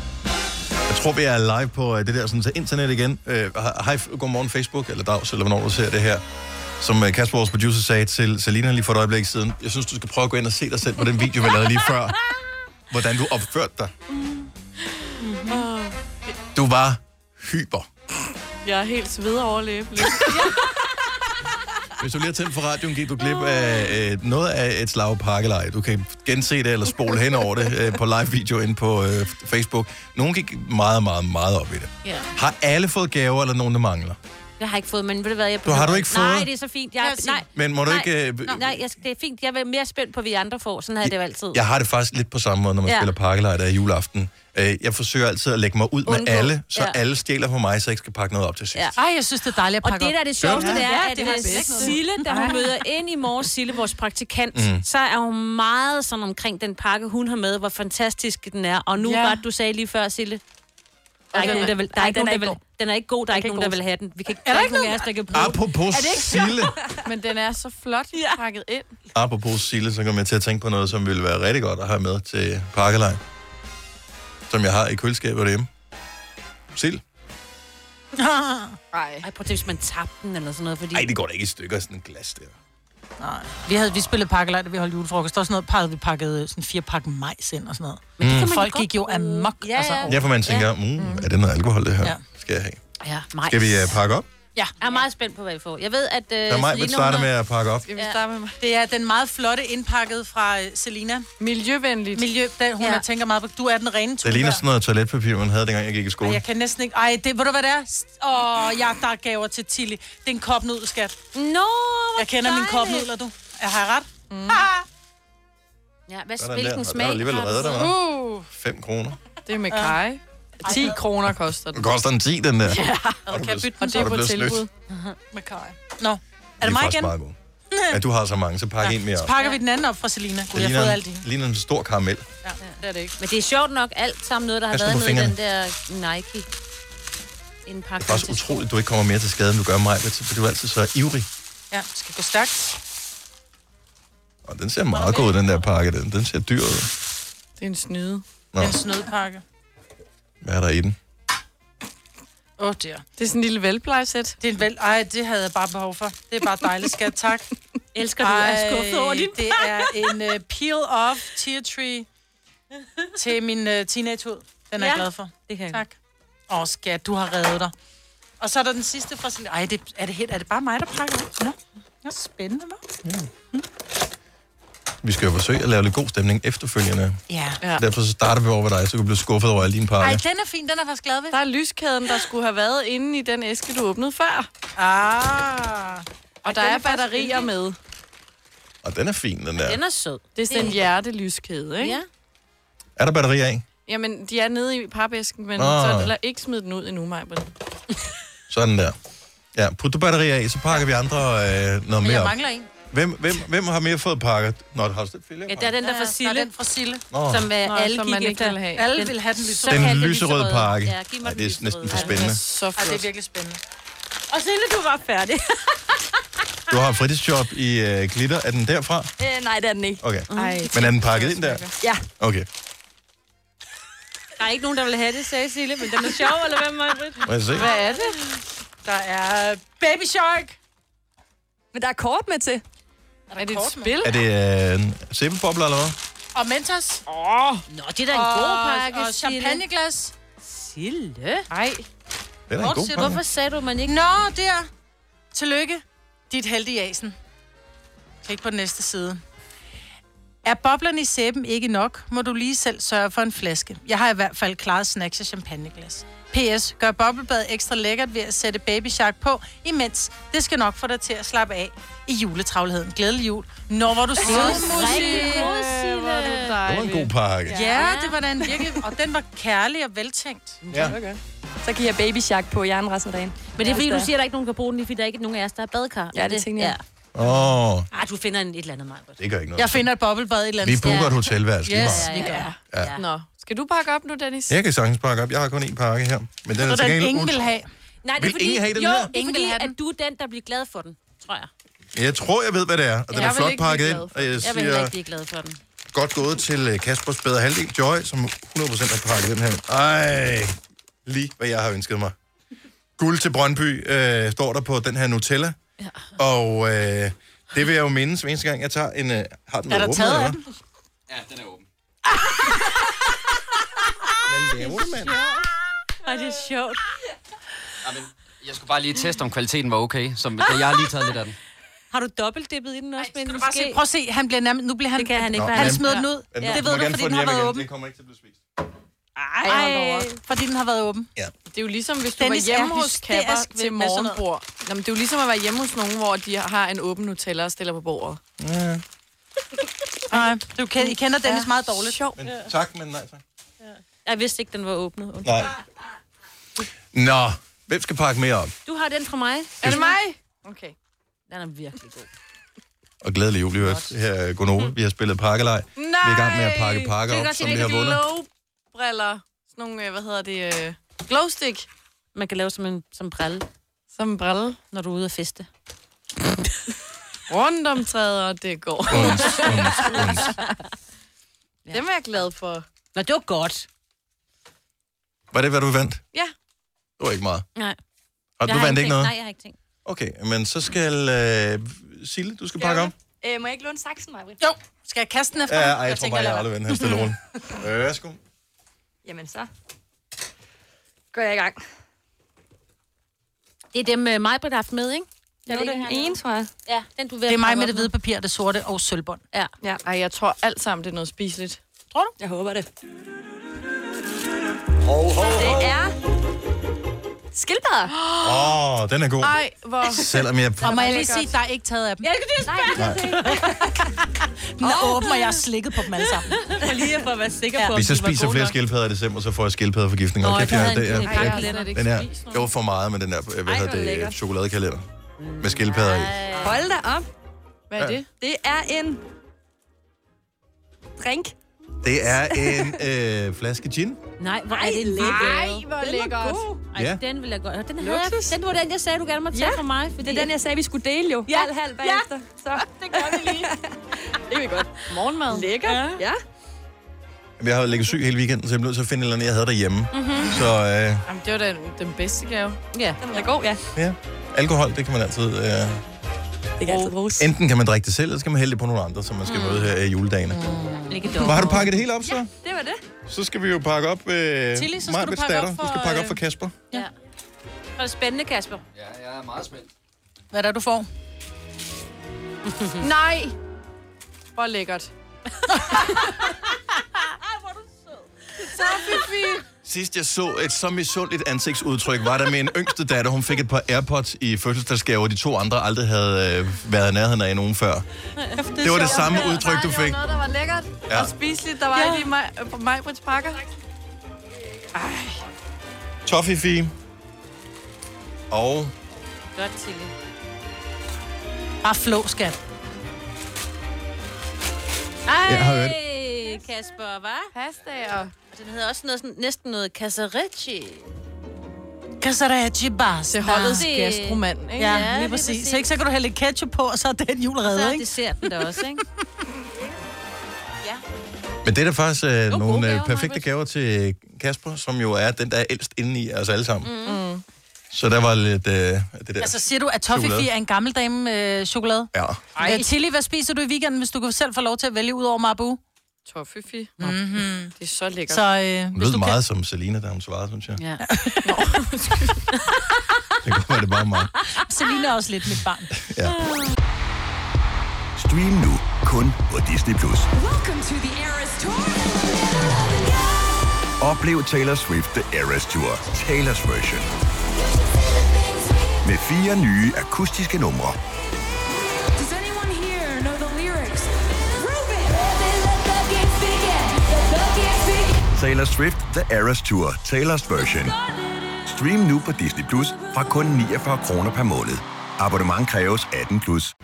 [SPEAKER 1] Jeg tror, vi er live på øh, det der sådan, så internet igen. Øh, hej, f- godmorgen Facebook, eller dags, eller hvornår du ser det her. Som øh, Kasper, vores producer, sagde til Selina lige for et øjeblik siden. Jeg synes, du skal prøve at gå ind og se dig selv på den video, vi lavede lige før. Hvordan du opførte dig. Du var hyper.
[SPEAKER 5] Jeg er helt sved over læben.
[SPEAKER 1] Hvis du lige har tændt for radioen, gik du glip af øh, noget af et slag pakkeleje. Du kan gense det eller spole hen over det øh, på live-video inde på øh, Facebook. Nogen gik meget, meget, meget op i det.
[SPEAKER 11] Ja.
[SPEAKER 1] Har alle fået gaver, eller nogen, der mangler?
[SPEAKER 11] Jeg har ikke fået, men ved du hvad, jeg
[SPEAKER 1] Du har du ikke fået?
[SPEAKER 11] Nej, det er så fint. Jeg, nej,
[SPEAKER 1] Men må du
[SPEAKER 11] nej,
[SPEAKER 1] ikke, øh,
[SPEAKER 11] nej, nej jeg, det er fint. Jeg er mere spændt på, hvad I andre får. Sådan havde jeg det jo altid.
[SPEAKER 1] Jeg har det faktisk lidt på samme måde, når man
[SPEAKER 11] Ja.
[SPEAKER 1] ja. spiller pakkeleje, der er juleaften. Øh, jeg forsøger altid at lægge mig ud
[SPEAKER 11] Undgå.
[SPEAKER 1] med alle, så
[SPEAKER 11] Ja.
[SPEAKER 1] ja. alle stjæler for mig, så jeg ikke skal pakke noget op til sidst.
[SPEAKER 11] Ja.
[SPEAKER 3] Ej, jeg synes, det er dejligt at
[SPEAKER 11] Og
[SPEAKER 3] pakke
[SPEAKER 11] det, der er det
[SPEAKER 3] op.
[SPEAKER 11] sjoveste, det er, at
[SPEAKER 3] Ja, det øh,
[SPEAKER 11] det
[SPEAKER 3] har
[SPEAKER 11] er
[SPEAKER 3] jeg ikke noget.
[SPEAKER 11] Sille, da hun
[SPEAKER 3] Ej.
[SPEAKER 11] møder ind i morges, Sille, vores praktikant, mm.
[SPEAKER 3] Mm.
[SPEAKER 11] så er hun meget sådan omkring den pakke, hun har med, hvor fantastisk den er. Og nu
[SPEAKER 13] Ja.
[SPEAKER 11] ja. var det, du sagde lige før, Sille, der er
[SPEAKER 13] Og
[SPEAKER 11] ikke
[SPEAKER 13] den
[SPEAKER 11] nogen, der
[SPEAKER 13] er-
[SPEAKER 11] vil, der er
[SPEAKER 13] Ej,
[SPEAKER 11] ikke
[SPEAKER 13] den
[SPEAKER 11] nogen,
[SPEAKER 13] er
[SPEAKER 11] der vil,
[SPEAKER 13] ikke
[SPEAKER 11] den er ikke god, der er ikke nogen, der vil have den. Vi kan, er der ikke nogen af os, der kan bruge den.
[SPEAKER 1] Apropos Sille.
[SPEAKER 5] Men den er så flot ja. pakket ind.
[SPEAKER 1] Apropos Sille, så kom jeg til at tænke på noget, som ville være rigtig godt at have med til pakkelej. Som jeg har i køleskabet derhjemme. Sild?
[SPEAKER 11] Ej, prøv at tænke, hvis man tabte den eller sådan noget, fordi...
[SPEAKER 1] Nej, det går da ikke i stykker sådan et glas der.
[SPEAKER 3] Nej. Vi, havde, vi spillede pakkelej, da vi holdt julefrokost. Der var sådan noget, havde vi pakket sådan fire pakke majs ind og sådan noget.
[SPEAKER 1] Men det kan Mm. man
[SPEAKER 3] Folk
[SPEAKER 1] da
[SPEAKER 3] gik jo amok. Ja, ja. Altså, over-
[SPEAKER 1] Ja, for man tænker, mm, er det noget alkohol, det her?
[SPEAKER 3] Ja.
[SPEAKER 1] Ja. Skal jeg have?
[SPEAKER 11] Ja, majs.
[SPEAKER 1] Skal vi uh, pakke op?
[SPEAKER 3] Ja.
[SPEAKER 11] Jeg er meget spændt på, hvad I får. Jeg ved, at... Øh,
[SPEAKER 1] Der er mig, der
[SPEAKER 11] Selina,
[SPEAKER 1] starter
[SPEAKER 11] hun
[SPEAKER 1] med
[SPEAKER 11] har-
[SPEAKER 1] at pakke op.
[SPEAKER 5] vi starte med mig?
[SPEAKER 3] Det er den meget flotte indpakket fra øh, Selina.
[SPEAKER 5] Miljøvenligt.
[SPEAKER 3] Miljø, der, hun ja. tænker meget på. Du er den rene
[SPEAKER 1] Det ligner
[SPEAKER 3] tulbær.
[SPEAKER 1] sådan noget toiletpapir, man havde, dengang jeg gik i
[SPEAKER 3] Ej,
[SPEAKER 1] skole.
[SPEAKER 3] jeg kan næsten ikke... Ej, det, ved du hvad det er? S- Åh, jeg der er gaver til Tilly. Det er en kopnudel, skat.
[SPEAKER 11] Nå,
[SPEAKER 3] Jeg kender mine kopnudler, du. Jeg har jeg ret. Mm.
[SPEAKER 11] Ja, hvad,
[SPEAKER 1] Sådan der. Og der er alligevel reddet dig,
[SPEAKER 5] Uh,
[SPEAKER 1] 5 kroner.
[SPEAKER 5] det er med kaj. 10 kroner koster
[SPEAKER 1] Den
[SPEAKER 5] den.
[SPEAKER 1] koster en 10, den der.
[SPEAKER 5] Ja,
[SPEAKER 1] og du
[SPEAKER 5] kan
[SPEAKER 1] blevet-
[SPEAKER 5] bytte den
[SPEAKER 1] og
[SPEAKER 5] så
[SPEAKER 1] du
[SPEAKER 5] på
[SPEAKER 1] blevet snydt.
[SPEAKER 5] tilbud.
[SPEAKER 3] Med kaj. Nå, er
[SPEAKER 1] De
[SPEAKER 3] det mig
[SPEAKER 1] faktisk
[SPEAKER 3] igen?
[SPEAKER 1] meget gode. Ja, du har så mange, så pak en mere
[SPEAKER 3] Så
[SPEAKER 1] op.
[SPEAKER 3] pakker vi den anden op fra Selina. Gud,
[SPEAKER 1] Det
[SPEAKER 3] jeg har fået
[SPEAKER 1] ligner,
[SPEAKER 3] alt det.
[SPEAKER 1] en, ligner en stor karamel.
[SPEAKER 3] Ja, det er det ikke.
[SPEAKER 11] Men det er sjovt nok alt sammen noget, der har
[SPEAKER 1] Pas nu
[SPEAKER 11] været
[SPEAKER 1] på
[SPEAKER 11] med i den der Nike
[SPEAKER 1] Det er
[SPEAKER 11] indpakning.
[SPEAKER 1] faktisk utroligt, du ikke kommer mere til skade, end du gør mig, for du er altid så ivrig.
[SPEAKER 3] Ja, det skal gå stærkt.
[SPEAKER 1] Og den ser meget god ud, den der pakke. Den, den ser dyr ud.
[SPEAKER 5] Det er en snyde.
[SPEAKER 1] Nå.
[SPEAKER 3] Den snødpakke.
[SPEAKER 1] Hvad er der i den?
[SPEAKER 3] Åh, oh, der.
[SPEAKER 5] Det er sådan en lille velplejesæt.
[SPEAKER 3] Det er en vel... Ej, det havde jeg bare behov for. Det er bare dejligt, skat. Tak.
[SPEAKER 11] Elsker du, jeg er
[SPEAKER 3] Ej,
[SPEAKER 11] skuffet over din
[SPEAKER 3] det er en uh, peel-off tear tree til min uh, teenagehud. Den er
[SPEAKER 11] Ja,
[SPEAKER 3] jeg glad for.
[SPEAKER 11] det kan jeg
[SPEAKER 3] Tak. Åh, oh, skat, du har reddet dig. Og så er der den sidste fra sin... Ej, det, er, det helt, er det bare mig, der pakker ud? Nå, Nå spændende, hva'?
[SPEAKER 1] Vi skal jo forsøge at lave lidt god stemning efterfølgende.
[SPEAKER 3] Ja.
[SPEAKER 5] ja.
[SPEAKER 1] Derfor så starter vi over ved dig, så du bliver skuffet over alle dine
[SPEAKER 3] Ej,
[SPEAKER 1] pakker.
[SPEAKER 3] den er fin. Den er jeg faktisk glad ved.
[SPEAKER 5] Der er lyskæden, der skulle have været inde i den æske, du åbnede før.
[SPEAKER 3] Ah.
[SPEAKER 5] Og der
[SPEAKER 3] den
[SPEAKER 5] er
[SPEAKER 3] er faktisk
[SPEAKER 5] batterier med.
[SPEAKER 1] Og den er fin, den der.
[SPEAKER 11] Den er sød.
[SPEAKER 5] Det er sådan en hjertelyskæde, ikke?
[SPEAKER 11] Ja.
[SPEAKER 1] Er der batterier i?
[SPEAKER 5] Jamen, de er nede i papæsken, men
[SPEAKER 1] Nå.
[SPEAKER 5] så eller ikke smid den ud endnu, Maja.
[SPEAKER 1] Sådan der. Ja, put du batterier i, så pakker vi andre øh, noget mere op.
[SPEAKER 3] en.
[SPEAKER 1] Hvem, hvem, hvem har mere fået pakket? Nå, det har også lidt
[SPEAKER 11] Ja, der er den der fra Sille.
[SPEAKER 3] Der er den fra Sille.
[SPEAKER 1] Nå.
[SPEAKER 11] Som uh,
[SPEAKER 5] Nå,
[SPEAKER 11] alle
[SPEAKER 5] som
[SPEAKER 11] gik
[SPEAKER 5] man ikke
[SPEAKER 11] efter.
[SPEAKER 5] ville have.
[SPEAKER 3] Alle vil have den lyserøde.
[SPEAKER 1] Den lyserøde pakke.
[SPEAKER 11] Ja, giv mig
[SPEAKER 1] Ej,
[SPEAKER 11] den
[SPEAKER 1] det er
[SPEAKER 11] lyserøde.
[SPEAKER 1] næsten for spændende.
[SPEAKER 5] Så
[SPEAKER 3] Ej, det er virkelig spændende.
[SPEAKER 11] Og Sille, du var færdig.
[SPEAKER 1] Du har fritidsjob i øh, glitter. Er den derfra?
[SPEAKER 13] Øh, nej, det er den ikke.
[SPEAKER 1] Okay.
[SPEAKER 11] Mm.
[SPEAKER 5] Ej.
[SPEAKER 1] Men er den pakket ind der?
[SPEAKER 13] Ja.
[SPEAKER 1] Okay.
[SPEAKER 11] Der er ikke nogen, der vil have det, sagde Sille, men den er sjov, eller hvad, Maja?
[SPEAKER 1] Må jeg se?
[SPEAKER 5] Hvad er det?
[SPEAKER 3] Der er Baby Shark.
[SPEAKER 13] Men der er kort med til.
[SPEAKER 3] Er, er det et spil?
[SPEAKER 1] Er det øh, sæbebobler eller hvad?
[SPEAKER 3] Og Mentos. Åh, oh. nå, det er da en
[SPEAKER 11] Og-
[SPEAKER 3] god pakke,
[SPEAKER 11] og
[SPEAKER 3] Og champagneglas. Sille. Nej.
[SPEAKER 1] Det er da en god pakke.
[SPEAKER 3] Hvorfor sagde du, man ikke... Nå, der. Tillykke. Dit heldige asen. Klik på den næste side. Er boblerne i sæben ikke nok, må du lige selv sørge for en flaske. Jeg har i hvert fald klaret snacks og champagneglas. P.S. Gør boblebad ekstra lækkert ved at sætte Baby Shark på, imens det skal nok få dig til at slappe af i juletravligheden. Glædelig jul. Når var du
[SPEAKER 11] Åh,
[SPEAKER 3] sød,
[SPEAKER 11] rigtig
[SPEAKER 3] Musi.
[SPEAKER 11] god, Sille.
[SPEAKER 3] Hvor er du
[SPEAKER 1] Det var en god pakke.
[SPEAKER 3] Ja, det var da en virkelig... Og den var kærlig og veltænkt.
[SPEAKER 1] Ja.
[SPEAKER 13] Så kan jeg baby shark på hjernen resten af dagen.
[SPEAKER 11] Men det er fordi,
[SPEAKER 13] Ja,
[SPEAKER 11] du
[SPEAKER 13] så-
[SPEAKER 11] siger, at der ikke er nogen, der kan bruge den, det er fordi der er ikke nogen af os, der er badkar.
[SPEAKER 13] Ja, det tænker jeg.
[SPEAKER 1] Åh, oh,
[SPEAKER 11] Ja. Ej, du finder en, et eller andet, Maja.
[SPEAKER 1] det gør ikke noget.
[SPEAKER 3] Jeg finder et boblebad et eller andet
[SPEAKER 1] Vi booker et
[SPEAKER 3] sted.
[SPEAKER 1] hotelværelse lige
[SPEAKER 3] Yes,
[SPEAKER 1] meget.
[SPEAKER 3] vi gør.
[SPEAKER 1] Ja.
[SPEAKER 5] Nå, skal du pakke op nu, Dennis?
[SPEAKER 1] Jeg kan sagtens pakke op. Jeg har kun én pakke her. Men den er til gengæld...
[SPEAKER 3] have.
[SPEAKER 11] Nej, det
[SPEAKER 1] Vil
[SPEAKER 11] er fordi,
[SPEAKER 1] ingen have den
[SPEAKER 11] jo,
[SPEAKER 1] her?
[SPEAKER 11] det er
[SPEAKER 3] Ingen
[SPEAKER 11] fordi,
[SPEAKER 3] vil have
[SPEAKER 11] at du er den, der bliver glad for den, tror jeg.
[SPEAKER 1] Jeg tror, jeg ved, hvad det er. Og den
[SPEAKER 11] Jeg
[SPEAKER 1] er
[SPEAKER 11] vil
[SPEAKER 1] flot
[SPEAKER 11] ikke
[SPEAKER 1] pakket
[SPEAKER 11] blive
[SPEAKER 1] ind.
[SPEAKER 11] glad for
[SPEAKER 1] Og
[SPEAKER 11] den.
[SPEAKER 1] jeg
[SPEAKER 11] Jeg vil heller ikke
[SPEAKER 1] siger
[SPEAKER 11] blive glad for den.
[SPEAKER 1] godt gået til øh, Kaspers bedre halvdel, Joy, som 100% har pakket den her. Ej, lige hvad jeg har ønsket mig. Guld til Brøndby øh, står der på den her Nutella. Ja. Og øh, det vil jeg jo mindes, hver eneste gang jeg tager en... Øh, har den
[SPEAKER 3] Er
[SPEAKER 1] været
[SPEAKER 3] der
[SPEAKER 1] åbnet,
[SPEAKER 3] taget
[SPEAKER 1] eller
[SPEAKER 3] af
[SPEAKER 1] hvad?
[SPEAKER 3] den?
[SPEAKER 4] Ja, den er åben.
[SPEAKER 1] Hvad laver du, mand?
[SPEAKER 11] Ah! Ej, det er sjovt.
[SPEAKER 4] Jeg skulle bare lige teste, om kvaliteten var okay. Som, jeg har lige taget lidt af den.
[SPEAKER 11] Har du dobbeltdippet i den også? Ej,
[SPEAKER 3] Skal du bare se, prøv at se, han bliver nærmest, nu bliver han... Det kan han
[SPEAKER 1] ikke, for
[SPEAKER 3] Han
[SPEAKER 1] han-
[SPEAKER 3] smider den ud.
[SPEAKER 1] Men
[SPEAKER 3] Det
[SPEAKER 1] du
[SPEAKER 3] ved
[SPEAKER 1] må
[SPEAKER 3] du,
[SPEAKER 1] gerne
[SPEAKER 3] fordi
[SPEAKER 1] få
[SPEAKER 3] den har
[SPEAKER 1] hjem
[SPEAKER 3] været
[SPEAKER 1] igen.
[SPEAKER 3] åben.
[SPEAKER 1] Det kommer ikke til at blive spist.
[SPEAKER 3] Ej, fordi den har været åben.
[SPEAKER 1] Ja.
[SPEAKER 5] Det er jo ligesom, hvis du
[SPEAKER 3] Dennis
[SPEAKER 5] var hjemme
[SPEAKER 3] er
[SPEAKER 5] hos
[SPEAKER 3] hysterisk
[SPEAKER 5] Kapper
[SPEAKER 3] ved-
[SPEAKER 5] til
[SPEAKER 3] med sådan noget.
[SPEAKER 5] morgenbord. Nå, men det er jo ligesom at være hjemme hos nogen, hvor de har en åben Nutella og stiller på bordet.
[SPEAKER 1] Ja.
[SPEAKER 3] Nej, du kan, I kender Dennis meget dårligt.
[SPEAKER 5] Sjov.
[SPEAKER 1] Men tak, men nej tak.
[SPEAKER 11] Jeg vidste ikke, den var åbnet.
[SPEAKER 1] Nej. Nå, hvem skal pakke mere op?
[SPEAKER 11] Du har den fra mig.
[SPEAKER 5] Er det mig? Okay.
[SPEAKER 11] Den er virkelig god.
[SPEAKER 1] Og glædelig jul i øvrigt. Her er Gonova. Vi har spillet pakkelej.
[SPEAKER 5] Nej!
[SPEAKER 1] Vi er i gang med at pakke pakker op, som vi har vundet.
[SPEAKER 5] Glowbriller. Sådan nogle, øh, hvad hedder det, øh, glowstick.
[SPEAKER 11] Man kan lave som en som brille.
[SPEAKER 5] Som en brille.
[SPEAKER 11] Når du er ude at feste.
[SPEAKER 5] Rundt om træet, og det går.
[SPEAKER 1] Uns, uns, uns.
[SPEAKER 5] Dem er jeg glad for.
[SPEAKER 11] Nå, det var godt.
[SPEAKER 1] Var det, hvad du vandt?
[SPEAKER 5] Ja.
[SPEAKER 1] Det var ikke meget.
[SPEAKER 11] Nej.
[SPEAKER 1] Og du vandt ikke noget?
[SPEAKER 11] Nej, jeg har ikke tænkt.
[SPEAKER 1] Okay, men så skal øh, Sille, du skal pakke om.
[SPEAKER 13] Øh, må jeg ikke låne saksen, Maja?
[SPEAKER 3] Jo, skal jeg kaste den efter
[SPEAKER 1] Ja,
[SPEAKER 3] ham?
[SPEAKER 1] ej, jeg tror
[SPEAKER 3] tænker,
[SPEAKER 1] bare, jeg
[SPEAKER 3] lader
[SPEAKER 1] aldrig vandt her stille rundt. Øh, værsgo.
[SPEAKER 13] Jamen så. Går jeg i gang.
[SPEAKER 11] Det er dem, uh, mig har haft med, ikke?
[SPEAKER 13] Jo, det er den ene, tror jeg.
[SPEAKER 11] Ja, den du vil
[SPEAKER 3] Det er mig med det hvide papir, det sorte og sølvbånd.
[SPEAKER 11] Ja.
[SPEAKER 5] ja. Ej, jeg tror alt sammen, det er noget spiseligt.
[SPEAKER 3] Tror du?
[SPEAKER 13] Jeg håber det.
[SPEAKER 1] Hov, hov,
[SPEAKER 13] Det er... Skildpadder.
[SPEAKER 1] Åh, den er god.
[SPEAKER 5] Ej, hvor...
[SPEAKER 1] Selvom jeg...
[SPEAKER 3] Og må jeg lige sige, der er ikke taget af dem.
[SPEAKER 11] Jeg kan det
[SPEAKER 1] Nej.
[SPEAKER 3] Den er åben, og jeg har slikket på dem alle sammen.
[SPEAKER 11] For lige for at være sikker på,
[SPEAKER 1] Hvis jeg spiser flere skildpadder i december, så får jeg skildpadderforgiftning.
[SPEAKER 11] Nå,
[SPEAKER 1] Okay,
[SPEAKER 11] der er
[SPEAKER 1] det,
[SPEAKER 11] en-
[SPEAKER 1] jeg,
[SPEAKER 11] en
[SPEAKER 1] jeg,
[SPEAKER 11] pakke
[SPEAKER 1] jeg,
[SPEAKER 11] lidt.
[SPEAKER 1] den her, det var for meget med den der, øh, hvad hedder det, chokoladekalender. Med skildpadder i.
[SPEAKER 13] Hold da op.
[SPEAKER 5] Hvad er det?
[SPEAKER 13] Det er en... Drink.
[SPEAKER 1] Det er en øh, flæske gin.
[SPEAKER 11] Nej, hvor er det lækkert.
[SPEAKER 5] Ej, hvor lækkert.
[SPEAKER 11] Ej,
[SPEAKER 1] Ja.
[SPEAKER 11] den vil jeg godt. Den, havde jeg, den var den, jeg sagde, du gerne måtte tage
[SPEAKER 13] Ja.
[SPEAKER 11] fra mig. Fordi
[SPEAKER 13] Det er den, jeg sagde, vi skulle dele jo. Ja. Halv, halv bagefter. Ja. Så.
[SPEAKER 5] Det gør vi lige.
[SPEAKER 13] Det er godt.
[SPEAKER 5] Morgenmad.
[SPEAKER 13] Lækkert. Ja. ja.
[SPEAKER 1] Jamen, Jeg har ligget syg hele weekenden, så jeg blev nødt til at finde et eller andet, jeg havde derhjemme. Mm-hmm. Så øh,
[SPEAKER 5] Jamen, det var den, den bedste gave.
[SPEAKER 11] Ja.
[SPEAKER 13] Den var god, ja.
[SPEAKER 1] ja, alkohol, det kan man altid... Øh,
[SPEAKER 13] Det kan altid bruges.
[SPEAKER 1] enten kan man drikke det selv, eller så kan man hælde det på nogle andre, som man
[SPEAKER 11] Mm.
[SPEAKER 1] skal møde her i juledagene.
[SPEAKER 11] Ikke
[SPEAKER 1] Hvor har du pakket det hele op, så? Ja.
[SPEAKER 13] Det var det.
[SPEAKER 1] Så skal vi jo pakke op... Øh,
[SPEAKER 3] Tilly, så skal
[SPEAKER 1] Maj-Brits
[SPEAKER 3] du pakke op
[SPEAKER 1] datter. Du skal
[SPEAKER 3] for,
[SPEAKER 1] pakke op
[SPEAKER 3] øh,
[SPEAKER 1] for Kasper.
[SPEAKER 11] Ja. Var det spændende, Kasper?
[SPEAKER 4] Ja, jeg er meget spændt.
[SPEAKER 3] Hvad er det, du får?
[SPEAKER 5] Nej. Hvor lækkert.
[SPEAKER 1] Sidst jeg så et så misundeligt ansigtsudtryk, var der med en yngste datter, hun fik et par AirPods i fødselsdagsgave, og de to andre aldrig havde øh, været i nærheden af nogen før. Det var det samme udtryk, du
[SPEAKER 5] Det
[SPEAKER 1] fik.
[SPEAKER 5] var noget, der var lækkert
[SPEAKER 1] Ja.
[SPEAKER 5] ja. og spiseligt. Der var ja. ikke i mig, på mig Brits pakker.
[SPEAKER 1] Toffifee. Og
[SPEAKER 11] Godt, Tilly.
[SPEAKER 3] Bare Ah, flå, skat.
[SPEAKER 11] Ej,
[SPEAKER 1] Jeg har hørt.
[SPEAKER 11] Kasper, hva?
[SPEAKER 5] Pasta og...
[SPEAKER 11] Den hedder også noget, sådan, næsten noget casarici.
[SPEAKER 3] Casarachi bars.
[SPEAKER 5] Det holdets
[SPEAKER 11] Det-
[SPEAKER 5] gastromand, ikke?
[SPEAKER 3] Ja,
[SPEAKER 5] Ja.
[SPEAKER 3] lige
[SPEAKER 11] lige
[SPEAKER 3] præcis.
[SPEAKER 11] præcis.
[SPEAKER 3] Så, ikke, så kan du hælde lidt ketchup på, og så er den jul
[SPEAKER 11] Så
[SPEAKER 3] reddet,
[SPEAKER 11] er
[SPEAKER 3] ikke?
[SPEAKER 11] desserten der også, ikke?
[SPEAKER 1] Men det er da faktisk øh,
[SPEAKER 11] gode
[SPEAKER 1] nogle
[SPEAKER 11] gaver,
[SPEAKER 1] øh, perfekte
[SPEAKER 11] Maj-Brit.
[SPEAKER 1] gaver til Kasper, som jo er den, der er ældst inde i os alle sammen. Mm. Så der var lidt øh, det der.
[SPEAKER 3] Altså siger du, at Toffifee er en gammel dame øh, chokolade?
[SPEAKER 1] Ja.
[SPEAKER 3] Ej. Øh, Tilly, hvad spiser du i weekenden, hvis du kan selv få lov til at vælge ud over Marabou?
[SPEAKER 5] Toffifee.
[SPEAKER 3] Mm-hmm.
[SPEAKER 5] Det er så lækkert.
[SPEAKER 3] Så øh,
[SPEAKER 1] Hun
[SPEAKER 3] hvis
[SPEAKER 1] lød
[SPEAKER 3] du
[SPEAKER 1] meget
[SPEAKER 3] kan...
[SPEAKER 1] kan... som Selina, da hun svarede, synes jeg.
[SPEAKER 3] Ja.
[SPEAKER 1] Det kunne være, det bare mig.
[SPEAKER 3] Selina er også lidt mit barn.
[SPEAKER 1] Ja.
[SPEAKER 14] Stream nu kun på Disney+. Plus.
[SPEAKER 15] Welcome to the Eras Tour.
[SPEAKER 14] Oplev Taylor Swift The Eras Tour, Taylor's version. Med fire nye akustiske numre.
[SPEAKER 15] Does anyone here know the lyrics?
[SPEAKER 14] Taylor Swift The Eras Tour, Taylor's version. Stream nu på Disney Plus fra kun 49 kroner per måned. Abonnement kræves 18 plus.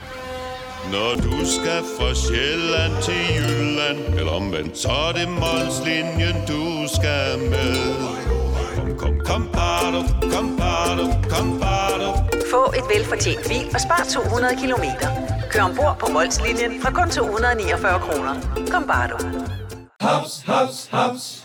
[SPEAKER 16] Når du skal fra Sjælland til Jylland Eller omvendt, så er det Molslinjen, du skal med Kom, kom, kom, bado, kom, bado, kom, bado.
[SPEAKER 17] Få et velfortjent bil og spar 200 kilometer. Kør ombord på Molslinjen fra kun 249 kroner. Kom bare du.
[SPEAKER 18] Haps, haps, haps.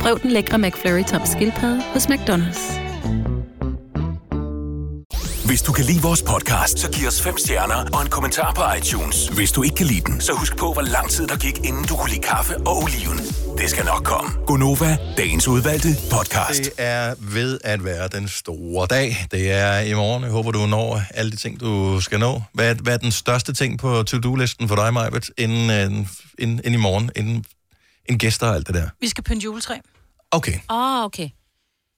[SPEAKER 19] Prøv den lækre McFlurry tom skildpadde hos McDonald's.
[SPEAKER 7] Hvis du kan lide vores podcast, så giv os fem stjerner og en kommentar på iTunes. Hvis du ikke kan lide den, så husk på, hvor lang tid der gik, inden du kunne lide kaffe og oliven. Det skal nok komme.
[SPEAKER 1] Gonova,
[SPEAKER 7] Dagens udvalgte podcast.
[SPEAKER 1] Det er ved at være den store dag. Det er i morgen. Jeg håber, du når alle de ting, du skal nå. Hvad er, hvad er den største ting på to-do-listen for dig, Majbet, inden, øh, inden, inden i morgen? Inden, inden gæster og alt det der?
[SPEAKER 3] Vi skal pynte juletræ.
[SPEAKER 1] Okay.
[SPEAKER 11] Åh,
[SPEAKER 19] Ah,
[SPEAKER 11] oh, okay.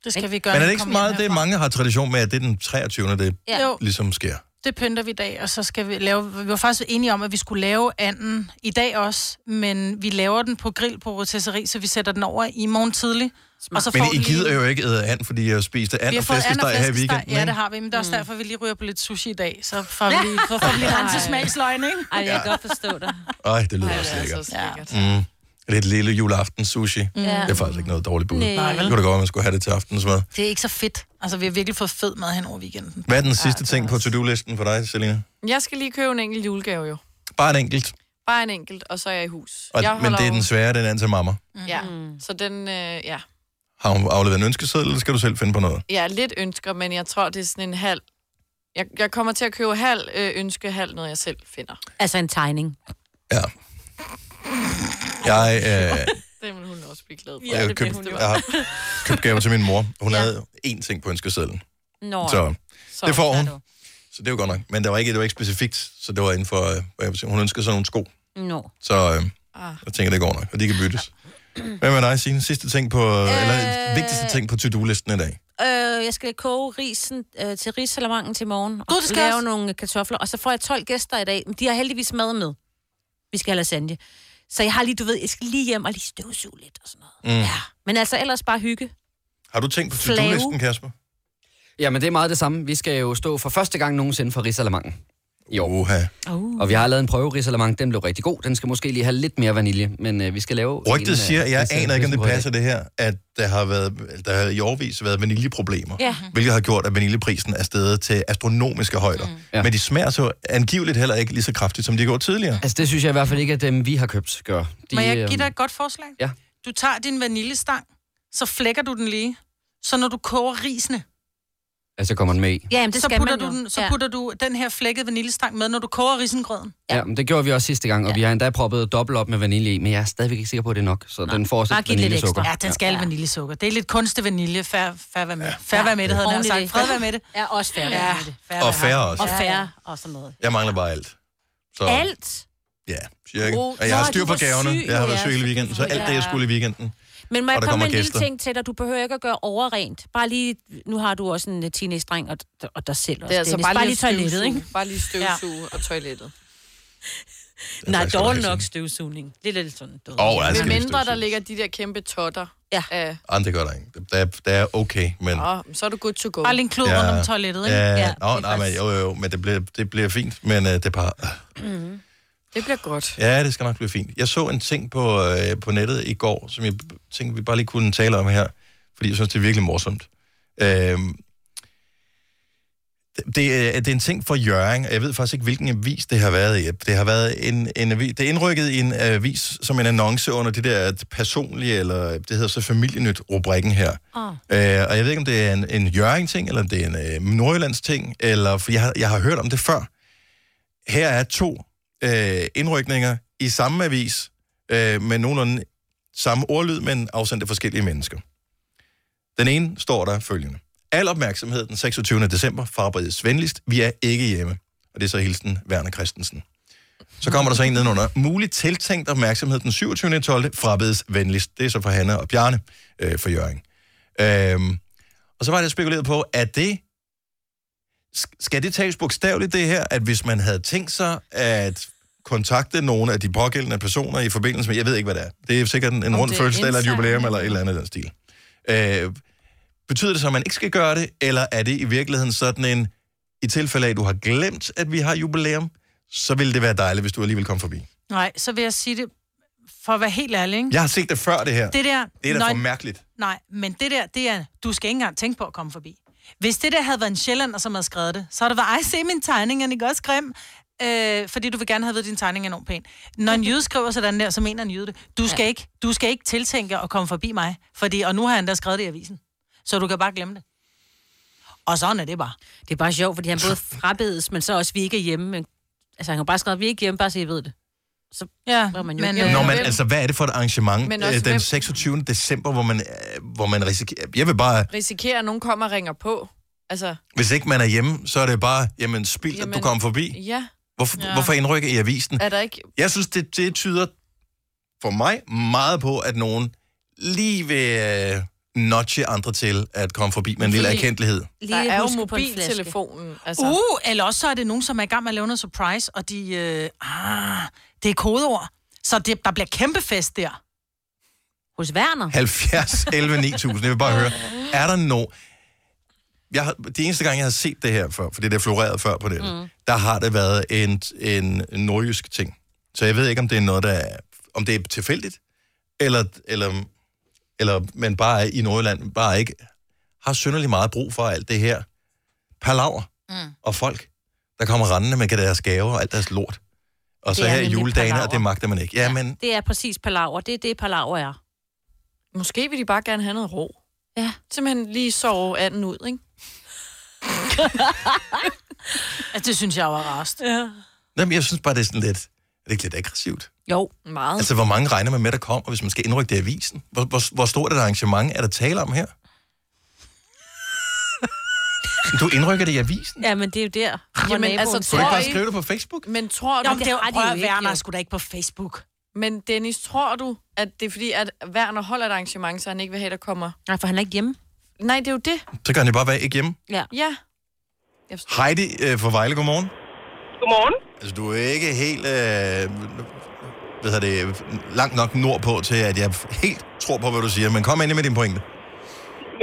[SPEAKER 3] Det skal vi gøre.
[SPEAKER 1] Men er
[SPEAKER 3] når
[SPEAKER 1] det
[SPEAKER 3] vi
[SPEAKER 1] ikke så
[SPEAKER 3] kommer hjem
[SPEAKER 1] meget, det
[SPEAKER 3] herfra.
[SPEAKER 1] mange har tradition med, at det er den 23. det
[SPEAKER 3] Ja. Jo.
[SPEAKER 1] ligesom sker?
[SPEAKER 3] Det pynter vi i dag, og så skal vi lave... Vi var faktisk enige om, at vi skulle lave anden i dag også, men vi laver den på grill på rotisserie, så vi sætter den over i morgen tidlig. Og så
[SPEAKER 1] Men
[SPEAKER 3] får
[SPEAKER 1] I
[SPEAKER 3] den lige-
[SPEAKER 1] gider jo ikke æde and, fordi jeg spiste
[SPEAKER 3] vi
[SPEAKER 1] and
[SPEAKER 3] har
[SPEAKER 1] og
[SPEAKER 3] fået and og
[SPEAKER 1] flæskesteg her i
[SPEAKER 3] flæskesteg.
[SPEAKER 1] weekenden.
[SPEAKER 3] Ja,
[SPEAKER 1] ikke?
[SPEAKER 3] det har vi, men det er også derfor, vi lige ryger på lidt sushi i dag. Så får vi lige, så får vi lige renset smagsløgn, ikke?
[SPEAKER 11] Ej, jeg kan godt
[SPEAKER 3] forstå dig.
[SPEAKER 1] Ej, det lyder også
[SPEAKER 3] altså-
[SPEAKER 1] lækkert. Mm. Lidt lille juleaften sushi. Mm. Det er faktisk ikke noget dårligt bud.
[SPEAKER 3] Nej, vel?
[SPEAKER 1] Nej, det kunne da godt, at man skulle have det til aftensmad.
[SPEAKER 3] Det er ikke så fedt. Altså, vi har virkelig fået fed mad hen over weekenden.
[SPEAKER 1] Hvad er den sidste ting på to-do-listen for dig, Selina?
[SPEAKER 5] Jeg skal lige købe en enkelt julegave jo.
[SPEAKER 1] Bare en enkelt.
[SPEAKER 5] Bare en enkelt, og så er jeg i hus.
[SPEAKER 1] Og,
[SPEAKER 5] jeg
[SPEAKER 1] men det er
[SPEAKER 5] jo-
[SPEAKER 1] den svære, den anden til mamma.
[SPEAKER 5] Ja,
[SPEAKER 3] Mm-hmm.
[SPEAKER 5] så den, øh, ja.
[SPEAKER 1] Har hun afleveret en ønskeseddel, eller skal du selv finde på noget?
[SPEAKER 5] Jeg er lidt ønsker, men jeg tror, det er sådan en halv... Jeg, jeg kommer til at købe halv øh, ønske, halv noget, jeg selv finder.
[SPEAKER 11] Altså en tegning.
[SPEAKER 1] Jeg, øh,
[SPEAKER 5] Det vil hun også blive glad for.
[SPEAKER 1] jeg, har købt, jeg har købt gaver til min mor. Hun ja. havde én ting på ønskesedlen.
[SPEAKER 11] Nå,
[SPEAKER 1] Så
[SPEAKER 11] Så
[SPEAKER 1] det får
[SPEAKER 11] er
[SPEAKER 1] hun.
[SPEAKER 11] du.
[SPEAKER 1] Så det var godt nok. Men det var ikke, det var ikke specifikt, så det var inden for... Øh, hvad jeg vil sige, hun ønskede sådan nogle sko.
[SPEAKER 11] Nå. Ah.
[SPEAKER 1] Så øh, jeg tænker, det går nok, og de kan byttes. Hvad med dig, Signe? Sidste ting på... Øh... Eller vigtigste ting på to-do-listen i dag?
[SPEAKER 11] Øh, jeg skal koge risen øh, til risalamangen til morgen. Og
[SPEAKER 3] Gud, det skal
[SPEAKER 11] lave
[SPEAKER 3] også.
[SPEAKER 11] nogle kartofler. Og så får jeg 12 gæster i dag. Men de har heldigvis mad med. Vi skal have lasagne. Så jeg har lige, du ved, jeg skal lige hjem og lige støvsuge lidt og sådan noget.
[SPEAKER 1] Mm. Ja.
[SPEAKER 11] Men altså ellers bare hygge.
[SPEAKER 1] Har du tænkt på
[SPEAKER 11] Flave.
[SPEAKER 1] to-do-listen, Kasper?
[SPEAKER 4] Jamen, det er meget det samme. Vi skal jo stå for første gang nogensinde for Rigsalamangen. Jo.
[SPEAKER 1] Oha.
[SPEAKER 11] Uh.
[SPEAKER 4] Og vi har lavet en prøve Risalamang. Den blev rigtig god. Den skal måske lige have lidt mere vanilje, men øh, vi skal lave...
[SPEAKER 1] Rygtet
[SPEAKER 4] en,
[SPEAKER 1] siger,
[SPEAKER 4] øh,
[SPEAKER 1] jeg
[SPEAKER 4] risalamang-
[SPEAKER 1] aner ikke, om det
[SPEAKER 4] risalamang-
[SPEAKER 1] passer det her, at der har, været, der har i årvis været vaniljeproblemer,
[SPEAKER 4] Ja.
[SPEAKER 1] hvilket har gjort, at vaniljeprisen er steget til astronomiske højder. Mm. Men de smager så angiveligt heller ikke lige så kraftigt, som de gjorde tidligere.
[SPEAKER 4] Altså, det synes jeg i hvert fald ikke, at dem, vi har købt, gør. De,
[SPEAKER 3] Må jeg
[SPEAKER 4] øh,
[SPEAKER 3] give dig et godt forslag?
[SPEAKER 4] Ja.
[SPEAKER 3] Du tager din vaniljestang, så flækker du den lige. Så når du koger risene,
[SPEAKER 4] Altså, så kommer den med i.
[SPEAKER 11] Ja, men det
[SPEAKER 3] så,
[SPEAKER 11] skal
[SPEAKER 3] putter
[SPEAKER 11] man jo.
[SPEAKER 3] du den, så
[SPEAKER 11] Ja.
[SPEAKER 3] putter du den her flækkede vaniljestang med, når du koger risengrøden.
[SPEAKER 4] Ja, men det gjorde vi også sidste gang, og ja. vi har endda proppet dobbelt op med vanilje i, men jeg er stadigvæk ikke sikker på, at det er nok, så Nej. den får også lidt vaniljesukker.
[SPEAKER 3] Ja, den skal ja. vaniljesukker. Det er lidt kunstig vanilje. Færre fær være med. Færre være med, det havde jeg nær
[SPEAKER 11] Oven i
[SPEAKER 3] sagt.
[SPEAKER 11] det.
[SPEAKER 3] Fred være med det.
[SPEAKER 11] Ja, også færre
[SPEAKER 3] Ja.
[SPEAKER 11] være med det.
[SPEAKER 1] Og færre også.
[SPEAKER 11] Og færre og sådan noget.
[SPEAKER 1] Jeg mangler bare alt. Så,
[SPEAKER 11] Alt.
[SPEAKER 1] Ja, cirka.
[SPEAKER 11] Oh,
[SPEAKER 1] Og jeg har
[SPEAKER 11] nå,
[SPEAKER 1] styr
[SPEAKER 11] du
[SPEAKER 1] på
[SPEAKER 11] var
[SPEAKER 1] gaverne.
[SPEAKER 11] syg,
[SPEAKER 1] jeg har været
[SPEAKER 11] ja,
[SPEAKER 1] syg hele
[SPEAKER 11] så
[SPEAKER 1] weekenden, så
[SPEAKER 11] derfor-
[SPEAKER 1] alt det, jeg
[SPEAKER 11] Ja.
[SPEAKER 1] skulle i weekenden.
[SPEAKER 11] Men må jeg
[SPEAKER 1] Og der
[SPEAKER 11] komme med en
[SPEAKER 1] kommer gæster.
[SPEAKER 11] lille ting til dig? Du behøver ikke at gøre overrent. Bare lige, nu har du også en øh, teenage-dreng, og, og dig selv også,
[SPEAKER 5] Det er altså
[SPEAKER 11] Dennis.
[SPEAKER 5] bare,
[SPEAKER 11] bare
[SPEAKER 5] lige
[SPEAKER 11] lige toilettet, ikke?
[SPEAKER 5] Bare lige støvsuge ja. og toilettet.
[SPEAKER 11] Nej,
[SPEAKER 1] skal du
[SPEAKER 11] dårlig
[SPEAKER 1] have
[SPEAKER 11] nok støvsugning. Det er lidt sådan død.
[SPEAKER 1] Åh, ja, det skal
[SPEAKER 5] Med
[SPEAKER 1] vi
[SPEAKER 5] mindre der
[SPEAKER 1] støvsuge.
[SPEAKER 5] ligger de der kæmpe totter. Ja. Af,
[SPEAKER 1] Jamen, det gør der ikke. Det er, det er okay, men...
[SPEAKER 5] åh, så er du good to go.
[SPEAKER 3] Bare lige en klud rundt om toilettet, ikke?
[SPEAKER 1] Ja,
[SPEAKER 3] Ja,
[SPEAKER 1] ja Nå, nej, men, jo, jo, jo, men det bliver, det bliver fint, men øh, det er bare...
[SPEAKER 5] Mm. Det bliver godt.
[SPEAKER 1] Ja, det skal nok blive fint. Jeg så en ting på, øh, på nettet i går, som jeg tænkte, vi bare lige kunne tale om her, fordi jeg synes, det er virkelig morsomt. Øhm, det, det, er- det er en ting for Jørgen, og jeg ved faktisk ikke, hvilken avis det har været i. Det har været en, en avis, det er indrykket i en avis som en annonce under det der personlige, eller det hedder så familienyt-rubrikken her.
[SPEAKER 16] Ah.
[SPEAKER 11] Oh.
[SPEAKER 1] Øh, og jeg ved ikke, om det er en, en Jørgen-ting, eller om det er en øh, Nordjyllands-ting, eller, for jeg har, jeg har hørt om det før. Her er to øh, indrykninger i samme avis, øh, med nogenlunde samme ordlyd, men afsendt af forskellige mennesker. Den ene står der følgende. Al opmærksomhed den 26. december forberedes venligst. Vi er ikke hjemme. Og det er så hilsen Werner Christensen. Så kommer der så en nedenunder. Muligt tiltænkt opmærksomhed den 27. 12. frabedes venligst. Det er så for Hanna og Bjarne øh, for Jørgen. Øhm, og så var det spekuleret på, at det... sk- Skal det tages bogstaveligt, det her, at hvis man havde tænkt sig at kontakte nogle af de pågældende personer i forbindelse med, jeg ved ikke, hvad det er. Det er sikkert en, en
[SPEAKER 7] Om
[SPEAKER 1] rund
[SPEAKER 7] det er
[SPEAKER 1] fødselsdag eller et
[SPEAKER 7] indsamling
[SPEAKER 1] jubilæum eller et eller andet i den stil. Øh, betyder det så, at man ikke skal gøre det, eller er det i virkeligheden sådan en, i tilfælde af, at du har glemt, at vi har jubilæum, så ville det være dejligt, hvis du alligevel kom forbi.
[SPEAKER 3] Nej, så vil jeg sige det, for at være helt ærlig, ikke?
[SPEAKER 1] Jeg har set det før, det her.
[SPEAKER 3] Det der-
[SPEAKER 1] det er da for
[SPEAKER 3] nøj-
[SPEAKER 1] mærkeligt.
[SPEAKER 3] Nej, men det der, det er, du skal ikke engang tænke på at komme forbi. Hvis det der havde været en sjællander, som havde skrevet det, så havde det været, ej, se min tegning, er den ikke også grim? Øh, fordi du vil gerne have ved, at din tegning er enormt pæn. Når en jøde skriver sådan der, så mener en jøde det. Du skal, ja. ikke, du skal ikke tiltænke at komme forbi mig, fordi, og nu har han da skrevet det i avisen. Så du kan bare glemme det. Og sådan er det bare.
[SPEAKER 1] altså.
[SPEAKER 11] Det er bare sjovt, fordi han både frabedes, men så også, vi ikke er hjemme. Men, altså, han kan bare skrive, at vi er ikke hjemme, bare så I ved det. Så
[SPEAKER 3] ja,
[SPEAKER 11] var man jo
[SPEAKER 3] men,
[SPEAKER 11] ikke
[SPEAKER 1] Nå,
[SPEAKER 11] hjemme.
[SPEAKER 1] men altså, hvad er det for et arrangement
[SPEAKER 5] øh, Men
[SPEAKER 1] men
[SPEAKER 5] også,
[SPEAKER 1] også,
[SPEAKER 5] hvem-
[SPEAKER 1] den 26. december, hvor man, øh, hvor man risikerer... Jeg vil bare...
[SPEAKER 5] Risikerer, at nogen kommer og ringer på. Altså,
[SPEAKER 1] Hvis ikke man er hjemme, så er det bare, jamen, spild, at du kom forbi.
[SPEAKER 5] ja.
[SPEAKER 1] Hvorfor,
[SPEAKER 5] Ja.
[SPEAKER 1] ja. hvorfor indrykke i avisen?
[SPEAKER 5] Er der ikke...
[SPEAKER 1] Jeg synes, det, det tyder for mig meget på, at nogen lige vil øh, notche andre til at komme forbi med en lille
[SPEAKER 5] Fordi-
[SPEAKER 1] erkendelighed.
[SPEAKER 5] Der er jo
[SPEAKER 3] huske på en flaske.
[SPEAKER 5] mobiltelefonen.
[SPEAKER 3] Altså.
[SPEAKER 5] Altså.
[SPEAKER 3] Uh, eller også så er det nogen, som er i gang med at lave noget surprise, og de... Øh, ah, det er kodeord. Så det, der bliver kæmpe fest der.
[SPEAKER 11] Hos Werner?
[SPEAKER 1] 70, 11, 9000. Jeg vil bare høre, er der no... Jeg har, de eneste gange, jeg har set det her før, fordi det florerede før på det,
[SPEAKER 7] Mm.
[SPEAKER 1] mm. der har det været en, en nordjysk ting. Så jeg ved ikke, om det er noget, der er, om det er tilfældigt, eller, eller, eller man bare er i Nordjylland, bare ikke har synderlig meget brug for alt det her palaver
[SPEAKER 3] Mm.
[SPEAKER 1] og folk, der kommer rendende med deres gaver og alt deres lort. Og
[SPEAKER 11] Det
[SPEAKER 1] så
[SPEAKER 11] er
[SPEAKER 1] her i
[SPEAKER 11] nemlig
[SPEAKER 1] juledagene, og
[SPEAKER 11] palaver.
[SPEAKER 1] det magter man ikke. Ja, men
[SPEAKER 11] Det er præcis palaver. Det er det, palaver er.
[SPEAKER 5] Måske vil de bare gerne have noget ro.
[SPEAKER 11] Ja.
[SPEAKER 5] Simpelthen lige sove anden ud, ikke?
[SPEAKER 3] altså, det synes jeg var rast.
[SPEAKER 11] Ja.
[SPEAKER 1] Jamen, jeg synes bare, det er sådan lidt, er det ikke lidt aggressivt?
[SPEAKER 11] Jo,
[SPEAKER 5] meget.
[SPEAKER 1] Altså, hvor mange regner man med, der kommer, hvis man skal indrykke det i avisen? Hvor, hvor, hvor stort et arrangement er der tale om her? Du indrykker det i avisen?
[SPEAKER 11] Ja, men det er jo der.
[SPEAKER 5] Jamen, altså,
[SPEAKER 1] Kan du ikke
[SPEAKER 5] tror
[SPEAKER 1] bare
[SPEAKER 5] I-
[SPEAKER 1] skrive det på Facebook?
[SPEAKER 5] Men tror du...
[SPEAKER 3] Jamen, det er jo-
[SPEAKER 5] har de
[SPEAKER 3] prøv at
[SPEAKER 5] ikke,
[SPEAKER 3] Werner
[SPEAKER 5] jo.
[SPEAKER 3] skulle da ikke på Facebook.
[SPEAKER 5] Men Dennis, tror du, at det er fordi, at Werner holder et arrangement, så han ikke vil have, der kommer?
[SPEAKER 11] Nej, for han er ikke hjemme.
[SPEAKER 5] Nej, det er jo det.
[SPEAKER 1] Så kan det bare være ikke hjemme.
[SPEAKER 11] Ja.
[SPEAKER 5] Ja.
[SPEAKER 1] Heidi øh, fra Vejle, godmorgen.
[SPEAKER 9] Godmorgen.
[SPEAKER 1] Altså, du er ikke helt, øh, hvad hedder det, langt nok nordpå til, at jeg helt tror på, hvad du siger. Men kom ind med din pointe.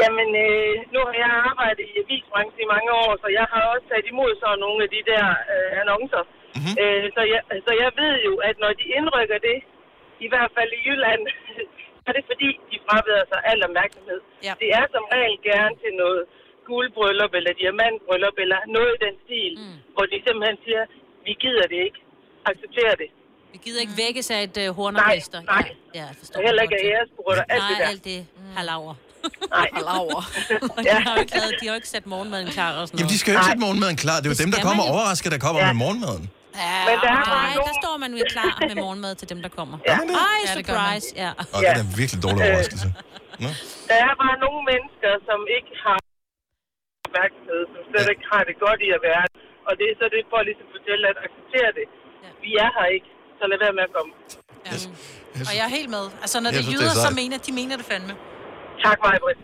[SPEAKER 9] Jamen, øh, nu har jeg arbejdet i avisbranchen i mange år, så jeg har også taget imod sådan nogle af de der øh, annoncer. Mm-hmm. Øh, så, jeg, så jeg ved jo, at når de indrykker det, i hvert fald i Jylland, så er det fordi, de frabeder sig al opmærksomhed.
[SPEAKER 5] Ja.
[SPEAKER 9] Det er som regel gerne til noget guldbryllup eller diamantbryllup eller noget i den stil, mm. hvor de simpelthen siger, vi gider det ikke, accepterer det.
[SPEAKER 11] Vi gider ikke vækkes af et uh, hornorkester.
[SPEAKER 9] Mm. Nej, nej.
[SPEAKER 11] Ja, ja, jeg
[SPEAKER 9] Og
[SPEAKER 11] forstår
[SPEAKER 9] heller
[SPEAKER 11] det
[SPEAKER 9] ikke
[SPEAKER 11] godt.
[SPEAKER 9] af æresbrytter, alt det
[SPEAKER 11] Nej,
[SPEAKER 9] der. Mm.
[SPEAKER 11] alt det palaver.
[SPEAKER 9] Nej.
[SPEAKER 5] Palaver.
[SPEAKER 11] Og de har jo ikke, lavet, de har jo ikke sat morgenmaden klar og sådan
[SPEAKER 1] Jamen, de skal jo ikke sætte morgenmaden klar. Det er jo dem, der
[SPEAKER 11] skal
[SPEAKER 1] kommer
[SPEAKER 11] man jo.
[SPEAKER 1] overrasket, der kommer med morgenmaden.
[SPEAKER 11] Ja,
[SPEAKER 9] Men der er bare
[SPEAKER 11] nej, der står man jo klar med morgenmad til dem, der kommer.
[SPEAKER 9] Ja.
[SPEAKER 11] Ej,
[SPEAKER 9] Ja, det gør man.
[SPEAKER 11] surprise. Ja.
[SPEAKER 1] Og det er en virkelig dårlig overraskelse.
[SPEAKER 9] Øh, Der er bare nogle mennesker, som ikke har opmærksomhed, som slet ikke har det godt i at være der. Og det er så det for at ligesom fortælle, at acceptere det. Vi er her ikke, så lad være med at komme.
[SPEAKER 3] Og jeg er helt med. Altså, når
[SPEAKER 1] Jeg
[SPEAKER 3] det
[SPEAKER 1] synes,
[SPEAKER 3] jyder,
[SPEAKER 1] det er
[SPEAKER 3] så
[SPEAKER 1] sejt.
[SPEAKER 3] mener de mener det fandme.
[SPEAKER 9] Tak, Majbrit.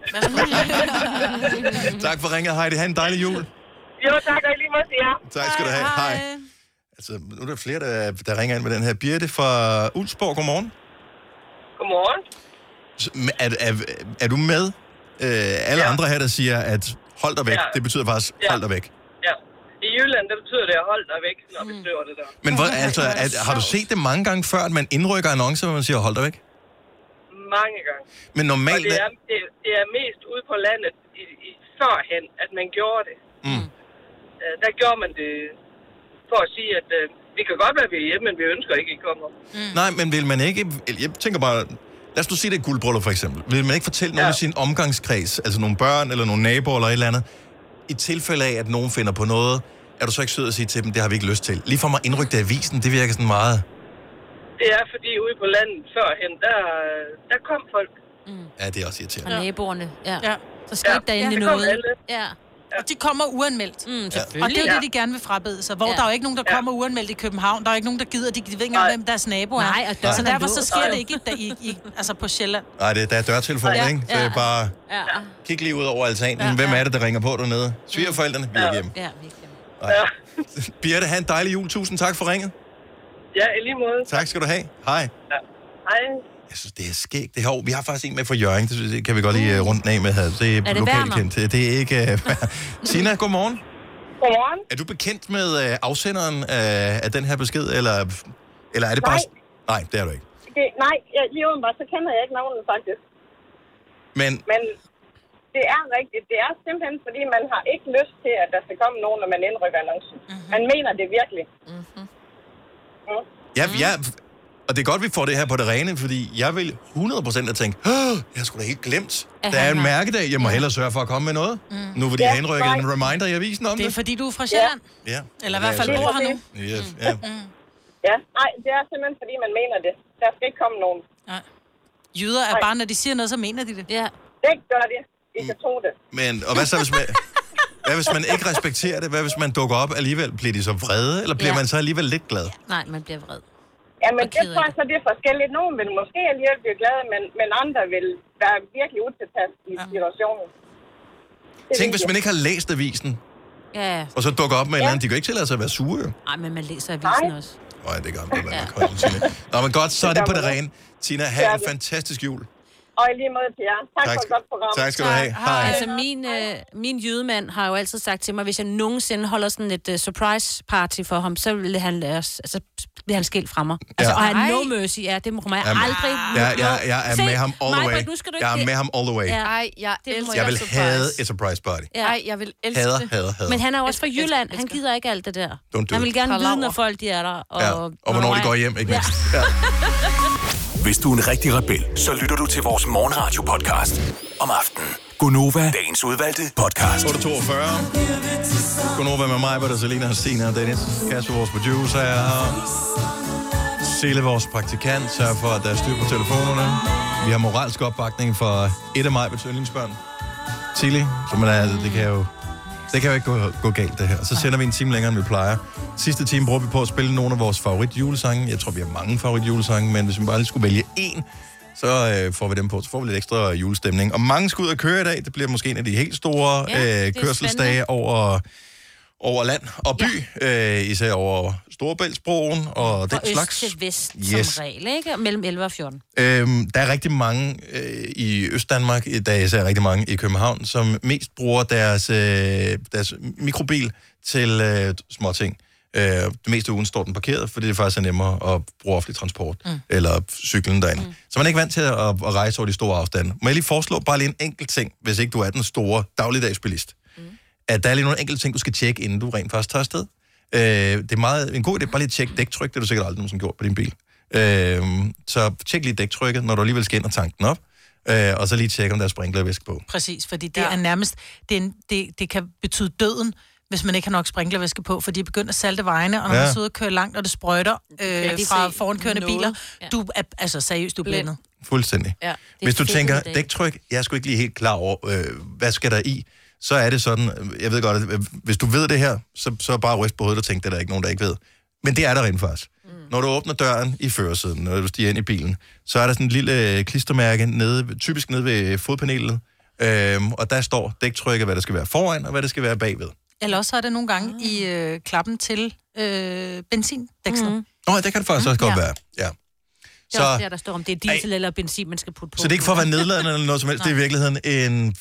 [SPEAKER 1] tak for ringet, Heidi. Ha' en dejlig jul.
[SPEAKER 9] Jo, tak, og i lige måde til jer.
[SPEAKER 1] Tak skal du have. Hej. Altså, nu er der flere, der, der ringer ind med den her. Birte fra Ulsborg, godmorgen.
[SPEAKER 20] Godmorgen.
[SPEAKER 1] Så, men Er, er, er du med? Øh, alle ja. andre her, der siger, at hold dig væk, ja.
[SPEAKER 20] Ja.
[SPEAKER 1] det betyder faktisk
[SPEAKER 20] Ja.
[SPEAKER 1] hold dig væk.
[SPEAKER 20] Ja. I Jylland, der betyder det at holde dig væk, når vi
[SPEAKER 1] Mm.
[SPEAKER 20] skriver det der.
[SPEAKER 1] Men hvor, altså, at, har du set det mange gange før, at man indrykker annoncer, hvor man siger, hold dig væk?
[SPEAKER 20] Mange gange.
[SPEAKER 1] Men normalt...
[SPEAKER 20] Og det er, det, det er mest ude på landet i, i, førhen, at man gjorde det.
[SPEAKER 1] Mm.
[SPEAKER 20] Øh, der gjorde man det for at sige, at øh, vi kan godt være, vi er hjemme, men vi ønsker ikke, at I kommer.
[SPEAKER 1] Nej, men vil man ikke... Jeg tænker bare... Lad os nu sige, det er guldbryllup for eksempel. Vil man ikke fortælle nogen ja. i sin omgangskreds, altså nogle børn eller nogle naboer eller et eller andet, i tilfælde af, at nogen finder på noget, er du så ikke sød at sige til dem, det har vi ikke lyst til. Lige for mig indrykke det i avisen, det virker sådan meget...
[SPEAKER 20] Det er fordi ude på landet førhen, der, øh, der kom folk.
[SPEAKER 1] Ja, det er også irriterende.
[SPEAKER 11] Fra ja. naboerne. Ja.
[SPEAKER 3] ja.
[SPEAKER 11] Så skete ja. der endelig
[SPEAKER 3] det kom
[SPEAKER 11] noget.
[SPEAKER 3] alle.
[SPEAKER 11] Ja.
[SPEAKER 3] Og de kommer uanmeldt.
[SPEAKER 11] Mm,
[SPEAKER 3] Og det er jo
[SPEAKER 11] Ja.
[SPEAKER 3] det, de gerne vil frabede sig. Hvor
[SPEAKER 11] Ja.
[SPEAKER 3] ja. der er jo ikke nogen, der kommer uanmeldt i København. Der er jo ikke nogen, der gider. De, de ved ikke engang, hvem deres nabo er.
[SPEAKER 11] Nej, og døren
[SPEAKER 3] så
[SPEAKER 11] er
[SPEAKER 3] derfor så
[SPEAKER 11] låst.
[SPEAKER 3] sker
[SPEAKER 11] Nej.
[SPEAKER 3] det ikke der, i, i, altså på Sjælland.
[SPEAKER 1] Nej, det, der er dørtelefon,
[SPEAKER 3] Ja.
[SPEAKER 1] ja. ikke? Det er
[SPEAKER 3] Ja.
[SPEAKER 1] bare...
[SPEAKER 11] Ja.
[SPEAKER 1] Kig lige ud over altanen. Ja, Hvem er det, der ringer på dernede? Svigerforældrene? Vi er hjemme.
[SPEAKER 11] ja.
[SPEAKER 1] Nej. Birte, have en dejlig jul. Tusind tak for ringet.
[SPEAKER 20] Ja, i lige måde.
[SPEAKER 1] Tak skal du have. Hej.
[SPEAKER 20] Hej.
[SPEAKER 1] Jeg synes, det er skægt. Det her år. Vi har faktisk en med fra Jørgen. Det synes jeg, kan vi godt
[SPEAKER 3] Mm.
[SPEAKER 1] lige uh, rundt af med her. Det er,
[SPEAKER 20] det
[SPEAKER 1] lokalt
[SPEAKER 20] Werner?
[SPEAKER 1] kendt. Det, det er ikke... Uh, Tina, godmorgen.
[SPEAKER 20] Godmorgen.
[SPEAKER 1] Er du bekendt med uh, afsenderen uh, af den her besked, eller, eller er det bare...
[SPEAKER 9] Nej.
[SPEAKER 1] Nej, det er du ikke.
[SPEAKER 9] Det, nej, jeg, lige åbenbart, så kender jeg ikke navnet faktisk.
[SPEAKER 1] Men
[SPEAKER 9] Men det er rigtigt. Det er simpelthen, fordi man har ikke lyst til, at der skal komme nogen, når man indrykker annoncen.
[SPEAKER 11] Mhm.
[SPEAKER 9] Mm-hmm. Man mener det virkelig. Mm-hmm. Mm.
[SPEAKER 1] jeg, jeg, og det er godt, vi får det her på det rene, fordi jeg vil 100% have tænkt, "Åh, jeg har sgu da helt glemt.
[SPEAKER 3] At
[SPEAKER 1] Der er
[SPEAKER 3] han
[SPEAKER 1] en
[SPEAKER 3] har-
[SPEAKER 1] mærkedag. Jeg må hellere sørge for at komme med noget. Nu vil de
[SPEAKER 3] Ja,
[SPEAKER 1] have indrykket
[SPEAKER 3] nej.
[SPEAKER 1] en reminder i avisen om det.
[SPEAKER 3] Mm. Det er fordi, du er fra Sjælland.
[SPEAKER 1] Ja.
[SPEAKER 3] Eller i hvert fald
[SPEAKER 1] Ja,
[SPEAKER 3] bor
[SPEAKER 1] så-
[SPEAKER 3] her nu. Mm.
[SPEAKER 1] Ja, ja.
[SPEAKER 9] Ja, nej, det er simpelthen, fordi man mener det. Der skal ikke komme nogen.
[SPEAKER 3] Nej. Jyder er bare, når de siger noget, så mener de det.
[SPEAKER 11] Ja.
[SPEAKER 9] Det gør det. I kan tro det.
[SPEAKER 1] Men, og hvad så, hvis man, hvad hvis man ikke respekterer det? Hvad hvis man dukker op alligevel? Bliver de så vrede, eller bliver
[SPEAKER 9] Ja.
[SPEAKER 1] ja. man så alligevel lidt glad?
[SPEAKER 11] Nej, man bliver vred.
[SPEAKER 9] Ja, men det tror jeg så, det er forskelligt. Nogen vil måske alligevel blive glade, men, men andre vil være virkelig utilpas i situationen. Det
[SPEAKER 1] Tænk,
[SPEAKER 9] vil
[SPEAKER 1] hvis
[SPEAKER 9] jeg.
[SPEAKER 1] man ikke har læst avisen,
[SPEAKER 11] Ja.
[SPEAKER 1] og så dukker op med ja. en eller anden. De kan ikke tillade sig at være sure, jo.
[SPEAKER 11] Nej, men man læser avisen også.
[SPEAKER 1] Nej, det gør man ikke. Ja. Nå, men godt, så er det på det rene. Tina,
[SPEAKER 9] Det
[SPEAKER 1] have
[SPEAKER 9] er
[SPEAKER 1] en
[SPEAKER 9] det.
[SPEAKER 1] fantastisk jul.
[SPEAKER 9] Og i lige måde til jer. Tak,
[SPEAKER 1] Tak
[SPEAKER 9] tak for et
[SPEAKER 1] skal-
[SPEAKER 9] godt program.
[SPEAKER 1] tak skal du have. Hej.
[SPEAKER 11] Altså, min, øh, min jydemand har jo altid sagt til mig, hvis jeg nogensinde holder sådan et uh, surprise party for ham, så vil han, uh, altså, bliver han skilt fra mig. Altså, og han no mercy, ja, det må jeg
[SPEAKER 1] Jamen,
[SPEAKER 11] aldrig...
[SPEAKER 1] Jeg, jeg, jeg er
[SPEAKER 11] Se,
[SPEAKER 1] med ham all the
[SPEAKER 11] Maj-Brit,
[SPEAKER 1] way.
[SPEAKER 11] nu skal du ikke
[SPEAKER 1] Jeg er
[SPEAKER 11] det.
[SPEAKER 1] med ham all the way.
[SPEAKER 11] Ja.
[SPEAKER 5] Ej, jeg
[SPEAKER 11] Det må
[SPEAKER 5] elsker
[SPEAKER 1] Jeg vil
[SPEAKER 5] surprise.
[SPEAKER 1] have et surprise party.
[SPEAKER 11] Ja.
[SPEAKER 5] Ej, jeg vil elske
[SPEAKER 1] Hader,
[SPEAKER 5] det.
[SPEAKER 1] hader, hader.
[SPEAKER 11] Men han er jo også fra Jylland. Han gider ikke alt det der.
[SPEAKER 1] Don't do
[SPEAKER 11] Han vil
[SPEAKER 1] it.
[SPEAKER 11] gerne
[SPEAKER 1] Palaver.
[SPEAKER 11] vide, når folk de er der. Og,
[SPEAKER 1] Ja. Og hvornår de går hjem, ikke mindst. Ja.
[SPEAKER 7] Hvis du er en rigtig rebel, så lytter du til vores morgenradio-podcast om aftenen. Gunova, dagens udvalgte podcast.
[SPEAKER 1] 8.42. Godnova med mig, hvor der Selina, Stina og Dennis. Kasper, vores producer, er her. Sele, vores praktikant, sørger for, at der er styr på telefonerne. Vi har moralsk opbakning for et af mig, yndlingsbørn. Tilly, som er, det kan jo det kan jo ikke gå, gå galt, det her. Så sender vi en time længere, end vi plejer. Sidste time bruger vi på at spille nogle af vores favoritjulesange. Jeg tror, vi har mange favoritjulesange, men hvis vi bare lige skulle vælge én, så øh, får vi dem på. Så får vi lidt ekstra julestemning. Og mange skal ud og køre i dag. Det bliver måske en af de helt store
[SPEAKER 16] Ja, det er
[SPEAKER 1] øh, kørselsdage
[SPEAKER 16] spændende.
[SPEAKER 1] over, over land og by. Ja. Øh, især over Storebæltsbroen og, og den
[SPEAKER 11] Fra øst
[SPEAKER 1] slags.
[SPEAKER 11] til vest,
[SPEAKER 1] Yes.
[SPEAKER 11] som regel, ikke? Og Mellem 11 og 14.
[SPEAKER 1] Øhm, der er rigtig mange øh, i Østdanmark, øh, der er især rigtig mange i København, som mest bruger deres, øh, deres mikrobil til øh, småting. Øh, det meste af ugen står den parkeret, fordi det faktisk er nemmere at bruge offentlig transport mm. eller cyklen derinde. Mm. Så man er ikke vant til at, at rejse over de store afstande. Må jeg lige foreslå bare lige en enkelt ting, hvis ikke du er den store dagligdagsbilist? Mm. At der er lige nogle enkelte ting, du skal tjekke, inden du rent faktisk tager afsted. Øh, det er meget, en god idé, bare lige at tjekke dæktryk, det har du sikkert aldrig nogensinde gjort på din bil. Øh, så tjek lige dæktrykket, når du alligevel skal ind og tanke den op, øh, og så lige tjek, om der er sprinklervæske på.
[SPEAKER 3] Præcis, fordi det ja. er nærmest... Det, er en, det, det kan betyde døden, hvis man ikke har nok sprinklervæske på, fordi de begynder at salte vejene, og når
[SPEAKER 1] Ja.
[SPEAKER 3] ja. man sidder og kører langt, og det sprøjter
[SPEAKER 5] kan
[SPEAKER 3] øh,
[SPEAKER 5] ikke
[SPEAKER 3] fra
[SPEAKER 5] se
[SPEAKER 3] forankørende
[SPEAKER 5] noget.
[SPEAKER 3] biler, du er, altså seriøst, du er
[SPEAKER 5] Blind.
[SPEAKER 3] blændet.
[SPEAKER 1] Fuldstændig.
[SPEAKER 5] Ja,
[SPEAKER 1] Hvis du tænker, dæktryk, jeg er sgu ikke lige helt klar over, øh, hvad skal der i, så er det sådan, øh, jeg ved godt, at øh, hvis du ved det her, så, så bare ryst på hovedet og tænk, det er der ikke nogen, der ikke ved. Men det er der rent faktisk. Mm. Når du åbner døren i førersiden, når du stiger ind i bilen, så er der sådan en lille øh, klistermærke, nede, typisk nede ved fodpanelet, øhm, og der står dæktrykket, hvad der skal være foran, og hvad der skal være bagved.
[SPEAKER 5] Mm.
[SPEAKER 3] Eller også så er det nogle gange i øh, klappen til øh, benzindækslet.
[SPEAKER 5] Mm-hmm.
[SPEAKER 3] Mm.
[SPEAKER 1] Nå, det kan det faktisk også godt
[SPEAKER 11] Ja.
[SPEAKER 1] være. Ja.
[SPEAKER 11] Det er
[SPEAKER 1] Så-
[SPEAKER 11] også der, der står, om det er diesel eller benzin, man skal putte på.
[SPEAKER 1] Så det er ikke for at være nedladende eller noget som helst, det er i virkeligheden en,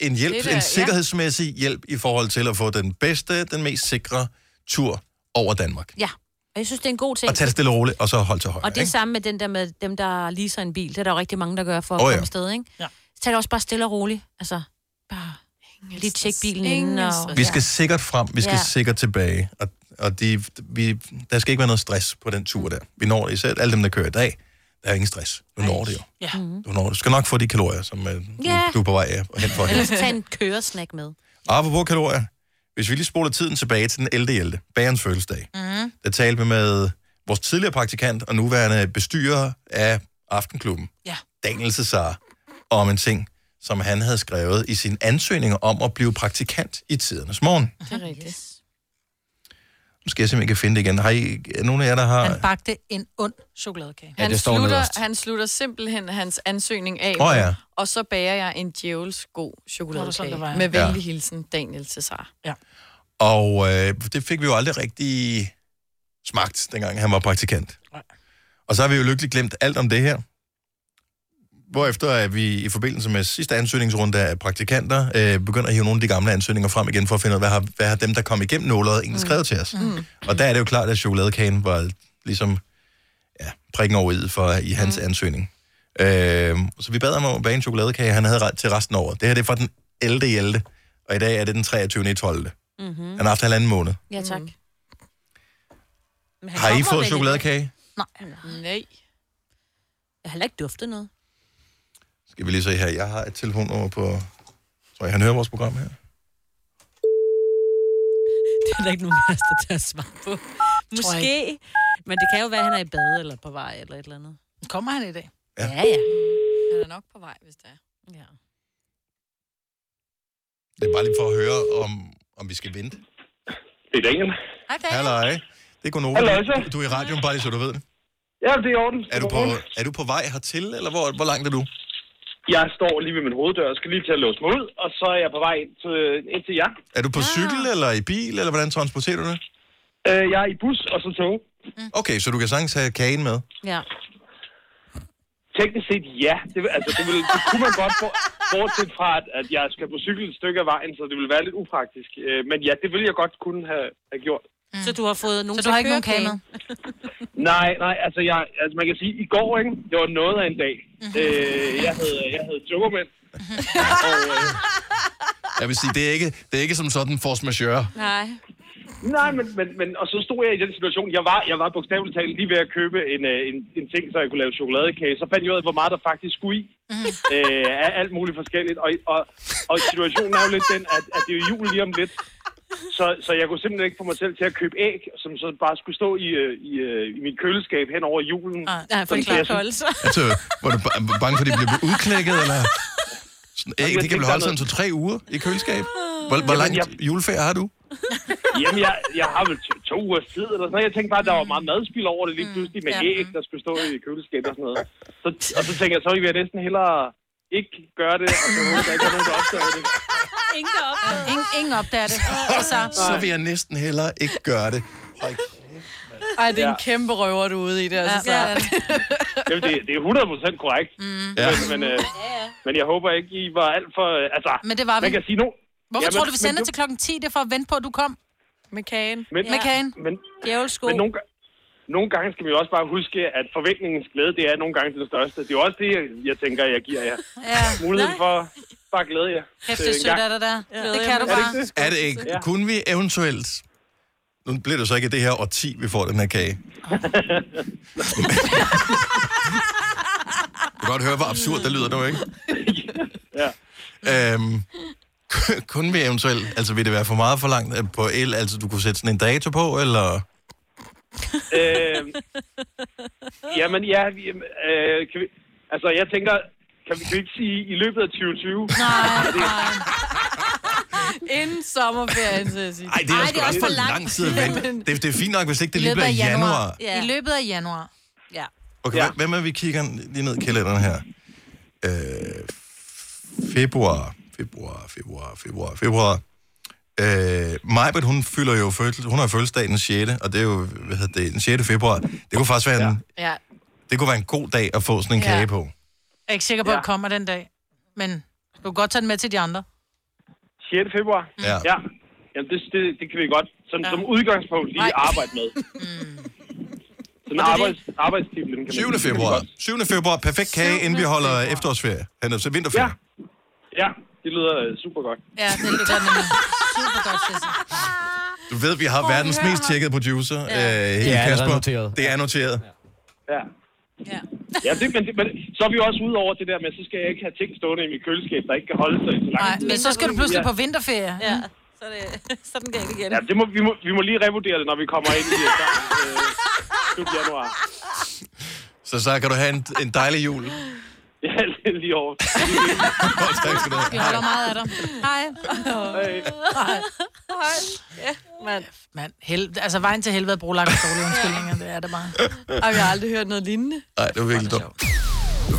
[SPEAKER 1] en hjælp,
[SPEAKER 11] Det er
[SPEAKER 1] det
[SPEAKER 11] da-
[SPEAKER 1] der,
[SPEAKER 11] ja.
[SPEAKER 1] en sikkerhedsmæssig ja. hjælp i forhold til at få den bedste, den mest sikre tur over Danmark.
[SPEAKER 11] Ja, og jeg synes, det er en god ting.
[SPEAKER 1] Og tage det stille og roligt, og så holde til højre.
[SPEAKER 11] Og det er
[SPEAKER 1] ikke?
[SPEAKER 11] samme med den der med dem, der leaser en bil. Det er der jo rigtig mange, der gør for at
[SPEAKER 1] Åh,
[SPEAKER 11] oh,
[SPEAKER 1] ja.
[SPEAKER 11] komme afsted, ikke? Ja. Så tag det også bare stille og roligt. Altså, bare lige tjek bilen inden. Og,
[SPEAKER 1] Vi skal sikkert frem, vi skal
[SPEAKER 11] Ja.
[SPEAKER 1] ja. sikkert tilbage, og, og de, vi, der skal ikke være noget stress på den tur der. Vi når det især, alle dem, der kører i dag, der er ingen stress. Du når det jo.
[SPEAKER 3] Ja.
[SPEAKER 11] Mm.
[SPEAKER 1] Du, når, det. du skal nok få de kalorier, som øh,
[SPEAKER 11] Mhm. Ja.
[SPEAKER 1] du er på vej af og hen for.
[SPEAKER 11] Ellers tag en køresnack med.
[SPEAKER 1] Apropos kalorier, hvis vi lige spoler tiden tilbage til den 11. 11. bagerens fødselsdag,
[SPEAKER 3] Mm-hmm.
[SPEAKER 11] Mm.
[SPEAKER 1] der talte vi med vores tidligere praktikant og nuværende bestyrer af Aftenklubben,
[SPEAKER 3] Ja.
[SPEAKER 1] Daniel Cesar, om en ting, som han havde skrevet i sin ansøgning om at blive praktikant i tidernes morgen.
[SPEAKER 3] Det er rigtigt.
[SPEAKER 1] Nu skal jeg simpelthen ikke finde det igen. Har I, er nogen af jer, der har...
[SPEAKER 3] Han bagte en ond chokoladekage.
[SPEAKER 1] Ja,
[SPEAKER 5] Han,
[SPEAKER 1] det står nederst.
[SPEAKER 5] slutter, han slutter simpelthen hans ansøgning af,
[SPEAKER 1] Åh, ja.
[SPEAKER 5] og så bager jeg en djævels god
[SPEAKER 3] sådan,
[SPEAKER 5] chokoladekage.
[SPEAKER 3] det var, ja.
[SPEAKER 5] Med venlig
[SPEAKER 1] Ja.
[SPEAKER 5] hilsen, Daniel Cesar.
[SPEAKER 3] Ja.
[SPEAKER 1] Og øh, det fik vi jo aldrig rigtig smagt, dengang han var praktikant. Og så har vi jo lykkeligt glemt alt om det her. Hvorefter at vi i forbindelse med sidste ansøgningsrunde af praktikanter, øh, begynder at hive nogle af de gamle ansøgninger frem igen, for at finde ud af, hvad har, hvad har dem, der kom igennem nålet, egentlig skrevet til os.
[SPEAKER 16] Mm.
[SPEAKER 1] Og der er det jo klart, at chokoladekagen var ligesom ja, prikken over i for i hans mm. ansøgning. Øh, så vi bad ham om at bage en chokoladekage, han havde ret til resten af året. Det her det er fra den 11. 11. Og i dag er det den 23. 12.
[SPEAKER 11] Mm-hmm.
[SPEAKER 1] Han har haft halvanden måned.
[SPEAKER 11] Ja, tak. Mm.
[SPEAKER 1] Har I fået chokoladekage?
[SPEAKER 11] Nej. Nej. Jeg har heller ikke duftet noget.
[SPEAKER 1] Skal vi lige se her. Jeg har et telefonnummer på... Tror jeg, han hører vores program her?
[SPEAKER 11] Det er der ikke nogen af os, der tør svare på. Måske. Men det kan jo være, at han er i bad eller på vej eller et eller andet.
[SPEAKER 3] Kommer han i dag?
[SPEAKER 1] Ja,
[SPEAKER 11] ja. ja.
[SPEAKER 5] Han er nok på vej, hvis det er.
[SPEAKER 11] Ja.
[SPEAKER 1] Det er bare lige for at høre, om, om vi skal vente.
[SPEAKER 14] Det er Daniel.
[SPEAKER 3] Hej,
[SPEAKER 1] Halløj. Det er Gunova.
[SPEAKER 14] Halløj,
[SPEAKER 1] Du, du er i radioen, bare lige så du ved det.
[SPEAKER 14] Ja, det er i orden.
[SPEAKER 1] Er du på, er du på vej hertil, eller hvor, hvor langt er du?
[SPEAKER 14] Jeg står lige ved min hoveddør og skal lige til at låse mig ud, og så er jeg på vej ind til, ind til jer.
[SPEAKER 1] Er du på cykel, eller i bil, eller hvordan transporterer du det?
[SPEAKER 14] Øh, jeg er i bus og så tog.
[SPEAKER 1] Okay, så du kan sagtens have kagen med.
[SPEAKER 11] Ja.
[SPEAKER 14] Teknisk set ja. Det, vil- altså, det, vil, det kunne man godt, bort- bortset fra, at, at jeg skal på cykel et stykke af vejen, så det ville være lidt upraktisk. Øh, men ja, det ville jeg godt kunne have, have gjort.
[SPEAKER 11] Mm. Så du har fået nogen
[SPEAKER 3] Så du har ikke nogen kage med?
[SPEAKER 14] Nej, nej, altså, jeg, altså man kan sige, i går, ikke? Det var noget af en dag.
[SPEAKER 11] Mhm.
[SPEAKER 14] Øh, jeg havde, jeg havde tømmermænd. og, øh,
[SPEAKER 1] Jeg vil sige, det er ikke, det er ikke som sådan force majeure.
[SPEAKER 5] Nej.
[SPEAKER 14] Nej, men, men, men og så stod jeg i den situation, jeg var, jeg var bogstaveligt talt lige ved at købe en, øh, en, en ting, så jeg kunne lave chokoladekage. Så fandt jeg ud af, hvor meget der faktisk skulle i
[SPEAKER 11] Mhm.
[SPEAKER 14] øh, af alt muligt forskelligt. Og, og, og situationen er jo lidt den, at, at det er jo jul lige om lidt. Så, så jeg kunne simpelthen ikke få mig selv til at købe æg, som så bare skulle stå i, øh, i, øh, i mit køleskab hen over julen.
[SPEAKER 3] Ah,
[SPEAKER 11] Ah, Nej, for
[SPEAKER 14] Sådan,
[SPEAKER 11] det
[SPEAKER 14] så jeg
[SPEAKER 11] klart
[SPEAKER 14] synes-
[SPEAKER 11] holde sig.
[SPEAKER 1] Altså, var du ba- bange for, at de blev udklækket, eller... Sådan, æg, det kan vel holde sådan to-tre uger i køleskab? Hvor, hvor
[SPEAKER 14] Jamen,
[SPEAKER 1] langt juleferie har du?
[SPEAKER 14] Jamen, jeg, jeg har vel to, to uger tid eller sådan noget. Jeg tænkte bare, at der var meget madspil over det lige pludselig med
[SPEAKER 3] Mm. Ja.
[SPEAKER 14] æg, der skulle stå i køleskabet og sådan noget. Så, og så tænkte jeg, så vil jeg næsten hellere ikke gøre det, og så håber jeg ikke, at nogen der opdager det.
[SPEAKER 11] Ingen opdager
[SPEAKER 3] det. Ingen, ingen opdager det. Altså,
[SPEAKER 1] Så vil jeg næsten hellere ikke gøre det.
[SPEAKER 5] Ej, det er en
[SPEAKER 14] Ja.
[SPEAKER 5] kæmpe røver, du er ude i det. Altså,
[SPEAKER 3] Ja,
[SPEAKER 5] ja,
[SPEAKER 3] det
[SPEAKER 14] Jamen, det, det er 100% korrekt. Mm. Men, men, øh, men jeg håber ikke, I var alt for... Øh, altså,
[SPEAKER 3] Men det var vi.
[SPEAKER 14] man kan sige nu...
[SPEAKER 3] Hvorfor tror du, vi sender til klokken 10? Det er for at vente på, at du kom.
[SPEAKER 5] Med kagen.
[SPEAKER 14] Men,
[SPEAKER 3] Med kagen.
[SPEAKER 14] Men,
[SPEAKER 11] Djævelsko.
[SPEAKER 14] men nogle, ga- nogle gange skal vi jo også bare huske, at forventningens glæde, det er nogle gange den største. Det er jo også det, jeg, jeg tænker, jeg giver jer.
[SPEAKER 3] Ja.
[SPEAKER 14] Muligheden for bare at glæde jer.
[SPEAKER 3] Kæft,
[SPEAKER 14] til
[SPEAKER 3] det er
[SPEAKER 14] en
[SPEAKER 3] sødt
[SPEAKER 14] gang.
[SPEAKER 3] af dig der.
[SPEAKER 14] Ja.
[SPEAKER 3] Det kan du
[SPEAKER 14] Er det
[SPEAKER 3] bare.
[SPEAKER 14] ikke det?
[SPEAKER 1] Er det ikke?
[SPEAKER 14] Ja.
[SPEAKER 1] Ja. Kunne vi eventuelt... Nu bliver det så ikke i det her årti, vi får den her kage. du kan godt høre, hvor absurd det lyder nu, ikke? ja. Øhm, kunne vi eventuelt... Altså, vil det være for meget for langt at på el? Altså, du kunne sætte sådan en dato på, eller...
[SPEAKER 14] øh, jamen, ja, vi, øh, kan vi, altså jeg tænker, kan vi, kan vi ikke sige i løbet af 2020? Nej,
[SPEAKER 5] Inden sommerferien, så jeg sige.
[SPEAKER 1] Ej, det er, Ej, det er også for lang, lang tid at vente. Det, det er fint nok, hvis ikke det lige bliver i januar. januar.
[SPEAKER 3] Ja. I løbet af januar. Ja.
[SPEAKER 1] Okay, ja. hvem er vi kigger lige ned i kalenderen her? Øh, februar, februar, februar, februar, februar. Øh, Majbert, hun fylder jo fødsel, hun har fødselsdag den 6. Og det er jo, hvad hedder det, den 6. februar. Det kunne faktisk være, ja. en,
[SPEAKER 5] Ja.
[SPEAKER 1] det kunne være en god dag at få sådan en
[SPEAKER 3] Ja.
[SPEAKER 1] ja. kage på.
[SPEAKER 3] Jeg er ikke sikker på, at
[SPEAKER 14] Ja.
[SPEAKER 3] det kommer den dag. Men du kan godt tage den med til de andre.
[SPEAKER 14] 6. februar?
[SPEAKER 3] Mm.
[SPEAKER 1] Ja.
[SPEAKER 14] ja. Jamen, det, det, det kan vi godt som, ja. som udgangspunkt lige
[SPEAKER 3] Nej. Mm.
[SPEAKER 14] arbejde med. Sådan
[SPEAKER 1] Og det er
[SPEAKER 14] arbejds, arbejdstitlen kan man
[SPEAKER 1] 7.
[SPEAKER 14] sige.
[SPEAKER 1] februar. 7. februar. Perfekt kage, inden vi holder efterårsferie. Han er så vinterferie. Ja.
[SPEAKER 14] Ja, det lyder øh, super godt.
[SPEAKER 3] Ja, det er det, nemlig. Super godt, Sisse.
[SPEAKER 1] Du ved, vi har verdens mest tjekkede producer, ja. øh,
[SPEAKER 4] Det er allerede
[SPEAKER 1] Kasper.
[SPEAKER 4] noteret.
[SPEAKER 1] Det er noteret.
[SPEAKER 14] Ja. Ja, det, men, det, men så er vi jo også ude over det der med, så skal jeg ikke have ting stående i mit køleskab, der ikke kan holde sig i så lang
[SPEAKER 3] Nej,
[SPEAKER 14] tid.
[SPEAKER 3] men så skal du pludselig på vinterferie. Mm. Ja.
[SPEAKER 11] Så er det, sådan kan jeg ikke igen.
[SPEAKER 14] Ja, det må, vi, må, vi må lige revurdere det, når vi kommer ind i øh, starten, øh, slut januar.
[SPEAKER 1] Så så kan du have en, en dejlig jul.
[SPEAKER 14] Ja, lige over.
[SPEAKER 1] tak skal du
[SPEAKER 3] Vi
[SPEAKER 1] have.
[SPEAKER 3] holder meget af dig. Hej. Hej.
[SPEAKER 5] Hej. Ja, mand.
[SPEAKER 3] Mand, hel... altså vejen til helvede er brolagt og dårlige undskyldninger, det er det bare.
[SPEAKER 5] Og jeg har aldrig hørt noget lignende.
[SPEAKER 1] Nej, det var virkelig dumt.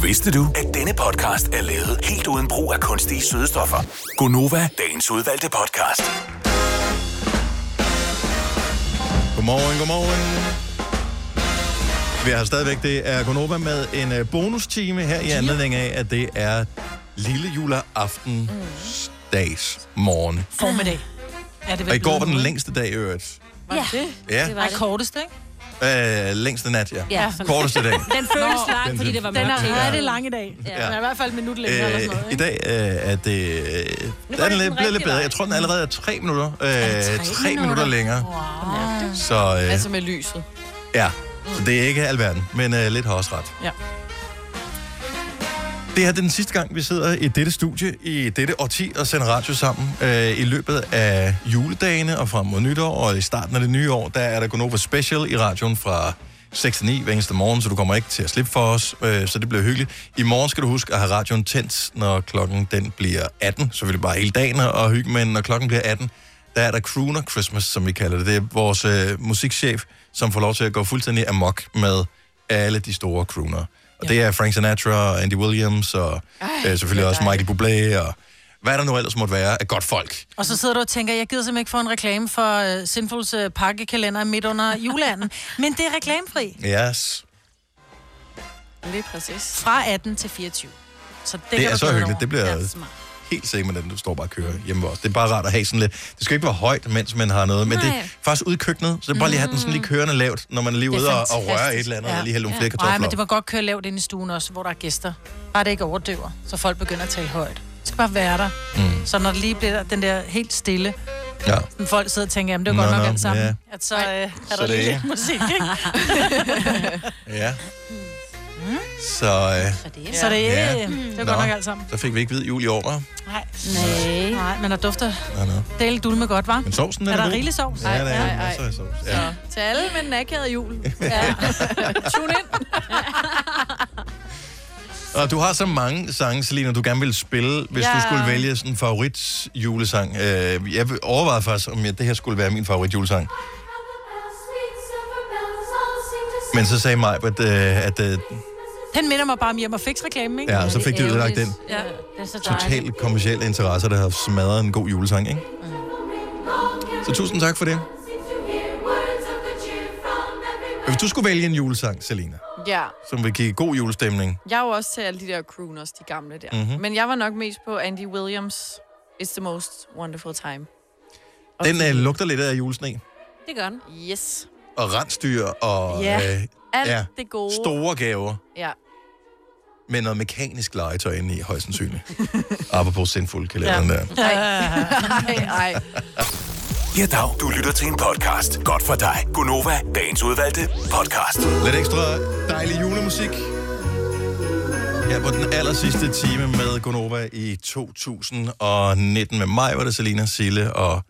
[SPEAKER 7] Vidste du, at denne podcast er lavet helt uden brug af kunstige sødestoffer? Gonova, dagens udvalgte podcast.
[SPEAKER 1] Godmorgen, godmorgen. Vi har stadigvæk, det er Gonova med en øh, bonustime her i anledning af, at det er lille juleaften dags morgen.
[SPEAKER 3] Formiddag. Er det
[SPEAKER 1] Og i går var den længste dag i øvrigt.
[SPEAKER 3] Ja,
[SPEAKER 1] Ja.
[SPEAKER 3] det var det. korteste, ikke?
[SPEAKER 1] Øh, længste nat, ja.
[SPEAKER 3] sådan-
[SPEAKER 1] Korteste dag.
[SPEAKER 11] Den føles
[SPEAKER 3] Nå.
[SPEAKER 11] lang, fordi det var
[SPEAKER 3] Den
[SPEAKER 11] mørkt.
[SPEAKER 3] er rigtig lang i dag. Ja.
[SPEAKER 1] Ja.
[SPEAKER 3] Den er i hvert fald et minut længere eller
[SPEAKER 1] Øh,
[SPEAKER 3] sådan noget,
[SPEAKER 1] I
[SPEAKER 3] ikke?
[SPEAKER 1] dag øh, er det... Øh, der er
[SPEAKER 3] den
[SPEAKER 1] den lidt, blevet
[SPEAKER 3] rigtige
[SPEAKER 1] lidt bedre.
[SPEAKER 3] vej.
[SPEAKER 1] Jeg tror, den allerede er tre minutter. Øh, tre minutter
[SPEAKER 5] minutter?
[SPEAKER 1] længere.
[SPEAKER 5] Wow.
[SPEAKER 1] Så øh,
[SPEAKER 5] Altså med lyset.
[SPEAKER 1] ja, så det er ikke alverden, men øh, lidt har også ret.
[SPEAKER 5] Ja.
[SPEAKER 1] Det her det er den sidste gang, vi sidder i dette studie i dette årti og sender radio sammen. Øh, I løbet af juledagene og frem mod nytår og i starten af det nye år, der er der Gonova Special i radioen fra 6 til 9 hver eneste morgen, så du kommer ikke til at slippe for os, øh, så det bliver hyggeligt. I morgen skal du huske at have radioen tændt, når klokken den bliver 18, så vil det bare hele dagen og hygge, men når klokken bliver 18, der er der Crooner Christmas, som vi kalder det. Det er vores øh, musikchef, som får lov til at gå fuldstændig amok med alle de store crooner. Og det er Frank Sinatra, og Andy Williams og øh, selvfølgelig også Michael Bublé og hvad der nu ellers måtte være af godt folk.
[SPEAKER 3] Og så sidder du og tænker, jeg gider simpelthen ikke få en reklame for uh, Sinfuls uh, pakkekalender midt under juleanden. Men det er reklamefri
[SPEAKER 1] Yes.
[SPEAKER 5] Lige præcis.
[SPEAKER 3] fra 18 til 24. Så det,
[SPEAKER 1] Det,
[SPEAKER 3] kan
[SPEAKER 1] det er
[SPEAKER 3] du
[SPEAKER 1] så
[SPEAKER 3] glæde dig
[SPEAKER 1] hyggeligt.
[SPEAKER 3] over.
[SPEAKER 1] Det bliver
[SPEAKER 3] Ja, smart.
[SPEAKER 1] helt sikkert, med den, du står bare og kører hjemme ved os. Det er bare rart at have sådan lidt. Det skal ikke være højt, mens man har noget, men det er
[SPEAKER 3] Nej.
[SPEAKER 1] faktisk ude i køkkenet, så det er bare lige have den sådan lige kørende lavt, når man er lige
[SPEAKER 3] Det er
[SPEAKER 1] ude og, og
[SPEAKER 3] fantastisk.
[SPEAKER 1] røre et eller andet, ja. og lige hælde nogle ja. flere kartofler
[SPEAKER 3] Nej, men
[SPEAKER 1] op.
[SPEAKER 3] det må godt køre lavt ind i stuen også, hvor der er gæster. Bare det ikke overdøver, så folk begynder at tale højt. Det skal bare være der. Mm. Så når det lige bliver den der helt stille,
[SPEAKER 1] Ja.
[SPEAKER 3] som folk sidder og tænker, jamen det er godt
[SPEAKER 1] Nå,
[SPEAKER 3] nok
[SPEAKER 1] nå,
[SPEAKER 3] alt sammen,
[SPEAKER 1] ja.
[SPEAKER 3] at så øh, er
[SPEAKER 1] Så
[SPEAKER 3] der
[SPEAKER 1] det
[SPEAKER 3] lige
[SPEAKER 1] er-
[SPEAKER 3] lidt musik, ikke?
[SPEAKER 1] Ja. Så, øh,
[SPEAKER 3] Så det,
[SPEAKER 1] Ja.
[SPEAKER 3] ja. det er godt
[SPEAKER 1] Nå,
[SPEAKER 3] nok alt sammen.
[SPEAKER 1] Så fik vi ikke hvid jul i år, hva'?
[SPEAKER 3] Nej. Nej. Nej, men der dufter
[SPEAKER 1] Nå, nå.
[SPEAKER 3] del dulme godt, var?
[SPEAKER 1] Men sovsen, den
[SPEAKER 3] er
[SPEAKER 1] er
[SPEAKER 3] der
[SPEAKER 1] god.
[SPEAKER 3] rigelig sovs?
[SPEAKER 1] Ja, der er masser af sovs. Ja.
[SPEAKER 5] Så til alle med den akavede jul. Ja. Tune ind.
[SPEAKER 1] Og du har så mange sange, Selina, du gerne vil spille, hvis ja.
[SPEAKER 5] Ja.
[SPEAKER 1] du skulle vælge sådan en favorit julesang. Øh, jeg overvejede faktisk, om jeg, det her skulle være min favorit julesang. Men så sagde mig, at, øh, at øh,
[SPEAKER 3] Den minder mig bare om hjem og fix reklamen, ikke?
[SPEAKER 1] ja, så fik du ødelagt den
[SPEAKER 3] Ja, det er så
[SPEAKER 1] totalt kommersielle interesse, der har smadret en god julesang, ikke? Så tusind tak for det. Hvis du skulle vælge en julesang, Selina,
[SPEAKER 5] Ja.
[SPEAKER 1] som vil give god julestemning,
[SPEAKER 5] Jeg er jo også til alle de der crooners, de gamle der.
[SPEAKER 1] Mhm.
[SPEAKER 5] Mm-hmm. Men jeg var nok mest på Andy Williams' It's the most wonderful time.
[SPEAKER 1] den øh, lugter lidt af julesne
[SPEAKER 5] Det gør den. Yes.
[SPEAKER 1] og rensdyr og
[SPEAKER 5] Ja.
[SPEAKER 1] øh,
[SPEAKER 5] Alt det gode.
[SPEAKER 1] store gaver.
[SPEAKER 5] Ja.
[SPEAKER 1] med noget mekanisk legetøj inde i, højst sandsynligt. Apropos sindfulde kalenderen ja. der.
[SPEAKER 5] Nej. Nej, nej.
[SPEAKER 7] Ja, dag. Du lytter til en podcast. Godt for dig. Gonova, dagens udvalgte podcast.
[SPEAKER 1] Lidt ekstra dejlig julemusik. Ja, på den aller sidste time med Gonova i 2019 med mig, var det Selina, Sille og...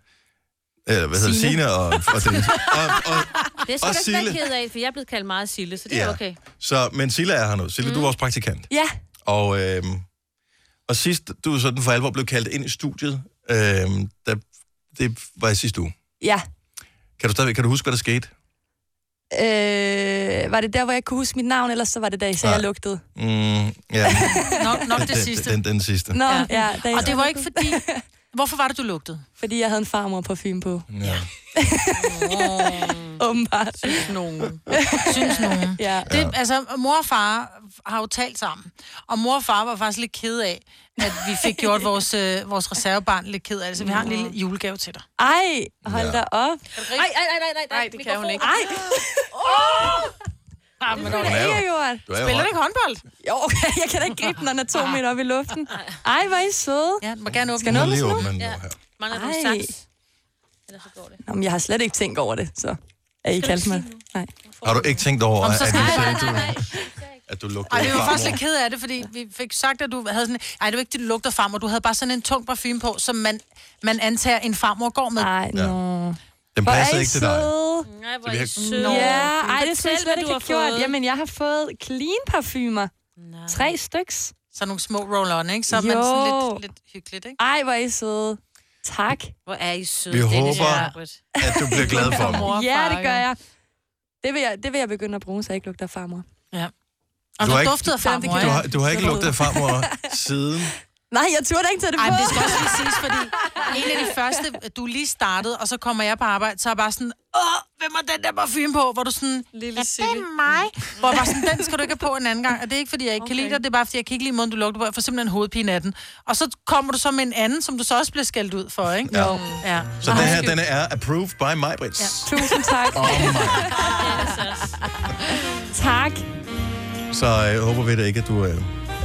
[SPEAKER 1] Eller, hvad hedder det?
[SPEAKER 11] Signe.
[SPEAKER 1] Signe og, og, Dennis. og, og,
[SPEAKER 11] Det
[SPEAKER 1] Og
[SPEAKER 11] skal du ikke
[SPEAKER 1] Sille.
[SPEAKER 11] være ked af, for jeg er blevet kaldt meget Sille, så det er
[SPEAKER 1] Ja.
[SPEAKER 11] okay.
[SPEAKER 1] så, men Sille er her nu. Sille, mm. du er også praktikant.
[SPEAKER 11] Ja.
[SPEAKER 1] Og, øhm, og sidst du sådan for alvor blev kaldt ind i studiet, øhm, der, det var i sidste uge.
[SPEAKER 14] Ja.
[SPEAKER 1] Kan du stadigvæk kan du huske, hvad der skete?
[SPEAKER 14] Øh, var det der, hvor jeg kunne huske mit navn, eller så var det da, I sagde, jeg lugtede?
[SPEAKER 1] Mm, ja.
[SPEAKER 3] nok, nok
[SPEAKER 1] Den-
[SPEAKER 3] det sidste.
[SPEAKER 1] Den, den, den sidste.
[SPEAKER 14] Nå, ja. ja da I
[SPEAKER 3] Og det var
[SPEAKER 14] sagde-
[SPEAKER 3] ikke fordi... Hvorfor var det, du lugtede?
[SPEAKER 5] Fordi jeg havde en farmor parfume på.
[SPEAKER 1] Ja.
[SPEAKER 5] Åbenbart. Synes
[SPEAKER 21] nogen.
[SPEAKER 3] Synes nogen.
[SPEAKER 5] ja.
[SPEAKER 3] Det, altså, mor og far har jo talt sammen, og mor og far var faktisk lidt ked af, at vi fik gjort vores, øh, vores reservebarn lidt ked af det, så vi har en lille
[SPEAKER 5] Mm.
[SPEAKER 3] julegave til dig.
[SPEAKER 5] Ej, hold
[SPEAKER 3] Ja.
[SPEAKER 5] da op.
[SPEAKER 3] Ej, ej, ej, nej, nej, nej, det kan hun ikke.
[SPEAKER 5] Ej!
[SPEAKER 3] Oh! Ah, men
[SPEAKER 5] Det er
[SPEAKER 3] okay.
[SPEAKER 5] da egerjord.
[SPEAKER 3] Du er jo Spiller du ikke håndbold?
[SPEAKER 5] Jo, okay, jeg kan da ikke gribe den, når den er to meter op i luften. Ej, hvor er I søde.
[SPEAKER 3] Ja, den må gerne åbne.
[SPEAKER 5] Skal den åbnes nu?
[SPEAKER 1] Ja.
[SPEAKER 5] Mangler
[SPEAKER 3] du
[SPEAKER 5] Ej. Nå, men jeg har slet ikke tænkt over det, så er I kaldt mig. Nej.
[SPEAKER 1] Har du ikke tænkt over,
[SPEAKER 5] Om
[SPEAKER 1] at
[SPEAKER 5] så
[SPEAKER 1] du
[SPEAKER 5] skal-
[SPEAKER 1] sagde, du, at du lugtede
[SPEAKER 3] Ej, vi var
[SPEAKER 1] farmor?
[SPEAKER 3] faktisk lidt ked af det, fordi vi fik sagt, at du havde sådan... Ej, det var ikke, det, du lugter farmor. Du havde bare sådan en tung parfume på, som man, man antager, en farmor går med.
[SPEAKER 5] Ej,
[SPEAKER 1] Ja. Den
[SPEAKER 5] Hvor
[SPEAKER 1] passer
[SPEAKER 5] er I
[SPEAKER 1] ikke til dig.
[SPEAKER 5] søde.
[SPEAKER 3] Nej,
[SPEAKER 1] hvor er I søde.
[SPEAKER 5] Nå, ja,
[SPEAKER 3] Nå.
[SPEAKER 5] ej, det
[SPEAKER 3] Fortæl,
[SPEAKER 5] synes jeg
[SPEAKER 3] hvad
[SPEAKER 5] slet ikke, jeg
[SPEAKER 3] du
[SPEAKER 5] har
[SPEAKER 3] har
[SPEAKER 5] gjort.
[SPEAKER 3] fået.
[SPEAKER 5] Jamen, jeg har fået clean parfumer. Tre styks.
[SPEAKER 3] Så nogle små roll-on, ikke? Så er man sådan
[SPEAKER 5] Jo.
[SPEAKER 3] lidt, lidt hyggeligt, ikke?
[SPEAKER 5] Ej, hvor er I søde. Tak. Hvor er I søde.
[SPEAKER 1] Vi håber, at du bliver glad for mig.
[SPEAKER 5] Ja, det gør jeg. Det vil jeg, det vil jeg begynde at bruge, så jeg ikke lugter af farmor. Og
[SPEAKER 3] Ja.
[SPEAKER 1] har
[SPEAKER 5] du
[SPEAKER 1] ikke-
[SPEAKER 5] duftede af farmor,
[SPEAKER 1] du
[SPEAKER 5] ja.
[SPEAKER 1] har, du har ikke
[SPEAKER 5] Så-
[SPEAKER 1] lugtet af farmor siden.
[SPEAKER 5] Nej, jeg turde da ikke tage det
[SPEAKER 3] Ej,
[SPEAKER 5] på.
[SPEAKER 3] men det skal også lige siges, fordi en af de første, du lige startede, og så kommer jeg på arbejde, så er jeg bare sådan, åh, hvem har den der parfume på? Hvor du sådan, Lille ja, det er mig. Hvor jeg bare sådan, den skal du ikke have på en anden gang. Og det er ikke, fordi jeg ikke okay. kan lide dig, det er bare, fordi jeg kan ikke lide måden, du lugter på. Jeg får simpelthen hovedpine af den. Og så kommer du så med en anden, som du så også bliver skældt ud for, ikke?
[SPEAKER 1] Ja.
[SPEAKER 3] ja.
[SPEAKER 1] Så den her, den er Oh approved by Majbrits.
[SPEAKER 5] Tusind tak. tak.
[SPEAKER 1] Så øh, håber vi da ikke, at du øh,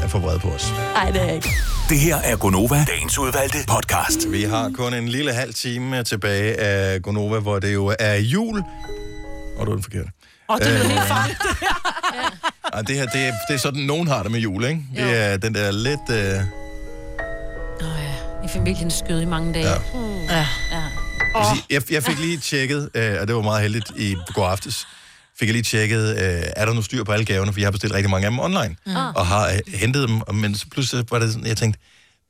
[SPEAKER 1] er for vred på os.
[SPEAKER 5] Nej, det er jeg ikke.
[SPEAKER 1] Det her er Gonova, dagens udvalgte podcast. Vi har kun en lille halv time tilbage af Gonova, hvor det jo er jul. Og du er den forkerte.
[SPEAKER 3] Og det lyder
[SPEAKER 1] Øh,
[SPEAKER 3] helt farligt.
[SPEAKER 1] Ej, det her, det er, det er sådan, nogen har det med jul, ikke? Det er den der lidt... Øh,
[SPEAKER 22] I familien skød i mange dage. Ja.
[SPEAKER 11] Hmm.
[SPEAKER 22] Ja. ja.
[SPEAKER 1] Jeg vil sige, Jeg, jeg fik lige tjekket, øh, og det var meget heldigt i går aftes, fik jeg lige tjekket, øh, er der nu styr på alle gaverne, for jeg har bestilt rigtig mange af dem online,
[SPEAKER 16] Mm.
[SPEAKER 1] mm. og har øh, hentet dem, og- men så pludselig var det sådan, jeg tænkte,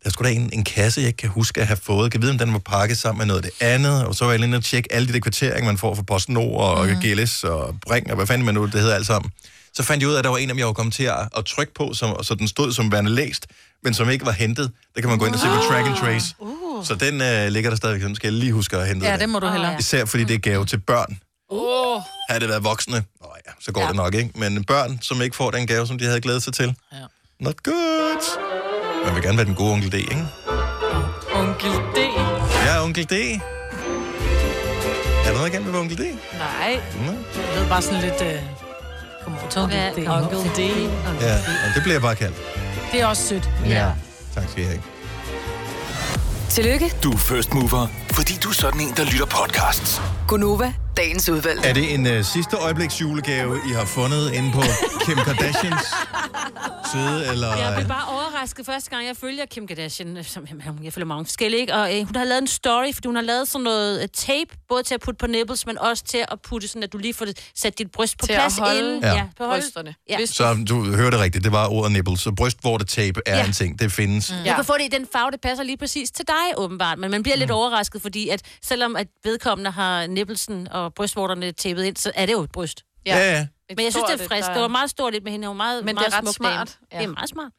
[SPEAKER 1] der skulle da en, en kasse, jeg ikke kan huske at have fået. Kan vide, om den var pakket sammen med noget af det andet. Og så var jeg lige inde og tjekke alle de der kvarteringer, man får fra PostNord og mm. GLS og Bring, og hvad fanden man nu, det hedder alt sammen. Så fandt jeg ud af, at der var en, af dem, jeg var kommet til at, at trykke på, som, så den stod som værende læst, men som ikke var hentet. Der kan man gå ind og se på Track and Trace. Så den øh, ligger der stadigvæk. Den skal jeg lige huske at hente.
[SPEAKER 3] Ja, Mm.
[SPEAKER 1] den.
[SPEAKER 3] det må du hellere.
[SPEAKER 1] Især fordi det er gave til børn.
[SPEAKER 5] Uh.
[SPEAKER 3] Oh.
[SPEAKER 1] Havde det været voksne, Nå ja, så går ja. det nok, ikke? Men børn, som ikke får den gave, som de havde glædet sig til. Ja. Not good. Man vil gerne være den gode onkel D, ikke?
[SPEAKER 21] Onkel D.
[SPEAKER 1] Ja, onkel D. Er der noget igen med onkel D?
[SPEAKER 21] Nej.
[SPEAKER 1] Nå.
[SPEAKER 3] Det lyder bare sådan lidt... Øh, kom over til onkel D.
[SPEAKER 21] Onkel D.
[SPEAKER 1] Ja, ja det bliver jeg bare kaldt.
[SPEAKER 3] Det er også sødt.
[SPEAKER 1] Ja. Tak skal I have.
[SPEAKER 6] Tillykke,
[SPEAKER 7] Du er first mover, fordi du er sådan en, der lytter podcasts.
[SPEAKER 6] Gunova, dagens udvalgte.
[SPEAKER 1] Er det en øh, sidste øjebliks julegave, I har fundet inde på Kim Kardashians side, eller... øh,
[SPEAKER 11] Jeg blev bare overrasket første gang, jeg følger Kim Kardashian. øh, Som, jamen, jeg følger mange forskellige, ikke? Og øh, hun har lavet en story, fordi hun har lavet sådan noget øh, tape, både til at putte på nipples, men også til at putte sådan, at du lige får det- sat dit bryst på
[SPEAKER 21] Til at
[SPEAKER 11] plads
[SPEAKER 21] holde
[SPEAKER 11] inden.
[SPEAKER 1] Ja.
[SPEAKER 11] på holde-
[SPEAKER 21] brysterne.
[SPEAKER 11] Ja.
[SPEAKER 1] Så du hørte rigtigt, det var ordet nipple, så brystvortetape er ja. en ting, det findes.
[SPEAKER 11] Mm. Du kan få det i den farve, det passer lige præcis til dig, åbenbart. Men man bliver mm. lidt overrasket, fordi at selvom at vedkommende har nippelsen og brystvorterne tæppet ind, så er det jo et bryst.
[SPEAKER 1] Ja. Ja, ja.
[SPEAKER 11] Men jeg synes, det er frisk. Det var meget stort lidt med hende. Hun var meget,
[SPEAKER 21] Men det er
[SPEAKER 11] meget
[SPEAKER 21] ret
[SPEAKER 11] smuk dame.
[SPEAKER 21] smart.
[SPEAKER 11] Det er meget smart.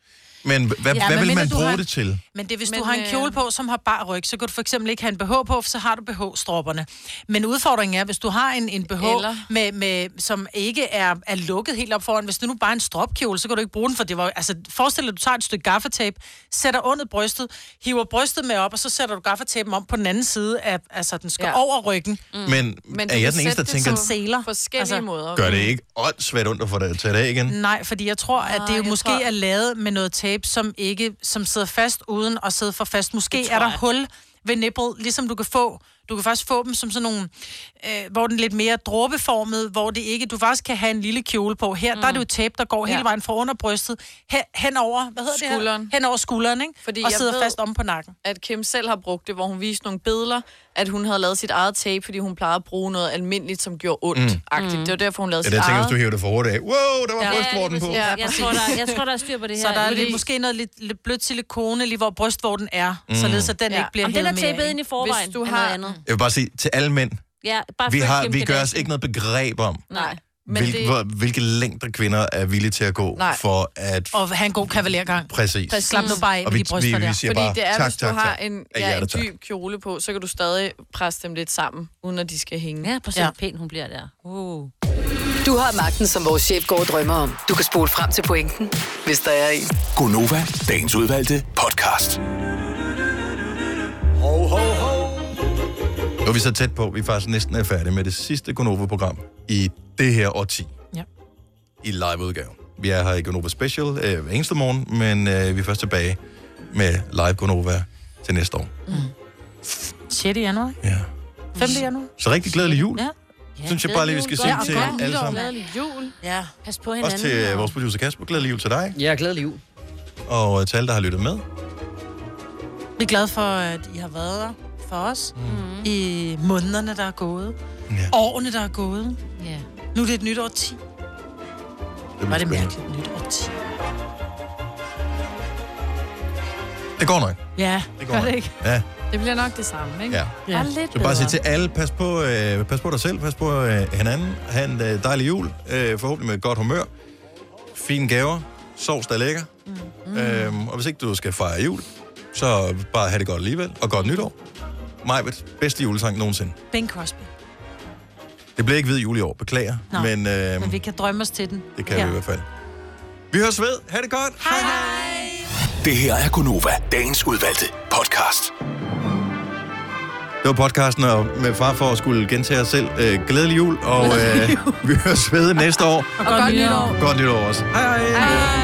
[SPEAKER 1] Men h- hvad,
[SPEAKER 3] Ja,
[SPEAKER 1] ja, hvad
[SPEAKER 3] men
[SPEAKER 1] vil man
[SPEAKER 3] mindre du
[SPEAKER 1] bruge
[SPEAKER 3] har-
[SPEAKER 1] det til?
[SPEAKER 3] Men det er, hvis men,
[SPEAKER 21] Men,
[SPEAKER 3] du har en
[SPEAKER 21] øh,
[SPEAKER 3] kjole på, som har bar ryg, så kan du for eksempel ikke have en BH på, for så har du BH-stropperne. Men udfordringen er, hvis du har en, en BH,
[SPEAKER 21] Eller-
[SPEAKER 3] med, med, som ikke er, er lukket helt op foran, hvis du nu bare er en stropkjole, så kan du ikke bruge den, for det var, jo- altså, forestil dig, at du tager et stykke gaffatape, sætter under brystet, hiver brystet med op, og så sætter du gaffatapen om på den anden side, af, altså den skal ja. over ryggen.
[SPEAKER 1] Mm. Men Men er du jeg kan den eneste, sætte der det tænker, som
[SPEAKER 3] seler?
[SPEAKER 21] Forskellige altså, måder.
[SPEAKER 1] Gør det ikke åndssvagt ondt at få det til det af igen?
[SPEAKER 3] Nej, fordi jeg tror, at det jo
[SPEAKER 21] jeg
[SPEAKER 3] måske
[SPEAKER 21] tror-
[SPEAKER 3] er lavet med noget tape, som ikke som sidder fast uden at sidde for fast. Måske
[SPEAKER 21] Det tror
[SPEAKER 3] er der
[SPEAKER 21] jeg.
[SPEAKER 3] hul ved nipple, ligesom du kan få. Du kan faktisk få dem som sådan nogle, øh, hvor den er lidt mere dråbeformet, hvor det ikke, du faktisk kan have en lille kjole på. Her, mm. der er det jo tape, der går ja. hele
[SPEAKER 21] Ja.
[SPEAKER 3] vejen fra under brystet, hen, hen over, hvad hedder
[SPEAKER 21] Skulderen.
[SPEAKER 3] det her? Hen over skulderen, ikke?
[SPEAKER 21] Fordi
[SPEAKER 3] og
[SPEAKER 21] jeg
[SPEAKER 3] sidder
[SPEAKER 21] ved-
[SPEAKER 3] fast om på nakken.
[SPEAKER 21] at Kim selv har brugt det, hvor hun viste nogle billeder, at hun havde lavet sit eget tape, fordi hun plejede at bruge noget almindeligt, som gjorde ondt.
[SPEAKER 1] Mm.
[SPEAKER 21] Mm. Det var derfor, hun
[SPEAKER 1] Ja,
[SPEAKER 21] lavede
[SPEAKER 1] det
[SPEAKER 21] sit
[SPEAKER 1] jeg tænker, hvis
[SPEAKER 21] eget.
[SPEAKER 1] du hiver det for hurtigt af. Wow, der var
[SPEAKER 21] Ja,
[SPEAKER 1] ja,
[SPEAKER 21] ja,
[SPEAKER 1] brystvorten
[SPEAKER 21] lige
[SPEAKER 1] på.
[SPEAKER 21] præcis. Ja,
[SPEAKER 11] Jeg tror, der, jeg tror, der er styr på det her.
[SPEAKER 3] Så der er
[SPEAKER 11] Fordi-
[SPEAKER 3] lidt, måske noget lidt, lidt blødt silikone, lige hvor brystvorten er,
[SPEAKER 1] Mm.
[SPEAKER 3] mm. således at den ja. ikke bliver
[SPEAKER 11] Om den er
[SPEAKER 3] hævet mere
[SPEAKER 11] tapet ind i forvejen,
[SPEAKER 21] Hvis du
[SPEAKER 11] er
[SPEAKER 21] har-
[SPEAKER 11] noget andet.
[SPEAKER 1] Jeg vil bare sige til alle mænd,
[SPEAKER 11] Ja, bare
[SPEAKER 1] vi,
[SPEAKER 11] følg
[SPEAKER 1] har,
[SPEAKER 11] Kim
[SPEAKER 1] vi gør os
[SPEAKER 11] Kardashian.
[SPEAKER 1] ikke noget begreb om,
[SPEAKER 21] Nej.
[SPEAKER 1] Men Hvil, det...
[SPEAKER 5] det-
[SPEAKER 1] hvor, hvilke længder kvinder er villige til at gå
[SPEAKER 5] Nej.
[SPEAKER 1] for at...
[SPEAKER 3] Og have en god kavalergang.
[SPEAKER 1] Præcis.
[SPEAKER 3] Præcis. Slap nu bare af
[SPEAKER 1] Og
[SPEAKER 3] med
[SPEAKER 1] vi-
[SPEAKER 3] de bryster
[SPEAKER 1] vi- vi
[SPEAKER 3] der.
[SPEAKER 1] siger
[SPEAKER 5] Fordi
[SPEAKER 1] bare,
[SPEAKER 5] det er,
[SPEAKER 1] tak,
[SPEAKER 5] hvis du
[SPEAKER 1] tak,
[SPEAKER 5] har
[SPEAKER 1] tak.
[SPEAKER 5] en,
[SPEAKER 1] Af
[SPEAKER 5] ja, en
[SPEAKER 1] hjertet, tak.
[SPEAKER 5] dyb kjole på, så kan du stadig presse dem lidt sammen, uden at de skal hænge.
[SPEAKER 13] Ja, prøv at se, hvor pæn hun bliver der. Uh.
[SPEAKER 6] Du har magten, som vores chef går og drømmer om. Du kan spole frem til pointen, hvis der er en.
[SPEAKER 7] Gonova, dagens udvalgte podcast.
[SPEAKER 1] Ho, ho, ho. Nu er vi så tæt på, vi er faktisk næsten er færdige med det sidste Gonova-program i det her årti.
[SPEAKER 3] Ja.
[SPEAKER 1] I live-udgave. Vi er her i Gonova Special øh, hver eneste morgen, men øh, vi er først tilbage med live Gonova til næste år.
[SPEAKER 3] 6. januar, ikke?
[SPEAKER 1] Ja.
[SPEAKER 3] 5. januar.
[SPEAKER 1] Så rigtig glædelig jul.
[SPEAKER 3] Ja.
[SPEAKER 1] Synes jeg bare lige, vi skal sige til alle sammen.
[SPEAKER 3] Glædelig jul. Ja. Pas på
[SPEAKER 1] Også til øh, vores producer Kasper. Glædelig jul til dig.
[SPEAKER 4] Ja, glædelig jul.
[SPEAKER 1] Og øh, til alle, der har lyttet med.
[SPEAKER 3] Vi er glade for, at I har været der for os mm. i månederne, der er gået. Ja. Årene, der er gået. Ja. Nu er det et nyt årti.
[SPEAKER 1] Det
[SPEAKER 3] Var det mærkeligt nyt årti?
[SPEAKER 1] Det går nok.
[SPEAKER 5] Ja,
[SPEAKER 1] Det går nok. Ja.
[SPEAKER 5] Det bliver nok det samme, ikke?
[SPEAKER 1] Ja.
[SPEAKER 5] Bare lidt
[SPEAKER 1] Så bare sige
[SPEAKER 5] bedre.
[SPEAKER 1] til alle, pas på, øh, pas på dig selv, pas på øh, hinanden. Ha' en øh, dejlig jul, øh, forhåbentlig med godt humør. Fine gaver, sovs, der er lækker.
[SPEAKER 5] Mm-hmm.
[SPEAKER 1] Mm. Øhm, og hvis ikke du skal fejre jul, så bare have det godt alligevel. Og godt nytår. Majbet, bedste julesang nogensinde.
[SPEAKER 3] Ben Crosby.
[SPEAKER 1] Det bliver ikke hvid jul i år, beklager.
[SPEAKER 3] Nå,
[SPEAKER 1] men, øh,
[SPEAKER 3] Men vi kan drømme os til den.
[SPEAKER 1] det kan ja. vi i hvert fald. Vi høres ved. Ha' det godt.
[SPEAKER 3] Hej, hej.
[SPEAKER 7] Det her er Gonova, dagens udvalgte podcast.
[SPEAKER 1] Det var podcasten og med far for at skulle gentage os selv. Øh, glædelig jul, og øh, vi høres ved næste år.
[SPEAKER 3] Og godt nytår.
[SPEAKER 1] Godt nytår også. Hej hej.
[SPEAKER 3] hej.